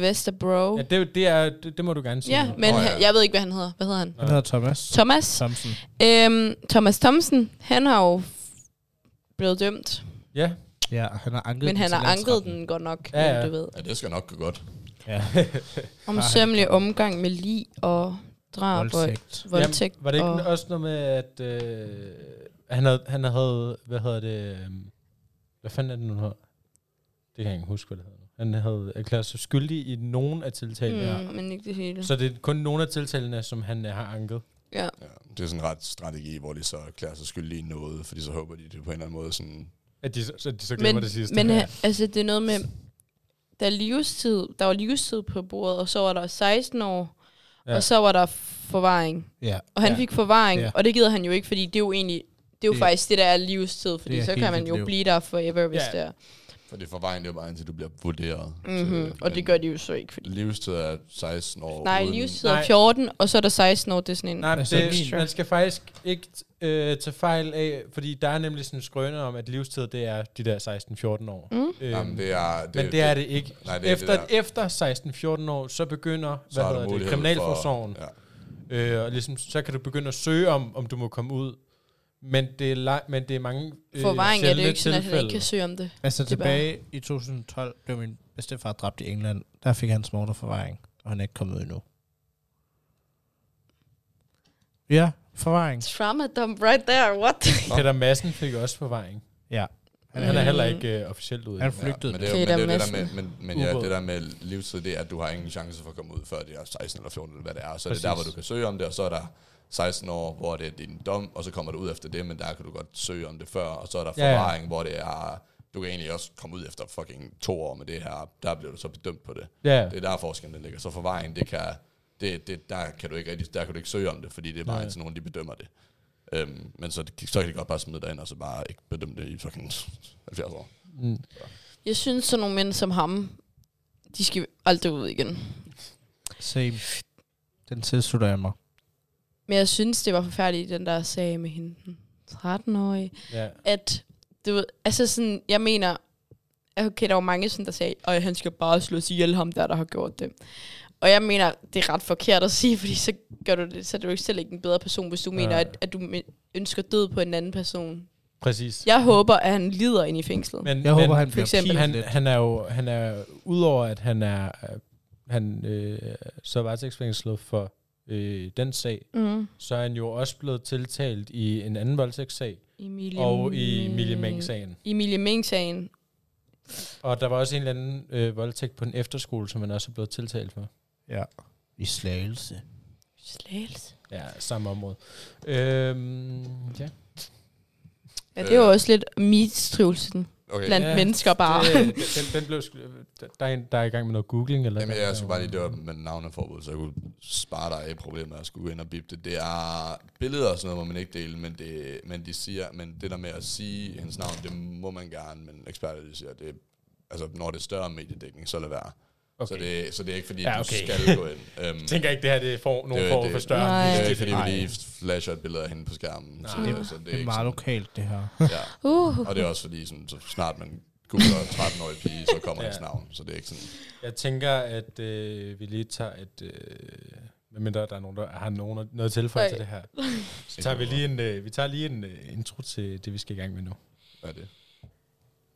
A: ja
C: Vesterbro. Ja,
A: det, det, er, det, det må du gerne sige.
C: men
B: Nå,
C: oh,
B: ja.
C: ja. jeg ved ikke, hvad han hedder. Hvad hedder han?
D: Han hedder Thomas.
C: Thomas.
D: Thompson.
C: Øhm, Thomas Thomsen, han har jo f- blevet dømt,
A: Ja.
D: Ja, han har anket
C: men
D: den
C: han
D: til
C: har anket
D: landsretten.
C: den godt nok,
A: Ja,
C: ja,
A: ja. Ah,
C: ja. du ved.
B: Ja, det skal nok gå godt.
D: Ja.
C: Om
D: Nej, han-
C: sømmelig omgang med lig og drab og
D: Voldtægt.
C: voldtægt.
A: Jamen, var det ikke
C: og,
A: også noget med, at øh, han, havde, han havde, hvad hedder det, øh, hvad fanden er det nu, han hedder? Det kan jeg ikke huske, hvad det hedder. Han havde erklæret sig skyldig i nogen af tiltalene.
C: mm, men ikke det hele.
A: Mm. Så det er kun nogle af tiltalene, som han øh, har anket.
C: Ja.
B: Ja, det er sådan en ret strategi, hvor de så erklærer sig skyldige i noget, fordi så håber de, det på en eller anden måde sådan...
A: At de, så- så de så glemmer
C: Men,
A: det sidste.
C: men
A: Ja.
C: han- altså, det er noget med, der, er livstid, der var livstid på bordet, og så var der 16 år,
A: Ja.
C: ja. og så var der forvaring.
D: Ja,
C: Og han
A: Ja.
C: ja. fik forvaring,
D: Ja.
C: ja. og det gider han jo ikke, fordi det er jo egentlig, det er jo
D: Det-
C: det, faktisk det, der er livstid, fordi
D: er
C: så
D: hele
C: kan man
D: dit
C: jo
D: liv.
C: blive der forever, hvis
A: Ja.
C: ja. det er.
B: For det forvejen, det er jo bare indtil du bliver vurderet.
A: Mhm,
C: Mm-hmm.
B: Så, øh,
C: Og det
B: men
C: gør de jo så ikke, fordi
B: Livstid er 16 år
C: Nej,
B: uden...
C: livstid
A: Nej.
C: er 14, og så er der 16 år, det er sådan en...
A: Nej,
D: Altså,
A: det,
D: min-
A: man skal faktisk ikke øh, tage fejl af, fordi der er nemlig sådan en skrøne om, at livstid, det er de der 16-14 år.
C: Mm.
A: Øhm,
B: Jamen, det er... Det,
A: men det er det ikke.
B: Nej, det er
A: Efter,
B: det der.
A: efter 16-14 år, så begynder
B: Så
A: hvad
B: har du
A: hedder det,
B: mulighed
A: kriminalforsorgen.
B: For, ja.
A: Øh, og ligesom, så kan du begynde at søge om, om du må komme ud. Men det er, la- men det er mange øh,
C: Forvaring er det
A: sjældne
C: jo ikke sådan, at han ikke
A: tilfælde.
C: kan søge om det.
D: Altså
C: Det er
D: tilbage i 2012 blev min bedstefar dræbt i England. Der fik hans morter forvaring, og han er ikke kommet ud endnu. Ja, forvaring.
C: Trauma dump right there, what?
A: Peter Madsen fik også forvaring.
D: Ja.
A: Han, han er
C: Mm.
A: heller ikke øh, officielt ude.
D: Han
A: endnu.
D: flygtede.
B: men det, er, jo-
C: Peter
B: men det, er det der med,
C: Madsen.
B: men, men ja,
A: Ubåd.
B: det der med livstid, det er, at du har ingen chance for at komme ud, før det er 16 eller 14 eller hvad det er. Så er det
A: Præcis.
B: der, hvor du kan søge om det, og så er der 16 år, hvor det er din dom, og så kommer du ud efter det, men der kan du godt søge om det før, og så er der
A: Ja, ja.
B: forvaring, hvor det er, du kan egentlig også komme ud efter fucking to år med det her, der bliver du så bedømt på det.
A: Ja,
B: Det er der forskellen den ligger. Så forvaring, det kan, det, det, der kan du ikke rigtig, der kan du ikke søge om det, fordi det er bare
A: Nej.
B: Nej. sådan nogen, de bedømmer det. Øhm, men så, så kan de godt bare smide dig ind, og så bare ikke bedømme det i fucking 70 år.
A: Mm.
C: Jeg synes, sådan nogle mænd som ham, de skal aldrig ud igen.
D: Same. Den tilslutter jeg mig.
C: Men jeg synes, det var forfærdeligt, den der sag med hende, den 13-årige.
A: ja.
C: At, du ved, altså sådan, jeg mener, at okay, der var mange, sådan, der sagde, at han skal bare slås ihjel ham der, der har gjort det. Og jeg mener, det er ret forkert at sige, fordi så gør du det, så er du ikke selv ikke en bedre person, hvis du
A: Nej.
C: mener, at, at du men- ønsker død på en anden person.
A: præcis.
C: Jeg håber, at han lider ind i fængslet.
A: Men,
D: Jeg håber,
A: men
D: han
C: for
D: bliver
C: eksempel-
D: pilet
A: han,
D: lidt.
A: han er jo, han er, udover at han er, øh, han øh, så varetægtsfængslet for øh, den sag,
C: Mm.
A: så er han jo også blevet tiltalt i en anden voldtægtssag,
C: Emilie
A: og i Emilie
C: Meng-
A: Meng-sagen.
C: Emilie Meng-sagen.
A: Og der var også en eller anden øh, voldtægt på en efterskole, som han også er blevet tiltalt for.
D: Ja. I slagelse.
C: Slagelse.
A: Ja, samme område. Øhm, ja.
C: Ja, det er jo
B: Øh.
C: også lidt mistrivsel.
B: Okay.
C: blandt
A: Ja,
C: mennesker bare.
A: Det, den, den blev, sgu- der, er en, der er i gang med noget googling. Eller
B: Jamen,
A: noget.
B: jeg skulle bare lige døre med navneforbud, så jeg kunne spare dig af problemet, at jeg skulle gå ind og bippe det. Det er billeder og sådan noget, må man ikke dele, men det, men de siger, men det der med at sige hendes navn, det må man gerne, men eksperter de siger, det, altså, når det er større mediedækning, så lad være. Okay. Så,
A: Okay.
B: det, så det er ikke fordi,
A: Ja,
B: ja, okay.
A: okay.
B: du skal gå ind. Um,
A: Jeg tænker ikke, det her det er for, nogen
B: Det-
A: form
B: det-
A: for større.
C: Nej.
B: det er
A: Nej.
B: ikke fordi, vi lige flasher et billede af hende på skærmen. Så,
A: Nej.
B: så det
D: Det
B: er
D: er
B: ikke
D: meget
B: sådan,
D: lokalt, det her.
B: ja.
C: Uh,
B: Og det er også fordi, sådan, så snart man googler 13-årig pige, så kommer
A: Ja.
B: ja. hendes navn. Så det er ikke sådan,
A: Jeg tænker, at øh, vi lige tager et... Øh, medmindre der er nogen, der har nogen, noget at tilføje
C: Nej.
A: til det her. Så tager vi lige en, øh, vi tager lige en øh, intro til det, vi skal i gang med nu.
B: hvad er det?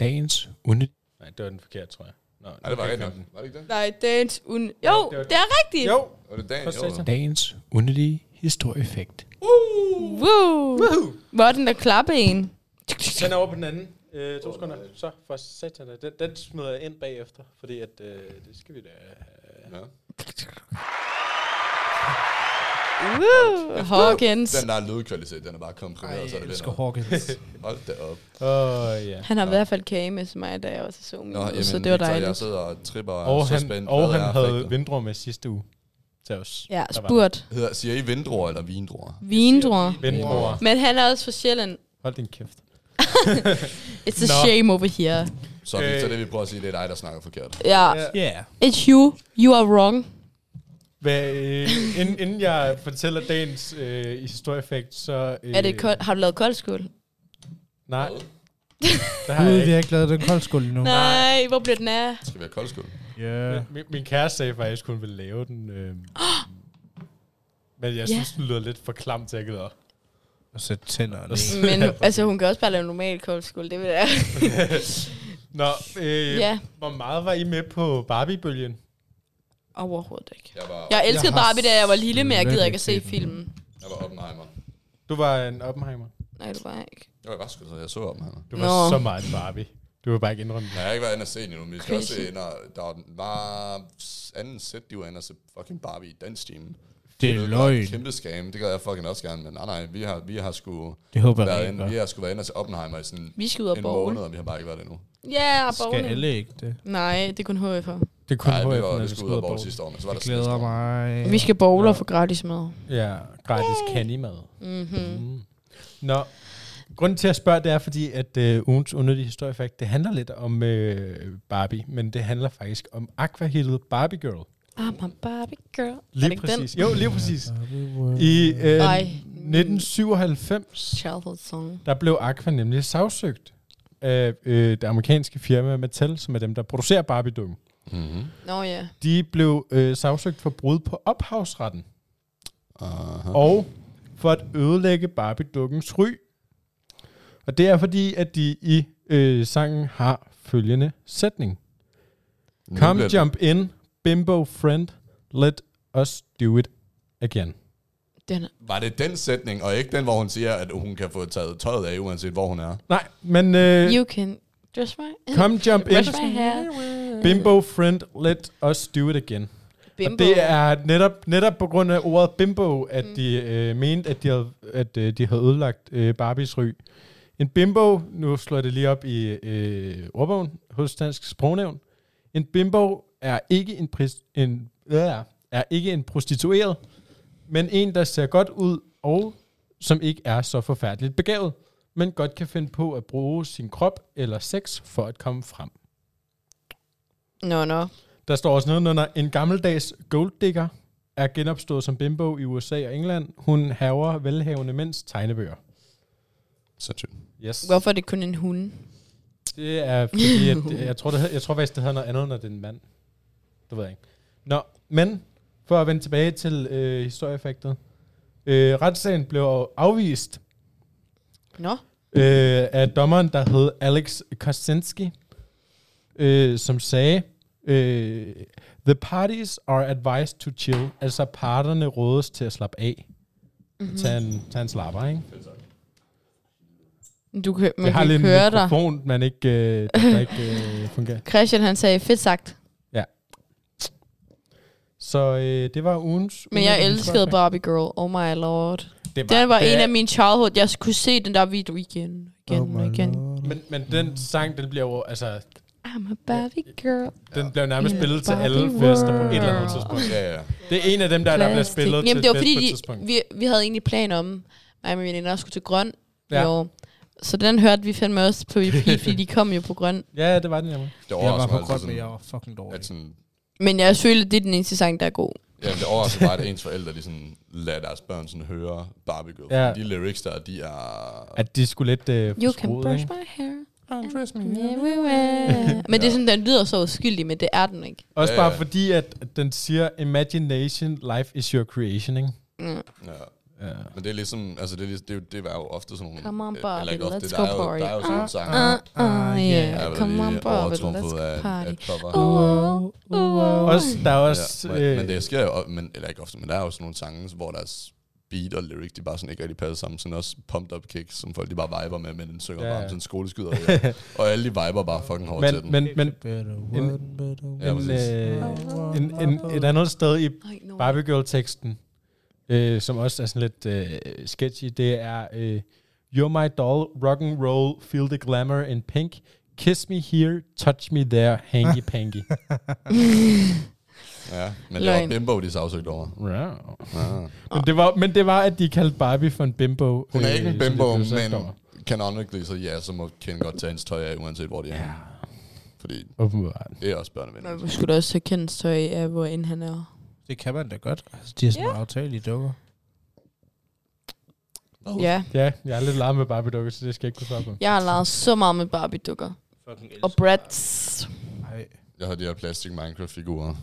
A: Dagens unde... Nej, det var den forkerte, tror jeg. Nå,
B: Nej, det var
A: okay,
B: rigtigt.
A: kom den.
B: nok. Var det ikke det?
C: nej, dagens un...
A: det var
C: Jo,
A: det.
C: det er rigtigt!
A: Jo!
B: Var det dagen?
A: Prøv at sætte sig.
D: Dagens underlige historieffekt.
C: Woo!
A: Woohoo!
C: Hvor er den der klappe en?
A: Den er over på den anden. Øh, to sekunder. Så for satan, da. den, den smider jeg ind bagefter, fordi at, øh, det skal vi da øh, have.
B: Ja.
C: Woo! Hawkins.
B: Den der lydkvalitet, den er bare komprimeret, så er
D: Jeg
B: det
D: elsker
B: lidt.
D: Hawkins.
B: Hold da op.
A: Åh, oh, ja.
C: Han har i hvert fald kage med til mig, da jeg også så min,
B: Nå, jamen,
C: så det var
B: Victor, jeg
C: dejligt.
B: sidder og tripper og,
A: Og
B: er så
A: han,
B: spændt.
A: og
B: Hvad
A: han
B: er
A: havde
B: effekten?
A: vindruer med sidste uge til os.
C: Ja,
A: Der var-
C: spurt.
B: Hedder, siger I vindruer eller vindruer?
C: Vindruer.
A: Vindruer.
C: Men han er også fra Sjælland.
A: Hold din kæft.
C: It's a
A: Nå.
C: shame over here.
B: Så
A: Øh.
B: Victor, det vi prøver at sige, det er dig, der snakker forkert.
C: Ja.
D: Yeah.
C: It's you. You are wrong.
A: Hvad, øh, inden, inden jeg fortæller dagens øh, historieffekt, så... Øh,
C: Er det kold? Har du lavet koldskål?
A: Nej, det har
D: Gud,
A: jeg
D: vi
A: ikke.
D: har ikke lavet den koldskål endnu.
C: Nej, hvor blev den af?
B: Skal vi have koldskål?
D: Yeah.
A: Min, min kæreste sagde faktisk, hun ville lave den. Øh, men jeg
C: Ja.
A: synes, den lyder lidt for klamt til, at jeg gider.
D: Og så tænderne. i.
C: Men altså, hun kan også bare lave normal koldskål, det vil jeg.
A: Nå, øh,
C: Ja,
A: hvor meget var I med på Barbie-bølgen?
C: overhovedet ikke.
B: Jeg var,
C: Jeg elskede
D: Jeg har
C: Barbie, da jeg var lille, men jeg
D: slet
C: gider
D: ikke
C: ikke at se
D: set den.
C: filmen.
B: jeg var Oppenheimer.
A: Du var en Oppenheimer.
C: Nej, det var jeg ikke.
B: Jo, jeg var sgu da, jeg så Oppenheimer.
A: Du var
C: Nå.
A: så meget en Barbie. Du var bare ikke indrømme
B: Nej,
A: det.
B: jeg har ikke været inde og se den endnu, men vi skal også
C: Crazy.
B: se, når der var- var anden sæt, de var inde og se fucking Barbie i dansk time.
D: Det er løgn.
B: Kæmpe scam, det gør jeg fucking også gerne, men nej, nej, vi har, vi har sgu
D: Det håber jeg
B: været
D: ikke.
B: inde, vi
D: gør.
B: har sgu været inde og se Oppenheimer i sådan
C: Vi skal ud og
B: en
C: borge.
B: måned, og vi har bare ikke været der endnu.
C: Ja, og
D: Skal
C: borge.
D: alle ikke det?
C: Nej, det er kun HF'er.
A: Det kunne
B: Nej, vi var vi skulle ud og borge sidste år, men så var
D: Jeg
B: der
D: glæder
B: sådan
D: mig.
C: Vi skal bowle
A: Nå.
C: og få gratis mad.
A: Ja, gratis kanimad.
C: Mhm.
A: Mm. Nå, grunden til at spørge, det er fordi, at øh, ugens underlige historiefakt, det handler lidt om øh, Barbie, men det handler faktisk om Aquahillet Barbie Girl.
C: I'm a Barbie girl.
A: Lige
C: er det ikke
A: præcis. Den? Jo, lige præcis. I
D: I,
A: øh,
C: Ej.
A: 1997,
C: den? Childhood song.
A: der blev Aqua nemlig sagsøgt af øh, det amerikanske firma Mattel, som er dem, der producerer Barbie-dukken.
B: noget. Mhm.
C: Nå ja.
A: De blev øh, sagsøgt for brud på ophavsretten,
B: Aha.
A: og for at ødelægge Barbie-dukkens ry. Og det er fordi, at de i øh, sangen har følgende sætning.
B: Nu
A: Come
B: bliver det-
A: jump in, bimbo friend, let us do it again.
C: Den er,
B: Var det den sætning, og ikke den, hvor hun siger, at hun kan få taget tøjet af, uanset hvor hun er?
A: Nej, men øh,
C: you can dress my...
A: come jump in,
C: Brush my hair.
A: bimbo friend, let us do it again. Og
C: Bimbo.
A: det er netop, netop på grund af ordet bimbo, at mm. de øh, mente, at de havde, at, øh, de havde ødelagt øh, Barbies ry. En bimbo, nu slår jeg det lige op i øh, ordbogen hos Dansk Sprognævn. En bimbo er ikke en, pris, en øh, er ikke en prostitueret, men en, der ser godt ud og som ikke er så forfærdeligt begavet, men godt kan finde på at bruge sin krop eller sex for at komme frem.
C: Nå, nå.
A: Der står også noget under, en gammeldags golddigger er genopstået som bimbo i USA og England. Hun haver velhavende mænds tegnebøger.
B: Sindssygt.
A: Yes.
C: Hvorfor er det kun en hund?
A: Det er fordi, at, jeg, tror, det hed, jeg tror faktisk, det hedder noget andet, når det er en mand. Det ved jeg ikke. Nå, men for at vende tilbage til øh, historieeffektet. Øh, retssagen blev afvist
C: Nå.
A: øh, af dommeren, der hed Alex Kosinski, øh, som sagde, øh, The parties are advised to chill, altså parterne rådes til at slappe af. Mm-hmm. Tag, en, tag en slapper, ikke?
C: Du kan, man
A: Jeg har
C: kan
A: lidt
C: ikke
A: en
C: høre dig.
A: mikrofon, man ikke, øh, der, der ikke øh, fungerer.
C: Christian, han sagde, fedt sagt.
A: Så øh, det var ugens...
C: Men jeg
A: ugens
C: elskede
A: historie.
C: Barbie Girl. Oh my lord.
A: Det
C: Den var
A: det
C: en
A: er- Oh
C: af mine childhood. Jeg skulle se den der video igen. Igen og igen.
A: Men, men den sang, den bliver jo, altså,
C: I'm a Barbie girl.
A: den bliver nærmest
C: Yeah.
A: spillet til
C: Barbie
A: alle fester på et eller andet
C: world.
A: tidspunkt.
B: Ja, ja.
A: Det er en af dem, der, der bliver
C: Plastik.
A: spillet til
C: Jamen, det var
A: fest på et
C: fordi,
A: tidspunkt.
C: de, vi, vi havde egentlig plan om, mig og min veninde også skulle til Grøn
A: Ja.
C: ja. i år. Så den hørte vi fandme også på EP, fordi de kom jo på Grøn.
A: Ja, det var den nemlig.
B: Det
D: Jeg var
B: overrasker
D: på
B: mig altid
D: grøn, men jeg
B: sådan,
D: var fucking dårlig.
B: at sådan,
C: Men jeg føler, det er den eneste sang, der er god.
B: ja, det overrasker mig, at ens forældre de sådan, lader deres børn sådan høre Barbie Girl.
A: Ja.
B: Ja. De lyrics der, de er...
A: At de skulle lidt øh,
C: You can
A: forskruede,
C: brush
A: ikke?
C: my hair
A: Undress me.
C: everywhere. Mm. men det er sådan, den lyder så uskyldig, men det er den ikke.
A: Også
B: Ja,
A: bare
B: ja.
A: fordi, at den siger, imagination, life is your creation, ikke?
C: Mm.
B: Ja.
A: Ja.
B: Men det er ligesom, altså det, er, lig- det, er jo- det var jo ofte sådan nogle...
C: Come on,
B: øh,
C: Barbie,
B: eller ikke ofte,
C: let's
B: der
C: go
B: er jo,
C: party.
B: Der er jo sådan nogle sange,
A: ah,
C: Uh, uh,
B: der er
C: yeah.
B: jo
C: Come on,
B: lige
C: Barbie, let's
B: overtrumfet
C: go
B: af, af
C: party.
B: cover.
C: Uh, uh, uh.
A: Også, der er også... øh,
B: Ja, men, men det sker jo, men, eller ikke ofte, men der er jo sådan nogle sange, hvor deres beat og lyric, de bare sådan ikke rigtig passer sammen. Sådan også pumped up kicks, som folk de bare viber med, men den synger
A: Ja,
B: bare
A: ja.
B: om sådan en skoleskyder. Ja. og alle de viber bare fucking hårdt til den.
A: men, men, men,
D: Better
A: En-
D: word, better
B: Ja,
A: en,
D: word.
B: præcis.
A: øh, en, en, et andet sted i
C: Ej, no.
A: Barbie Girl-teksten, øh, som også er sådan lidt øh, sketchy, det er øh, You're my doll, rock and roll, feel the glamour in pink, kiss me here, touch me there, hanky panky.
B: ja, men det var
C: Løgn.
B: Bimbo, de sagsøgte over. Ah.
A: Wow.
B: Ja.
A: Men, det var, men det var, at de kaldte Barbie for en bimbo. øh,
B: Hun Øh, er ikke en
A: så det
B: bimbo,
A: blev sagt
B: men
A: over.
B: canonically, så ja, så må Ken godt tage hendes tøj af, uanset hvor de er.
A: Ja,
B: Ja. Fordi
A: åbenbart.
B: det er også børnevenner.
C: Man skulle da også tage kendt tøj af, hvor end han er.
D: Det kan man da godt. Altså, de er sådan yeah. aftagelige dukker.
A: Oh.
C: Ja,
A: Ja, jeg er lidt larm med Barbie-dukker, så det skal jeg ikke kunne svare på.
C: jeg har leget så meget med Barbie-dukker.
D: Fucking
C: Og Bratz.
D: Nej.
B: Jeg har de her plastik Minecraft-figurer.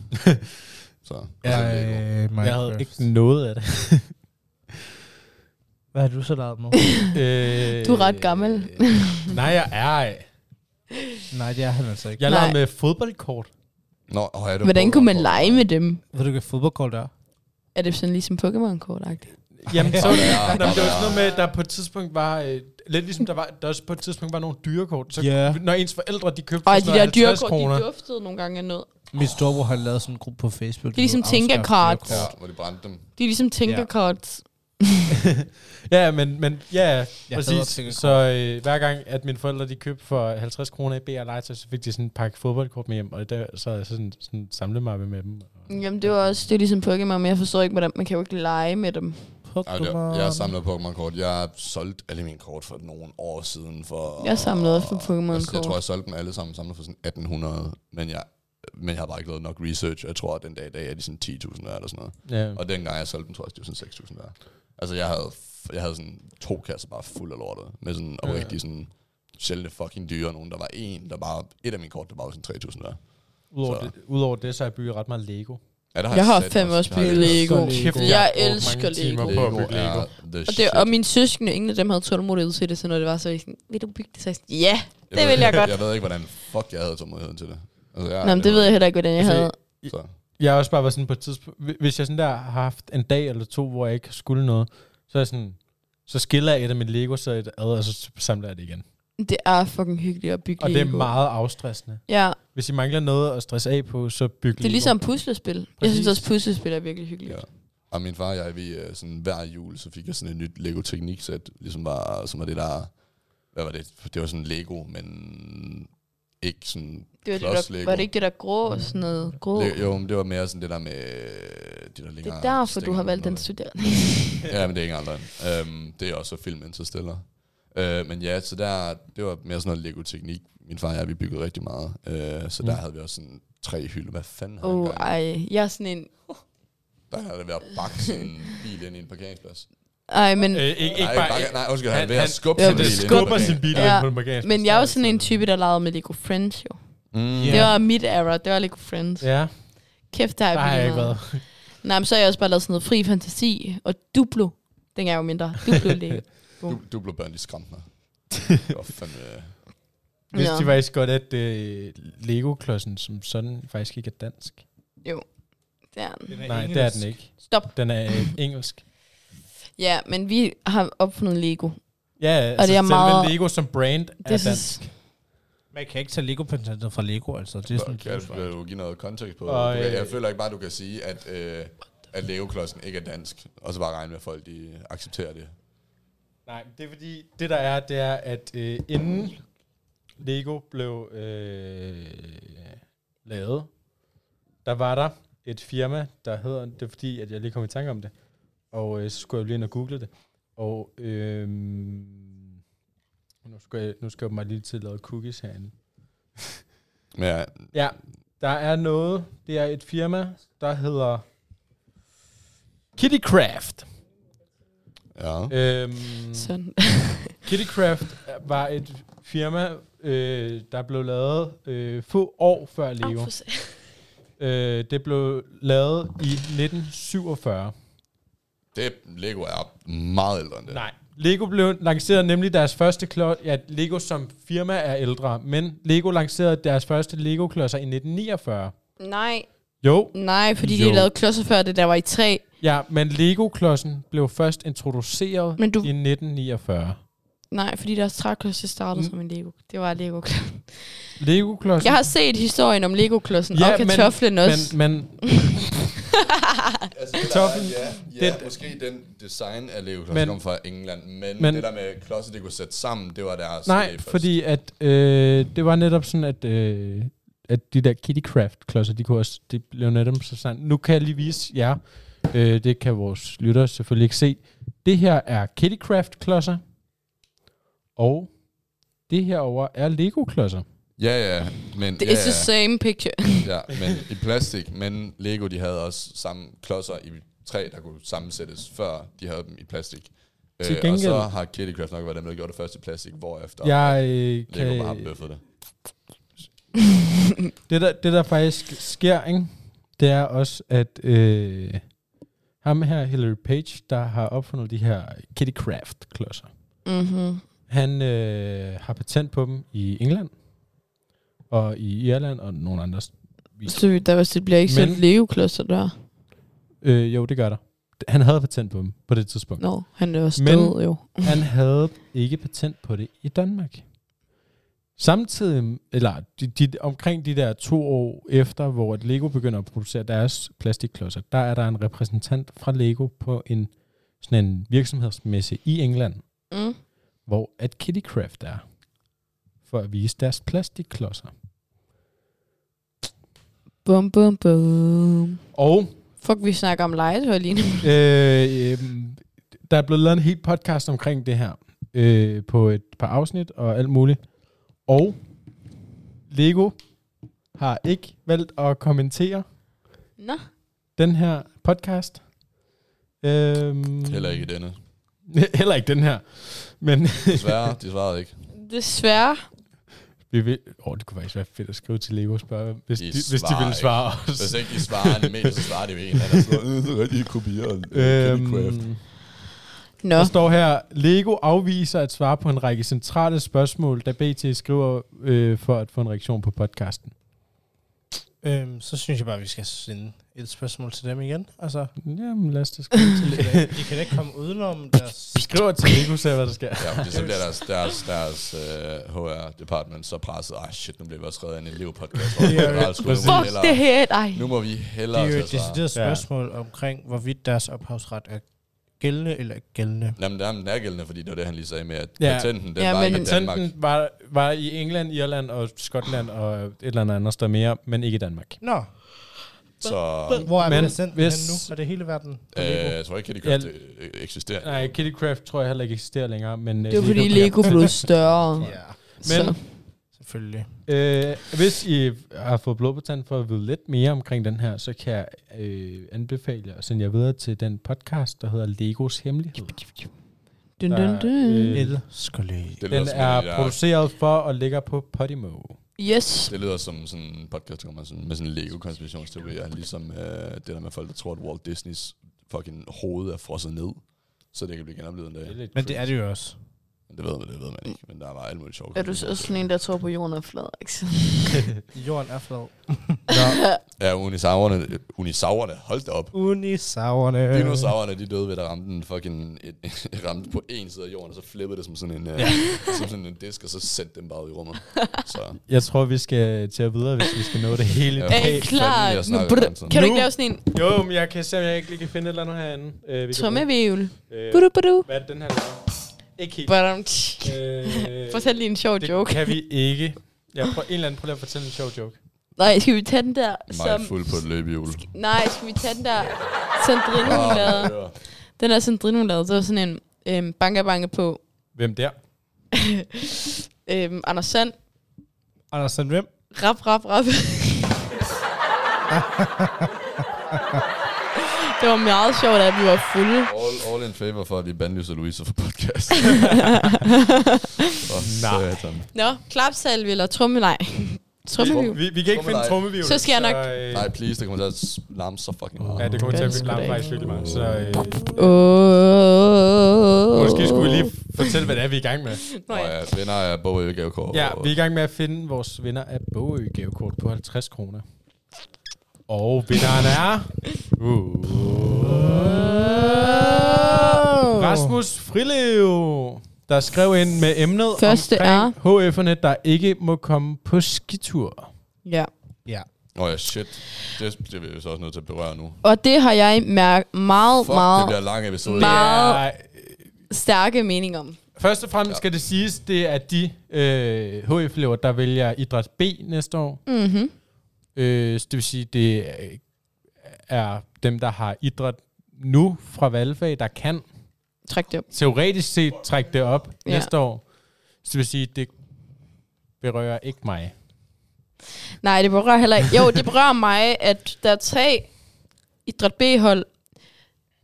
B: så.
D: Ja, øh.
B: Og så Lego.
D: Minecraft.
A: Jeg havde ikke noget af det.
D: Hvad har du så lavet, mor?
A: øh,
C: Du er ret gammel.
A: nej, jeg er ej.
D: Nej, det er han altså ikke.
A: Jeg
D: Ja.
A: lavede
C: Nej.
A: med fodboldkort.
B: Nå, oh, er det
C: Hvordan kunne man lege med dem?
D: Ved du, hvad fodboldkort er?
C: Er det sådan ligesom Pokémon-kort-agtigt?
A: Jamen, så,
B: Ja,
A: Nå, men det var
B: ja.
A: sådan noget med, at der på et tidspunkt var, øh, lidt ligesom der var, der også på et tidspunkt var nogle dyrekort. Så
D: Ja.
A: når ens forældre, de købte
C: Og
A: for
C: de
A: sådan
C: der
A: noget 50
C: dyrekort,
A: kroner.
C: de duftede nogle gange af noget.
D: Min storebror har lavet sådan en gruppe på Facebook.
C: Det er ligesom
D: der hedder Afskaf
C: Tinkercard.
D: Dyrekort.
B: Ja, hvor de brændte dem.
C: De er ligesom Tinkerkort.
A: Ja, men, men ja,
D: Jeg hader
A: præcis.
D: tinkerkort.
A: Så øh, hver gang, at mine forældre, de købte for 50 kroner i BR Legetøj, så fik de sådan en pakke fodboldkort med hjem, og der, så havde jeg sådan, sådan en samlemappe med dem.
C: Jamen, det var også det er ligesom Pokémon, men jeg forstår ikke, hvordan man kan jo ikke lege med dem.
B: Ej, det, jeg har samlet Pokémon-kort. Jeg har solgt alle mine kort for nogle år siden. For,
C: Jeg samlede også på
B: Altså, Jeg tror,
C: Pokémon-kort.
B: jeg solgte dem alle sammen samlet for sådan 1800, men jeg, men jeg har bare ikke lavet nok research. Jeg tror, at den dag i dag er de sådan 10.000 værd eller sådan noget.
A: Ja.
B: Og dengang jeg solgte dem, tror jeg, det var sådan 6.000 værd. Altså, jeg havde, f- jeg havde sådan to kasser bare fuld af lortet. Med sådan
A: Ja.
B: oprigtige sådan sjældne fucking dyre. Nogen, der var en, der bare... Et af mine kort, der bare var sådan 3.000 værd.
A: Udover,
B: Så.
A: det, udover det, så har jeg bygget ret meget Lego.
B: Ja, der
C: Jeg har
B: sat
C: fandme
B: mig-
C: også
B: der har altså, jeg
C: bygget Lego.
A: Så E Kæft,
D: Jeg
A: har brugt
C: elsker
A: mange timer
C: Lego.
A: På
B: Lego
A: at bygge Lego.
B: er the
C: Og, det,
B: shit.
C: og mine søskende, ingen af dem havde tålmodighed til det, så når det var så var de sådan, vil du bygge det? Så var jeg sådan, ja, det
B: ved-
C: vil jeg godt.
B: Jeg ved ikke, hvordan fuck jeg havde tålmodigheden til det. Altså, jeg,
C: Nå, men det ved jeg heller ikke, hvordan jeg
A: Altså,
C: havde.
B: Så.
A: Jeg har også bare været sådan på et tidspunkt, hvi- hvis jeg sådan der har haft en dag eller to, hvor jeg ikke skulle noget, så er jeg sådan, så skiller jeg et af mine Lego så et ad, og så samler jeg det igen.
C: Det er fucking hyggeligt at bygge
A: Og det
C: Lego.
A: er meget afstressende.
C: Ja,
A: Hvis I mangler noget at stresse af på, så byg
C: det er ligesom puslespil. Jeg synes
A: Præcis.
C: også, puslespil er virkelig hyggeligt.
B: Ja. Og min far og jeg, vi, øh, sådan, hver jul, så fik jeg sådan et nyt Lego tekniksæt, ligesom var, som var det der, hvad var det? Det var sådan Lego, men ikke sådan,
C: Det var,
B: Klods
C: det, der,
B: Lego.
C: var det ikke det der grå, sådan noget grå?
B: Le- jo, men det var mere sådan det der med, øh, de der
C: Det
B: længere
C: er derfor, du
B: stænger
C: har
B: og
C: valgt den
B: noget.
C: studerende.
B: Ja, men det er ikke andre. Øhm, det er også film Interstellar. Øh, men ja, så der, det var mere sådan noget Lego-teknik. Min far og jeg, vi byggede rigtig meget. Øh, så der
A: Mm.
B: havde vi også sådan tre hylder. Hvad fanden havde
C: Åh,
B: han
C: oh,
B: gang i?
C: ej. Jeg er sådan en...
B: Der havde det været at bakke sin bil ind i en parkeringsplads.
C: Ej, men,
A: Øh, ikke, ikke
B: nej,
A: bare,
B: bakke, nej, undskyld, han,
A: han-
B: han, ved at
A: han-
B: skubbe
C: ja,
B: sin
C: det
B: bil ind i en
A: skubber
B: parkering.
A: sin bil
C: Ja,
A: ind på en parkeringsplads.
C: men jeg er jo sådan en type, der legede med Lego Friends, jo.
B: Mm.
D: Ja.
C: Yeah. Det var mit era, det var Lego Friends. Yeah.
A: Ja,
C: Kæft, der har
A: der har jeg
C: jeg
A: ikke
C: været.
A: været.
C: Nej, men så har jeg også bare lavet sådan noget fri fantasi og Duplo. Den er jo mindre. Duplo Lego.
B: Du, du blev børn, de skræmte mig. Det var fandme...
A: Hvis de
C: Ja.
A: faktisk godt, at øh, Lego-klodsen som sådan faktisk ikke er dansk.
C: Jo, det er den.
A: Nej, det er den ikke.
C: Stop.
A: Den er øh, engelsk.
C: Ja, men vi har opfundet Lego.
A: Ja, altså
C: det er
A: selve
C: meget-
A: Lego som brand er
C: Det
A: dansk.
C: synes,
D: Man kan ikke tage Lego-patentet fra Lego, altså. Det er sådan
B: Kan
D: en
B: kan du give noget kontekst på det?
A: Og,
B: Jeg, jeg
A: øh,
B: føler ikke bare, du kan sige, at, øh, at Lego-klodsen ikke er dansk, og så bare regne med, at folk de accepterer det.
A: Nej, det er fordi, det der er, det er, at øh, inden Lego blev øh, lavet, der var der et firma, der hedder, det er fordi, at jeg lige kom i tanke om det, og øh, så skulle jeg lige ind og google det, og øh, nu skal jeg, nu skal jeg mig lige til at lave cookies herinde.
B: Men ja,
A: Ja, der er noget, det er et firma, der hedder Kittycraft.
B: ja.
A: Øhm,
C: Sådan.
A: Kittycraft var et firma, øh, der blev lavet øh, få år før Lego.
C: Åh, for se-
A: Øh, det blev lavet i 1947.
B: Det Lego er meget ældre end det.
A: Nej. Lego blev lanceret nemlig deres første klods... Ja, Lego som firma er ældre, men Lego lancerede deres første Lego-klodser i 1949.
C: Nej,
A: Jo,
C: nej, fordi jo.
A: Jo.
C: de lavede klodser før det, der var i træ.
A: ja, men Lego-klodsen blev først introduceret
C: Men du-
A: i 1949.
C: Nej, fordi deres træklodser startede mm. som en Lego. Det var Lego.
A: Lego-klodsen...
C: Jeg har set historien om Lego-klodsen
A: Ja,
C: ja, og
A: men-
C: kartoflen men, også.
A: men, men
B: Altså, det
A: Kartoflen,
B: der, ja, ja det, måske den design af Lego
A: Men-
B: men, kom fra England, men,
A: men-
B: men det der med klodser, det kunne sætte sammen, det var deres idé
A: Nej,
B: først.
A: fordi at, øh, det var netop sådan, at, øh, at de der kittycraft-klodser, de kunne også, det blev netop så sådan. Nu kan jeg lige vise jer, øh, det kan vores lyttere selvfølgelig ikke se. Det her er kittycraft-klodser, og det herover er Lego-klodser.
B: Ja, ja, men,
C: Det
B: ja,
C: er the same picture.
B: ja, ja, men i plastik, men Lego, de havde også samme klodser i træ, der kunne sammensættes, før de havde dem i plastik.
A: Til
B: Øh, og
A: gengæld-
B: så har Kittycraft nok været dem, der gjorde det først i plastik, hvorefter
A: Jeg øh,
B: Lego bare har
A: kan,
B: bøffet det.
A: det, der, det der faktisk sker, ikke? det er også, at øh, ham her, Hillary Page, der har opfundet de her kittycraft-klodser,
C: mm-hmm.
A: Han øh, har patent på dem i England, og i Irland, og nogle andre. s- vis-
C: Så der, hvis det bliver ikke
A: Men-
C: sådan Lego-klodser der.
A: Øh, jo, det gør der. Han havde patent på dem på det tidspunkt.
C: Nå, han er også
A: Men-
C: død jo.
A: Han havde ikke patent på det i Danmark. Samtidig, eller de, de, omkring de der to år efter, hvor at Lego begynder at producere deres plastikklodser, der er der en repræsentant fra Lego på en, sådan en virksomhedsmesse i England,
C: Mm.
A: hvor at Kittycraft er, for at vise deres plastikklodser.
C: Bum, bum, bum.
A: Og
C: Fuck, vi snakker om legetøj lige nu.
A: øh, øhm, der er blevet lavet en helt podcast omkring det her øh, på et par afsnit og alt muligt. Og Lego har ikke valgt at kommentere
C: Nå,
A: den her podcast. Øhm,
B: Heller ikke i denne.
A: Heller ikke den her. Men
B: Desværre, de svarede ikke.
C: desværre.
A: vi vil, åh, det kunne faktisk være fedt at skrive til Lego og spørge, hvis
B: De
A: de, hvis de
B: svarer
A: ville svare os.
B: Hvis ikke de svarer en meter, så svarer de jo en eller anden. Så, øh, det er rigtig kopieret. Kittycraft.
A: Øhm,
C: Nå,
A: Der står her, Lego afviser at svare på en række centrale spørgsmål, da BT skriver øh, for at få en reaktion på podcasten.
D: Øhm, så synes jeg bare, at vi skal sende et spørgsmål til dem igen. Altså,
A: Jamen lad os da skrive til
D: de
A: Lego.
D: kan- de kan da ikke komme udenom deres...
A: Vi skriver til Lego, ser hvad der sker.
B: Ja, fordi så bliver deres, deres, deres uh, HR-department så presset. Ej, shit, nu bliver vi også skrevet ind i en elevpodcast. hvor
D: Ja,
B: vi generelt skulle- nu må vi
C: fuck
B: hellere-
C: det her. Ej,
B: Nu må vi
D: Det
B: hellere
D: er jo
B: til at
D: et
B: svare.
D: decideret spørgsmål omkring, hvorvidt deres ophavsret er gældende eller ikke gældende.
B: Jamen, der er den er gældende, fordi det var det, han lige sagde med, at
A: Ja.
B: patenten, den
C: Ja,
B: var ikke
C: men-
B: i Danmark.
A: Patenten var, var i England, Irland og Skotland og et eller andet andet sted mere, men ikke i Danmark.
D: Nå,
B: Så
D: hvor er
A: Men
D: men sendt
A: hvis-
D: hvis... nu? Er det hele verden?
B: øh, jeg tror ikke, at de købte
A: Ja.
B: det øh, eksisterer.
A: Nej, Kittycraft tror jeg heller ikke eksisterer længere. Men, øh,
C: det var fordi
A: bliver-
C: Lego blev større.
D: Ja,
A: Men
C: Så.
D: selvfølgelig.
A: Øh, hvis I har fået blå på tanden for at vide lidt mere omkring den her, så kan jeg øh, anbefale jer at sende jer videre til den podcast, der hedder Legos Hemmelighed.
C: Dun,
A: Der,
C: dun, dun.
A: øh,
D: El Skolé.
B: Det lyder,
A: Den
B: som,
A: er
B: en, der,
A: produceret for og ligger på Podimo.
C: Yes.
B: det lyder som sådan en podcast, der kommer sådan, med sådan en Lego-konspirationsteori, og ligesom øh, det der med folk, der tror, at Walt Disneys fucking hoved er frosset ned, så det kan blive genoplevet en dag.
D: Men det er det jo også.
B: Men Det ved man, det ved man ikke, men der er bare alt muligt sjovt.
C: Er du så også sådan en, der tror på jorden er flad, ikke?
D: Jorden er flad.
B: Ja, unisaurerne, unisaurerne, hold da op.
D: Unisaurerne.
A: Øh.
B: Dinosaurerne, de døde ved, at ramte den fucking, et, ramte på en side af jorden, og så flippede det som sådan en, øh, som sådan en disk, og så sendte dem bare ud i rummet. Så
A: Jeg tror, vi skal til at videre, hvis vi skal nå det hele.
B: Ja.
A: Ja.
C: Er
B: Hey,
C: I klar?
B: fanden, jeg snakker
C: Nu, brr.
B: om sådan.
C: Kan du
A: Nu.
C: ikke lave sådan en
A: Jo, men jeg kan se, om jeg ikke lige kan finde et eller andet herinde. Øh, vi kan bruge.
C: trommevævel?
A: Øh,
C: Budu, budu.
A: Hvad er det, den her laver? Ikke helt.
C: But, um,
A: Øh,
C: fortæl lige en sjov
A: det
C: joke.
A: kan vi ikke. Jeg prøver, en eller anden, prøv lige at fortælle en sjov joke.
C: Nej, skal vi tage den der,
B: Meget
C: som...
B: fuld på et løbehjul.
C: Nej, skal vi tage den der Sandrine, hun lavede? Den der Sandrine, hun lavede, det var sådan en øhm, banker-banker på
A: Hvem der?
C: øhm, Anders Sand.
D: Anders, den hvem?
C: Rap, rap, rap. det var meget sjovt, at vi var fulde.
B: All, all in favor for, at vi bandlyser Louise for podcast. oh,
A: Nej.
B: Satan.
C: Nå, klapsalve eller tromme, nej. Trommehjul.
A: Vi, vi kan ikke finde
B: Trommelej.
A: trommevivl.
C: Så skal jeg nok-
A: øh,
B: Nej, please, det kommer til at larme så fucking meget.
A: Ja, det kommer til at
C: Den
A: blive
C: skulle
A: larm
C: da
A: faktisk virkelig meget. Så øh,
C: Åh.
A: måske skulle vi lige fortælle, hvad det er, vi er i gang med.
C: Nå,
B: Og
C: ja.
B: ja, venner af Bogø Gavekår.
A: Ja, vi er i gang med at finde vores vinder af Bogø gavekort på 50 kroner. Og vinderen er... Uh. Rasmus Frilev, der skrev ind med emnet
C: Første
A: omkring HF'erne, der ikke må komme på skitur.
C: ja.
D: Ja.
B: Åh oh, ja, shit. Det, det er vi så også nødt til at berøre nu.
C: Og det har jeg mærket meget,
B: Fuck, det
C: meget
B: bliver lang episode.
C: meget-
A: Ja,
C: stærke mening om.
A: først og fremmest skal det siges, det er de øh, HF-elever, der vælger idræt B næste år.
C: Mm-hmm.
A: Øh, så det vil sige, det øh, er dem, der har idræt nu fra valgfag, der kan
C: Træk det op.
A: teoretisk set trække det op
C: Ja.
A: ja. næste år. Så det vil sige, det berører ikke mig.
C: Nej, det berører heller ikke. Jo, det berører mig, at der er tre idræt B-hold,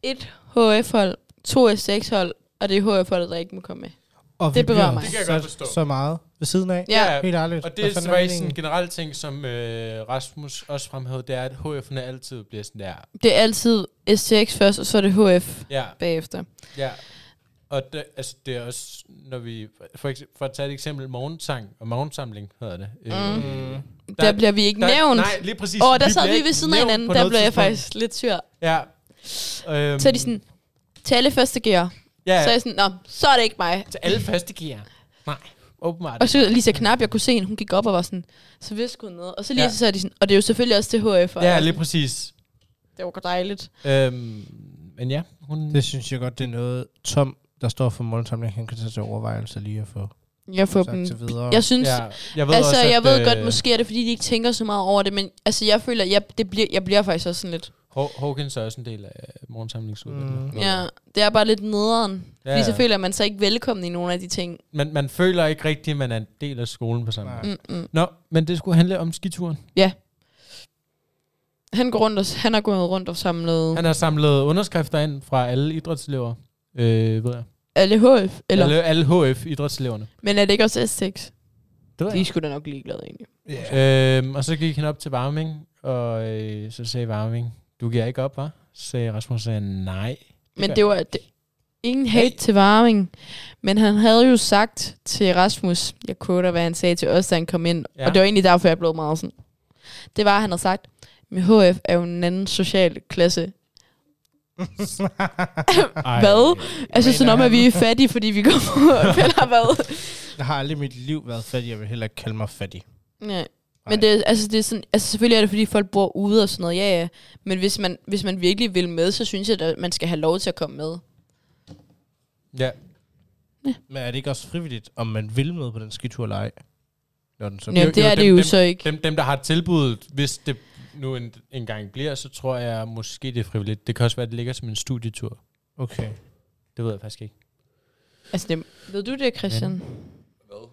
C: et HF-hold, to S6-hold, og det er HF-holdet, der ikke må komme med.
D: Og
C: Det berører mig.
A: Det kan jeg godt
D: så,
A: forstå.
D: så meget ved siden af.
C: Ja.
D: Helt ærligt.
A: Og
D: Hvad
A: det
D: fanden
A: er sådan
D: meningen?
A: en generel ting, som øh, Rasmus også fremhævede, det er, at HF'erne altid bliver sådan der.
C: Det er altid S6 først, og så er det HF
A: Ja,
C: bagefter.
A: ja. Og det, altså, det er også, når vi, for, ekse- for at tage et eksempel, morgensang og morgensamling hedder det. Mm. Øh,
C: Der, der bliver vi ikke der, nævnt.
A: Nej, lige præcis.
C: Åh, oh, der
A: Vi
C: sad
A: bliver
C: vi
A: ikke
C: ved siden af
A: nævnt
C: hinanden.
A: på
C: Der
A: noget
C: blev jeg
A: tidspunkt.
C: faktisk lidt sur.
A: Ja. Øhm,
C: Så er de sådan, til alle første gear.
A: ja,
C: Så er jeg sådan, nå, så er det ikke mig.
A: til alle faste gear. Nej, åbenbart.
C: Og så Lisa Knap, jeg kunne se hende, hun gik op og var sådan, så viskede hun noget. Og så lige
A: Ja.
C: så sagde de sådan, og det er jo selvfølgelig også til HF.
A: Ja, lige præcis.
C: Det var godt dejligt.
A: Øhm, men ja, hun...
D: Det synes jeg godt, det er noget, Tom, der står for målsamling, han kan tage til overvejelse lige at få
C: Jeg får
D: sagt til
C: dem.
D: videre.
C: Jeg synes,
A: ja, jeg
C: altså,
A: også,
C: jeg
A: at,
C: ved
A: øh,
C: godt, måske er det, fordi de ikke tænker så meget over det, men altså, jeg føler, jeg, det bliver, jeg bliver faktisk også sådan lidt.
A: Haw- Hawkins er også en del af øh, morgensamlingsudvalget.
D: Mm.
A: Mm.
C: Ja, det er bare lidt nederen.
A: Ja,
C: Fordi så
A: ja.
C: føler man sig ikke velkommen i nogle af de ting.
A: Man, man føler ikke rigtigt, at man er en del af skolen på samme
D: Nej.
A: måde.
C: Mm-mm.
A: Nå, men det skulle handle om skituren.
C: Mm. Han, går rundt og, han har gået rundt og samlet
A: Han har samlet underskrifter ind fra alle idrætselever. Øh, ved jeg.
C: alle HF. Eller,
A: Alle, alle HF-idrætseleverne.
C: Men er det ikke også S6?
A: Det
C: De er sgu da nok ligeglade egentlig.
D: Yeah.
A: Øhm, og så gik han op til Varming, og øh, så sagde Varming, du giver ikke op, hva? Så sagde Rasmus, sagde, nej.
C: Men
A: gør
C: det var det, ingen hate hey. til Varming. Men han havde jo sagt til Rasmus, jeg quoter, hvad han sagde til os, da han kom ind. Ja.
A: Ja.
C: Og det var egentlig derfor, jeg blev meget sådan. Det var, at han havde sagt, men HF er jo en anden social klasse.
A: Ej.
C: Hvad? Altså
D: mener
C: sådan om,
D: han?
C: at vi er fattige, fordi vi går på HF, eller hvad?
D: Jeg har aldrig i mit liv været fattig, jeg vil heller ikke kalde mig fattig.
C: Nej. Men det, er- altså, det er sådan, altså selvfølgelig er det, fordi folk bor ude og sådan noget, ja ja. Men hvis man, hvis man virkelig vil med, så synes jeg, at man skal have lov til at komme med.
A: Ja,
D: Men er det ikke også frivilligt, om man vil med på den skitur eller ej? Når den så
C: Jamen, det
A: jo,
C: er
A: dem-
C: det jo
A: dem-
C: så ikke.
A: Dem, dem, der har tilbuddet, hvis det nu en, engang bliver, så tror jeg måske, det er frivilligt. Det kan også være, at det ligger som en studietur.
D: Okay.
A: Det ved jeg faktisk ikke.
C: Altså, det, ved du det, Christian?
B: Hvad?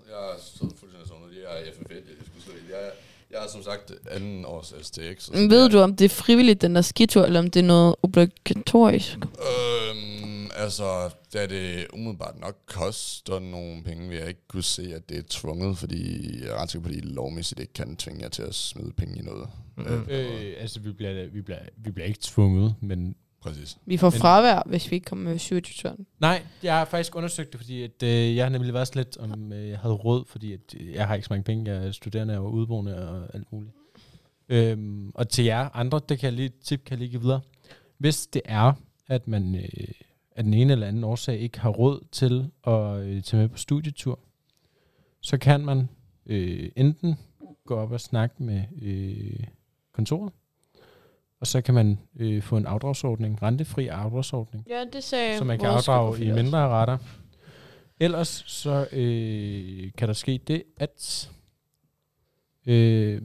B: Jeg er så fuldstændig sådan noget. Jeg er FFB, det skulle stå i. Jeg, er- jeg er som sagt anden års STX. og
C: Men
B: sådan
C: ved
B: der.
C: du, om det er frivilligt, den der skitur, eller om det er noget obligatorisk?
B: Øhm, altså, da det umiddelbart nok koster nogle penge, vil jeg ikke kunne se, at det er tvunget, fordi jeg er ret sikker på, at de lovmæssigt ikke kan tvinge jer til at smide penge i noget.
D: Mm-hmm.
A: Øh, altså, vi bliver, vi, bliver, vi bliver ikke tvunget, men...
B: Præcis.
C: Vi får
A: Men-
C: fravær, hvis vi ikke kommer med 27 ton.
A: Nej, jeg har faktisk undersøgt det, fordi at, øh, jeg har nemlig været sådan lidt, om øh, jeg havde råd, fordi at, øh, jeg har ikke så mange penge. Jeg er studerende og udboende og alt muligt. Øhm, og til jer andre, det kan jeg lige, tip kan jeg lige give videre. Hvis det er, at man øh, af den ene eller anden årsag ikke har råd til at øh, tage med på studietur, så kan man øh, enten gå op og snakke med øh, kontoret, og så kan man øh, få en afdragsordning, rentefri afdragsordning,
C: Øh, Ja, det sagde
A: som man kan afdrage i mindre retter. Ellers så øh, kan der ske det, at øh,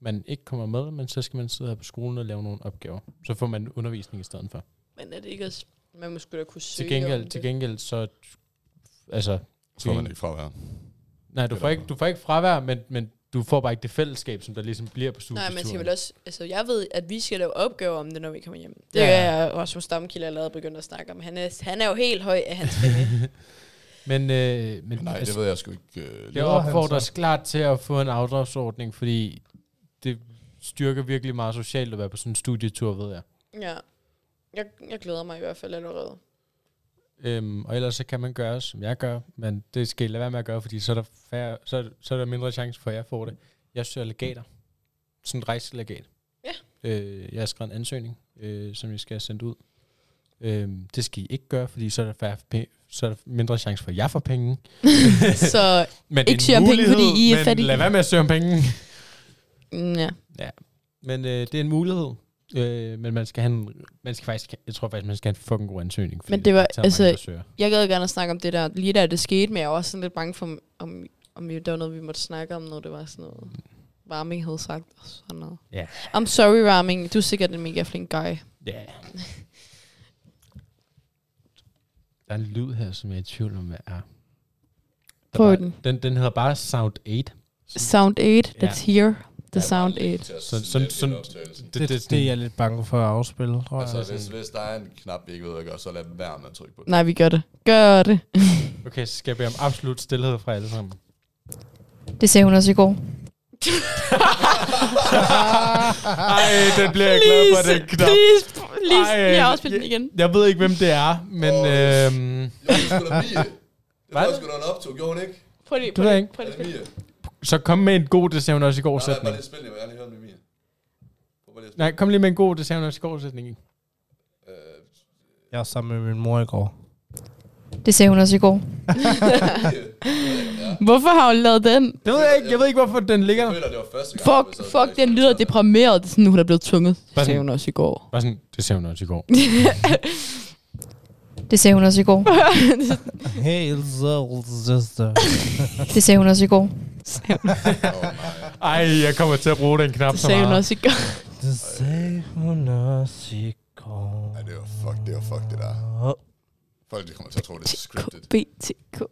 A: man ikke kommer med, men så skal man sidde her på skolen og lave nogle opgaver. Så får man undervisning i stedet for.
C: Men er det ikke også... Man må sgu da kunne søge
A: Til gengæld,
C: om
A: til
C: det.
A: gengæld så... Altså,
B: Så får man ikke fra her.
A: nej, du
B: Det er
A: får,
B: der
A: ikke,
B: bare.
A: du får ikke fravær, men, men du får bare ikke det fællesskab, som der ligesom bliver på studieturen.
C: Nej, man skal vel også... Altså, jeg ved, at vi skal lave opgaver om det, når vi kommer hjem. Det
A: Ja.
C: ja. er Rasmus Stamkilde allerede begyndt at snakke om. Han er, han er jo helt høj af hans penge.
A: Men, øh, men
B: Nej, det ved jeg sgu ikke. øh,
A: Jeg
D: Lever han
A: opfordres
D: så?
A: klart til at få en afdragsordning, fordi det styrker virkelig meget socialt at være på sådan en studietur, ved jeg.
C: ja. Jeg, jeg glæder mig i hvert fald allerede.
A: Øhm, og ellers så kan man gøre, som jeg gør, men det skal I lade være med at gøre, fordi så er der, færre, så, er- så er der mindre chance for, at jeg får det. Jeg søger legater. Sådan et rejselegat.
C: Ja.
A: Øh, jeg har skrevet en ansøgning, øh, som jeg skal have sendt ud. Øhm, det skal I ikke gøre, fordi så er der, færre, pe- så er der mindre chance for, at jeg får penge.
C: Så
A: Men
C: Ikke søge om penge, fordi I er
A: men
C: fattige.
A: lad være med at søge om penge.
C: mm, ja.
A: Men øh, det er en mulighed. Øh, men man skal have en, man skal faktisk, jeg tror faktisk, man skal have en fucking god ansøgning. fordi
C: Men det var-
A: tager mange,
C: altså-
A: der søger.
C: Jeg gad gerne at snakke om det der, lige da det skete, men jeg var også sådan lidt bange for, om, om det var noget, vi måtte snakke om, når det var sådan noget. Warming havde sagt og sådan noget.
A: Ja.
C: I'm sorry, Warming. Du er sikkert en mega flink guy.
A: Ja. Der er en lyd her, som jeg er i tvivl om, hvad er. Der
C: Prøv
A: var-
C: den.
A: den. Den hedder bare Sound 8.
C: Sound 8,
A: Ja.
C: that's here. The
B: Jeg er
C: sound
B: bare lidt
C: 8.
B: til at
A: Så-
B: slette
A: sådan-
B: lidt
A: sådan-
B: optagelsen.
D: Det, det, det, det er jeg lidt bange for at afspille, tror jeg.
B: Altså, hvis, hvis der er en knap, vi ikke ved at gøre, så lad være med at trykke på den.
C: Nej, vi gør det. Gør det.
A: Okay, så skal jeg bede om absolut stillhed fra alle sammen.
E: Det sagde hun også i går.
A: Ej, den bliver jeg glad for, den knap.
C: Please, please.
A: Ej, øh,
C: jeg har også spillet den igen.
A: Jeg ved ikke, hvem det er, men...
B: Åh,
A: øhm,
B: Jo, det skulle da Mie. Det
A: Hvad?
B: var sgu da en optog, gjorde hun ikke?
C: Prøv lige,
A: Det ved jeg ikke.
C: prøv
B: Er det
C: lige.
B: Mie?
A: så kom med en god, det sagde hun også i går
B: Nej, nej, bare
A: sætning.
B: lige spil, jeg vil gerne høre med Mie. Prøv bare lige at spille.
A: Nej, kom lige med en god, det sagde hun også i går sætning.
B: Øh,
D: Jeg var sammen med min mor i går.
E: Det sagde hun også i går.
B: Mie, det ved jeg ikke, om det er.
C: Hvorfor har hun lavet den?
A: Det ved jeg ikke. Jeg ved ikke, hvorfor den ligger
B: Jeg
A: der.
B: føler, det var første gang.
C: Fuck,
B: vi sad
C: fuck,
B: og
C: den lyder
B: snakkede.
C: deprimeret. Det er sådan, hun er blevet tvunget.
A: Hvad?
C: sagde hun også i går.
A: Bare sådan, det sagde hun også i går.
E: Det sagde hun også i går.
D: Hey, little sister.
E: Det sagde hun også i går.
B: Oh
A: Ej, jeg kommer til at bruge den knap
C: Det
A: så
C: sagde hun
A: meget.
C: også i går.
D: Det sagde hun også i går.
B: Ej, det var fuck, det var fuck, det der. Folk, de kommer til at tro, det er scripted.
C: BTK.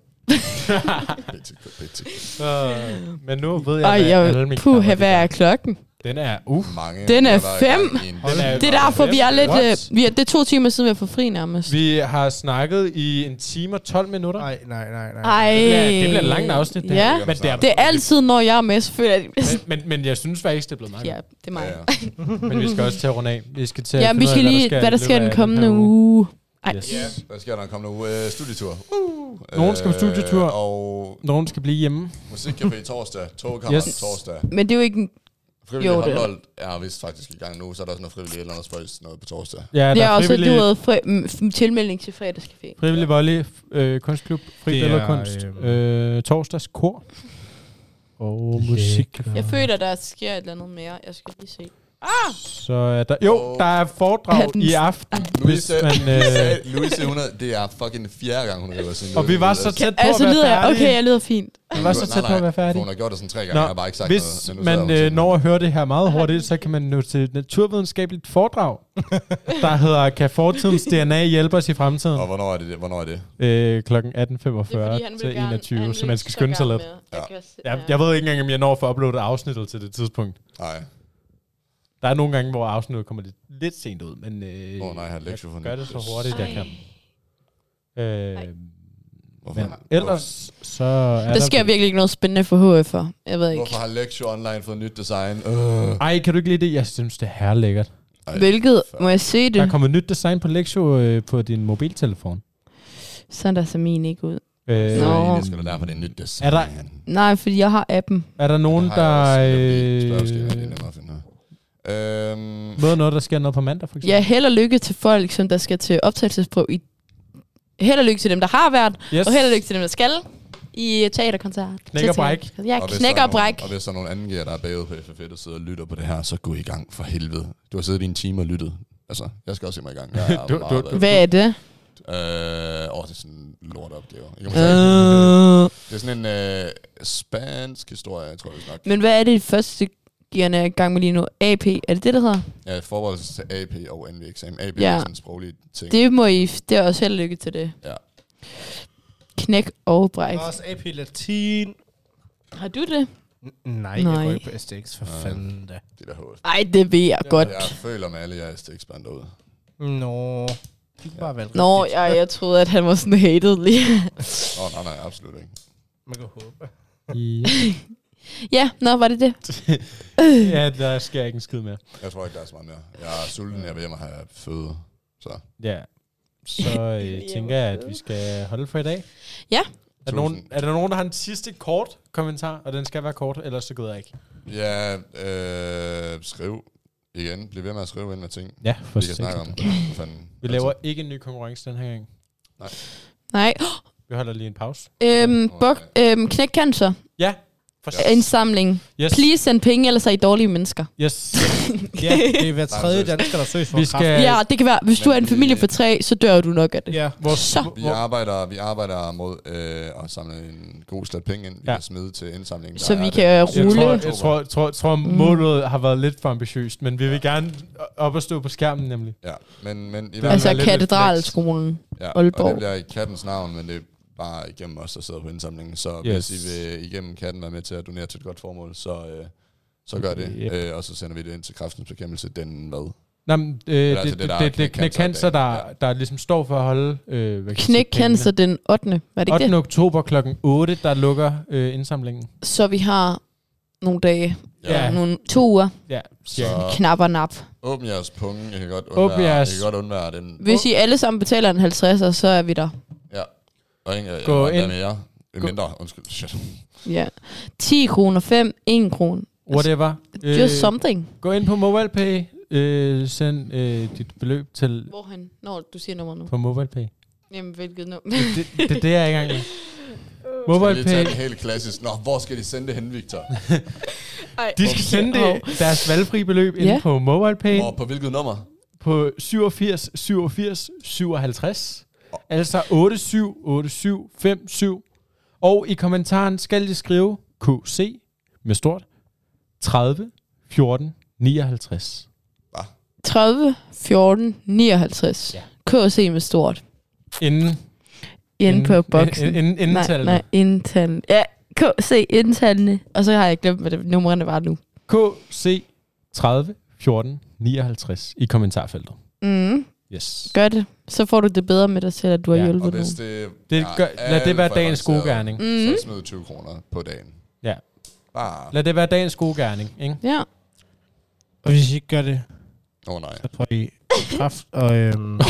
B: BTK, BTK.
A: Øh, men nu ved jeg,
C: Ej,
A: hvad alle
C: jeg,
A: mine knapper,
C: puha,
A: de
C: hvad
A: gør.
C: er klokken?
A: Den er, uh.
B: Mange.
C: Den er
B: der var i gang
C: fem.
B: i en-
A: Hold da-
B: Den-
C: Det er derfor, vi er lidt...
A: What?
C: Øh, vi er, det er to timer siden, vi har fået fri nærmest.
A: Vi har snakket i en time og 12 minutter.
D: Nej, nej, nej, nej.
C: Ej.
A: Det bliver, det bliver et langt afsnit, det
C: Ja.
A: her. Men, det er,
C: Det er altid, når jeg er med, så føler jeg, at det
A: men, men, men jeg synes faktisk, det er blevet meget
C: Ja,
A: ja.
C: det er mig.
B: Ja,
C: Ja,
B: ja.
A: Men vi skal også til at runde af. Vi skal til at
C: ja
A: finde
C: vi
A: ud af,
C: skal lige... Hvad der
A: i
C: sker
A: løbet
C: den
A: af
C: kommende
A: her
C: uge. Ej.
A: Yes.
B: Ja, hvad sker der kommende uge? Øh, studietur. Uh,
A: Nogen skal på studietur.
B: Og
A: Nogen skal blive hjemme.
B: musikcafé torsdag, togkammer
A: Yes.
B: yes. torsdag.
C: Men det er jo ikke... en-
B: Frivillig
C: Jo, det er
B: håndbold er vist faktisk i gang nu, så er der også noget frivilligt et eller andet spøjs noget på torsdag.
A: Ja,
C: Det
A: der
C: er
A: er
C: også, at du
A: frivillig,
C: havde fri, mm, f- tilmelding til fredagscafé.
A: frivillig volley, øh, kunstklub, fri
D: Det er,
A: billedkunst, øh, torsdags kor
D: Oh,
A: og musik.
C: Jeg føler, der sker et eller andet mere. Jeg skal lige se.
A: Så er der, jo, der er foredrag
C: Hatten-
A: i aften, hvis
B: Louise,
A: man... Øh,
B: Louise- Louise 100, det er fucking fjerde gang, hun river sin
A: og vi var så tæt på
C: Altså,
A: at
C: lyder
A: være
C: jeg...
A: færdige.
C: Okay, jeg lyder fint.
A: Vi var så tæt på at være færdige.
B: Hun har gjort det sådan tre gange,
A: Nå,
B: jeg har bare ikke sagt noget.
A: Hvis
B: men nu sidder
A: man
B: hun
A: øh,
B: sådan-
A: når at høre det her meget hurtigt, så kan man nå til et naturvidenskabeligt foredrag, der hedder, kan fortidens DNA hjælpe os i fremtiden?
B: Og hvornår er det? det? Hvornår er det?
A: Øh, klokken
C: Det er, fordi
A: 18.45
C: han vil
A: til
C: gerne...
A: 21,
C: han
A: så
C: vil
A: man skal
C: så
A: skynde sig
C: gerne
A: lidt.
C: med. Jeg
B: Ja.
C: kan se-
A: Jeg,
C: ja.
A: jeg ved ikke engang, om jeg når for at uploade afsnittet til det tidspunkt.
B: Nej.
A: Der er nogle gange, hvor afsnittet kommer lidt, lidt sent ud, men øh,
B: Åh oh, nej, jeg har lektier for
A: gør det så hurtigt, jeg kan.
C: Ej.
A: Øh,
B: Hvorfor,
A: men ellers så er
C: Der sker virkelig ikke noget spændende for HF'er. Jeg ved ikke.
B: hvorfor har lektier online fået nyt design? Øh.
A: ej, kan du ikke lide det? Jeg synes, det er herlækkert.
B: Ej,
C: Hvilket...
B: fuck.
C: Må jeg se det?
A: Der er kommet nyt design på Lexio øh, på din mobiltelefon.
C: Sådan der så min ikke ud.
A: Øh,
B: Så
C: Nå.
B: egentlig skal du lære på det er nyt design.
A: Er der-
C: Nej, fordi jeg har appen.
A: Er der nogen,
B: Det har
A: der
B: jeg også. Jeg bliver
A: øh,
B: lige spørgeskema, det er nemmere at finde ud af. Øhm,
A: ved noget, der sker noget på mandag, for eksempel?
C: Ja, held og lykke til folk, som der skal til optagelsesprøve i... Held og lykke til dem, der har været, yes.
A: yes.
C: og held og lykke til dem, der skal i øh, teaterkoncert.
A: Knæk og
C: Til
A: bræk.
C: teaterkoncert. Ja,
B: Og hvis
C: knæk
B: der er
C: og bræk.
B: Nogen, og hvis der er nogen anden gear, der er bagud på FF1 og sidder og lytter på det her, så gå i gang for helvede. Du har siddet i en time og lyttet. Altså, jeg skal også i mig i gang. Jeg er
A: Du-
B: meget
A: du-
B: bagud.
C: Hvad er det?
B: Øh, åh, det er sådan en lort opgave. Jeg kan måske-
C: Øh.
B: Det er sådan en øh, spansk historie, tror jeg, vi snakker.
C: Men hvad er det første gearne er i gang med lige nu? AP, er det det, der hedder?
B: Ja, forberedelse til AP og NV-eksamen. AP
C: Ja.
B: er sådan en sproglig ting.
C: Det må I, det er også held og lykke til det.
B: Ja.
C: Knæk og bræk.
D: Også AP Latin.
C: Har du det?
D: Nej,
C: jeg
D: jeg
C: går
D: går
C: Nej.
D: ikke
C: ikke
D: på STX, for
B: Nej.
D: fanden da.
B: Det der hovedet.
C: Ej, det ved jeg
A: Ja.
C: godt.
B: Jeg føler med alle jeres tekstband derude.
D: Nå, du kan
B: Ja.
D: bare valgt
C: Nå, jeg, jeg troede, at han var sådan hated lige.
B: Åh, oh, nej, nej, absolut ikke.
D: Man kan håbe.
C: ja, nå, var det det?
A: ja, der sker ikke en skid mere.
B: Jeg tror ikke, der er så meget mere. Jeg er sulten, jeg vil hjem og have føde. Så.
A: Ja. Så øh, tænker jeg, at vi skal holde for i dag.
C: Ja.
A: Er der, nogen, er der nogen, der har en sidste kort kommentar? Og den skal være kort, ellers så går jeg ikke.
B: Ja, øh, skriv igen. Bliv ved med at skrive ind med ting,
A: Ja, for
B: vi kan snakke om. For fanden.
A: Vi laver ikke en ny konkurrence den her gang.
C: Nej.
A: Vi holder lige en pause.
C: Øhm, buk, øhm, knæk cancer.
A: Ja. For
B: Ja.
C: En samling.
A: Yes.
C: Please send penge, ellers er I dårlige mennesker.
A: Yes.
D: Ja, det er hver tredje
B: Nej, men-
D: dansker, der søges for
A: Vi
D: kræft.
A: skal...
C: Ja, det kan være. Hvis du er en familie
A: øh,
C: på tre, så dør du nok af det.
D: Ja,
A: Vores,
C: Så.
B: Vi arbejder, vi arbejder mod øh, at samle en god slat penge ind, vi
A: Ja.
B: ja. kan smide til indsamlingen.
C: Så
B: Der
C: vi
B: er
C: kan
B: den.
A: Jeg
C: rulle.
A: tror, jeg tror, jeg tror, jeg tror
C: Mm.
A: målet har været lidt for ambitiøst, men vi vil gerne op og stå på skærmen nemlig.
B: Ja, men, men i
A: er
B: hvert
C: Altså
B: fald...
A: lidt et
C: katedralskolen.
B: Ja,
C: Aalborg.
B: Og det bliver i kattens navn, men det er bare igennem os, der sidder på indsamlingen. Så yes.
A: Yes.
B: hvis I vil igennem katten være med til at donere til et godt formål, så, øh, så gør det.
A: Yep.
B: Øh, og så sender vi det ind til kræftens bekæmpelse, den hvad?
A: Nej, men, øh, det,
B: altså
A: det,
B: det, der er
A: det, det,
B: Knæk
A: knæk
B: Cancer
A: cancer, der,
B: Ja.
A: der ligesom står for at holde... Øh, hvad kan jeg sige,
C: Knæk
A: pengene.
C: cancer den 8. Var det ikke
A: 8.
C: det?
A: oktober kl. 8, der lukker øh, indsamlingen.
C: Så vi har nogle dage,
A: Ja.
C: nogle to uger,
A: Ja, cirka.
B: Så
C: knap og nap.
B: åbn jeres punge. Jeg kan godt
A: Åbn
B: undvære, jeg
A: jeres-
B: kan godt undvære den.
C: Hvis I alle sammen betaler en 50'er, så er vi der.
B: Ja. Og en, jeg,
A: Gå
B: Gå jeg,
A: ind.
B: ind. Mere.
A: Gå-
B: Mindre, undskyld. Shit.
C: Ja. 10 kroner, 5, 1 kroner.
A: Whatever. Øh,
C: Just something.
A: gå ind på MobilePay. Øh, send øh, dit beløb til
C: Hvorhen? Når du siger nummer nu.
A: på MobilePay.
C: Jamen, hvilket nummer?
A: Det, det, det er det, jeg er i gang med.
B: Skal vi lige tage
A: MobilePay.
B: den helt klassisk. Nå, hvor skal de sende det hen, Victor?
A: De skal sende det, deres valgfri beløb ind
C: Ja.
A: på MobilePay.
B: Hvor, på hvilket nummer?
A: på 87 87 57. Altså 87 87 57. Og i kommentaren skal I skrive QC med stort 30 14 59.
C: 30, 14, 59.
A: Ja.
C: Ja. KC med stort.
A: Inden,
C: Inde på boksen.
A: Inden, inden, inden
C: nej, nej, indtallene. Ja, KC indtallene. Og så har jeg glemt, hvad det, numrene var nu.
A: QC 30 14 59 i kommentarfeltet.
C: Mm,
A: Yes.
C: gør det. Så får du det bedre med dig selv, at du har
A: Ja,
B: Og
C: hjulpet
B: hvis
C: nogen.
B: det,
A: Det
B: er
A: gør, lad det
B: alt
A: være
B: for
A: dagens gode
B: avanceret,
A: gerning. Mm.
C: Mhm.
B: Så smid 20 kroner på dagen.
A: Ja.
B: Bare.
A: Lad det være dagens gode gerning, ikke?
C: Ja.
D: Og hvis I ikke gør det,
B: Åh oh, nej.
D: så får I kraft og... Øhm, øhm,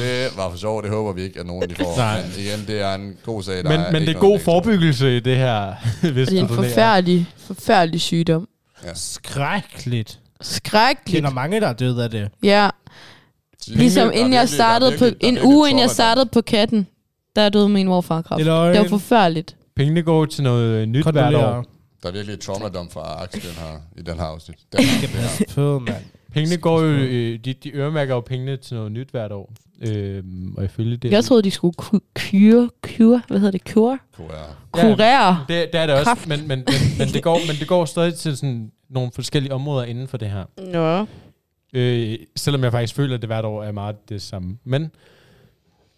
B: Det var for sjovt, det håber vi ikke, at nogen de får.
A: Nej.
B: Men igen, det er en god sag, der
A: Men, men
B: ikke
A: det er
B: noget
A: god
B: negativt.
A: forebyggelse i det her, hvis
C: Det er
A: du
C: en
A: donerer.
C: forfærdelig, forfærdelig sygdom.
D: skrækkeligt. Jeg
C: Skrækkeligt.
D: kender mange, der er døde af det.
C: Ja,
B: Virkelig,
C: ligesom
B: der er
C: inden jeg
B: virkelig- der er
C: startede på,
B: virkelig- der er
C: en
B: virkelig
C: uge inden jeg
B: trauma.
C: startede på katten, der døde min morfar af kræft.
D: Det er løgn.
C: Det var forfærdeligt.
A: Pengene går til noget øh, nyt hvert år.
D: Kondolerer.
B: Der er virkelig et traumadom fra Axel her, i den her afsnit. Den her,
D: Skal
B: det her.
D: passe på, mand.
A: Pengene går jo, øh, de, de øremærker jo pengene til noget nyt hvert år. Øhm, og ifølge det...
C: Jeg troede, de skulle ku- kure, kure, hvad hedder det, kure?
B: QR.
C: Kurere.
A: det, det er det også,
C: Kræft.
A: men, men, men, men, det går, men det går stadig til sådan nogle forskellige områder inden for det her.
C: Nå.
A: Øh, selvom jeg faktisk føler, at det hvert år er meget det samme. Men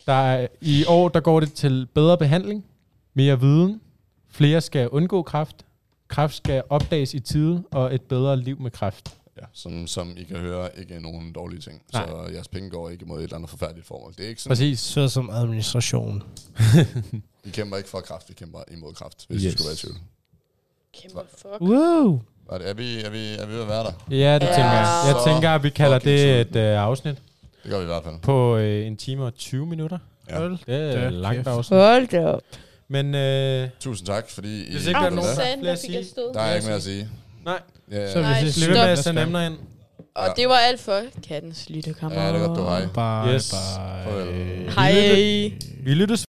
A: der er, i år der går det til bedre behandling, mere viden, flere skal undgå kræft, kræft skal opdages i tide, og et bedre liv med kræft.
B: Ja, som, som I kan høre, ikke er nogen dårlige ting.
A: Nej.
B: Så jeres penge går ikke mod et eller andet forfærdeligt formål. Det er ikke sådan,
A: Præcis.
D: Så som administration.
B: vi kæmper ikke for kraft, vi kæmper imod kraft, hvis yes.
A: Yes.
B: du skulle være i tvivl.
D: Wow.
B: Er, det, er, vi, er, vi, er vi ved at være der?
A: Ja, det
C: Ja.
A: tænker jeg. Jeg
B: Så
A: tænker, at vi kalder
B: fucking
A: det et
B: sulten.
A: øh, afsnit.
B: Det gør vi i hvert fald.
A: på øh, en time og 20 minutter.
B: Ja.
D: Hold
A: Det er
D: da
A: langt
D: kæft.
A: afsnit.
C: Hold da op.
A: Men øh,
B: Tusind tak, fordi I...
A: Hvis ikke der er
B: blev
A: nogen-
B: med.
A: satan, der fik jeg
C: stød.
B: Der er ikke mere at sige.
A: nej,
B: Ja,
D: Så
B: ja,
D: vi
C: Nej,
D: ses
A: bliv ved
C: stop.
A: med at sende emner ind.
C: Og det var alt for kattens lytterkammer.
B: det er godt, du hej.
D: Bye,
A: Yes.
D: bye.
B: Farvel.
C: Hej.
D: øh,
A: Vi lyttes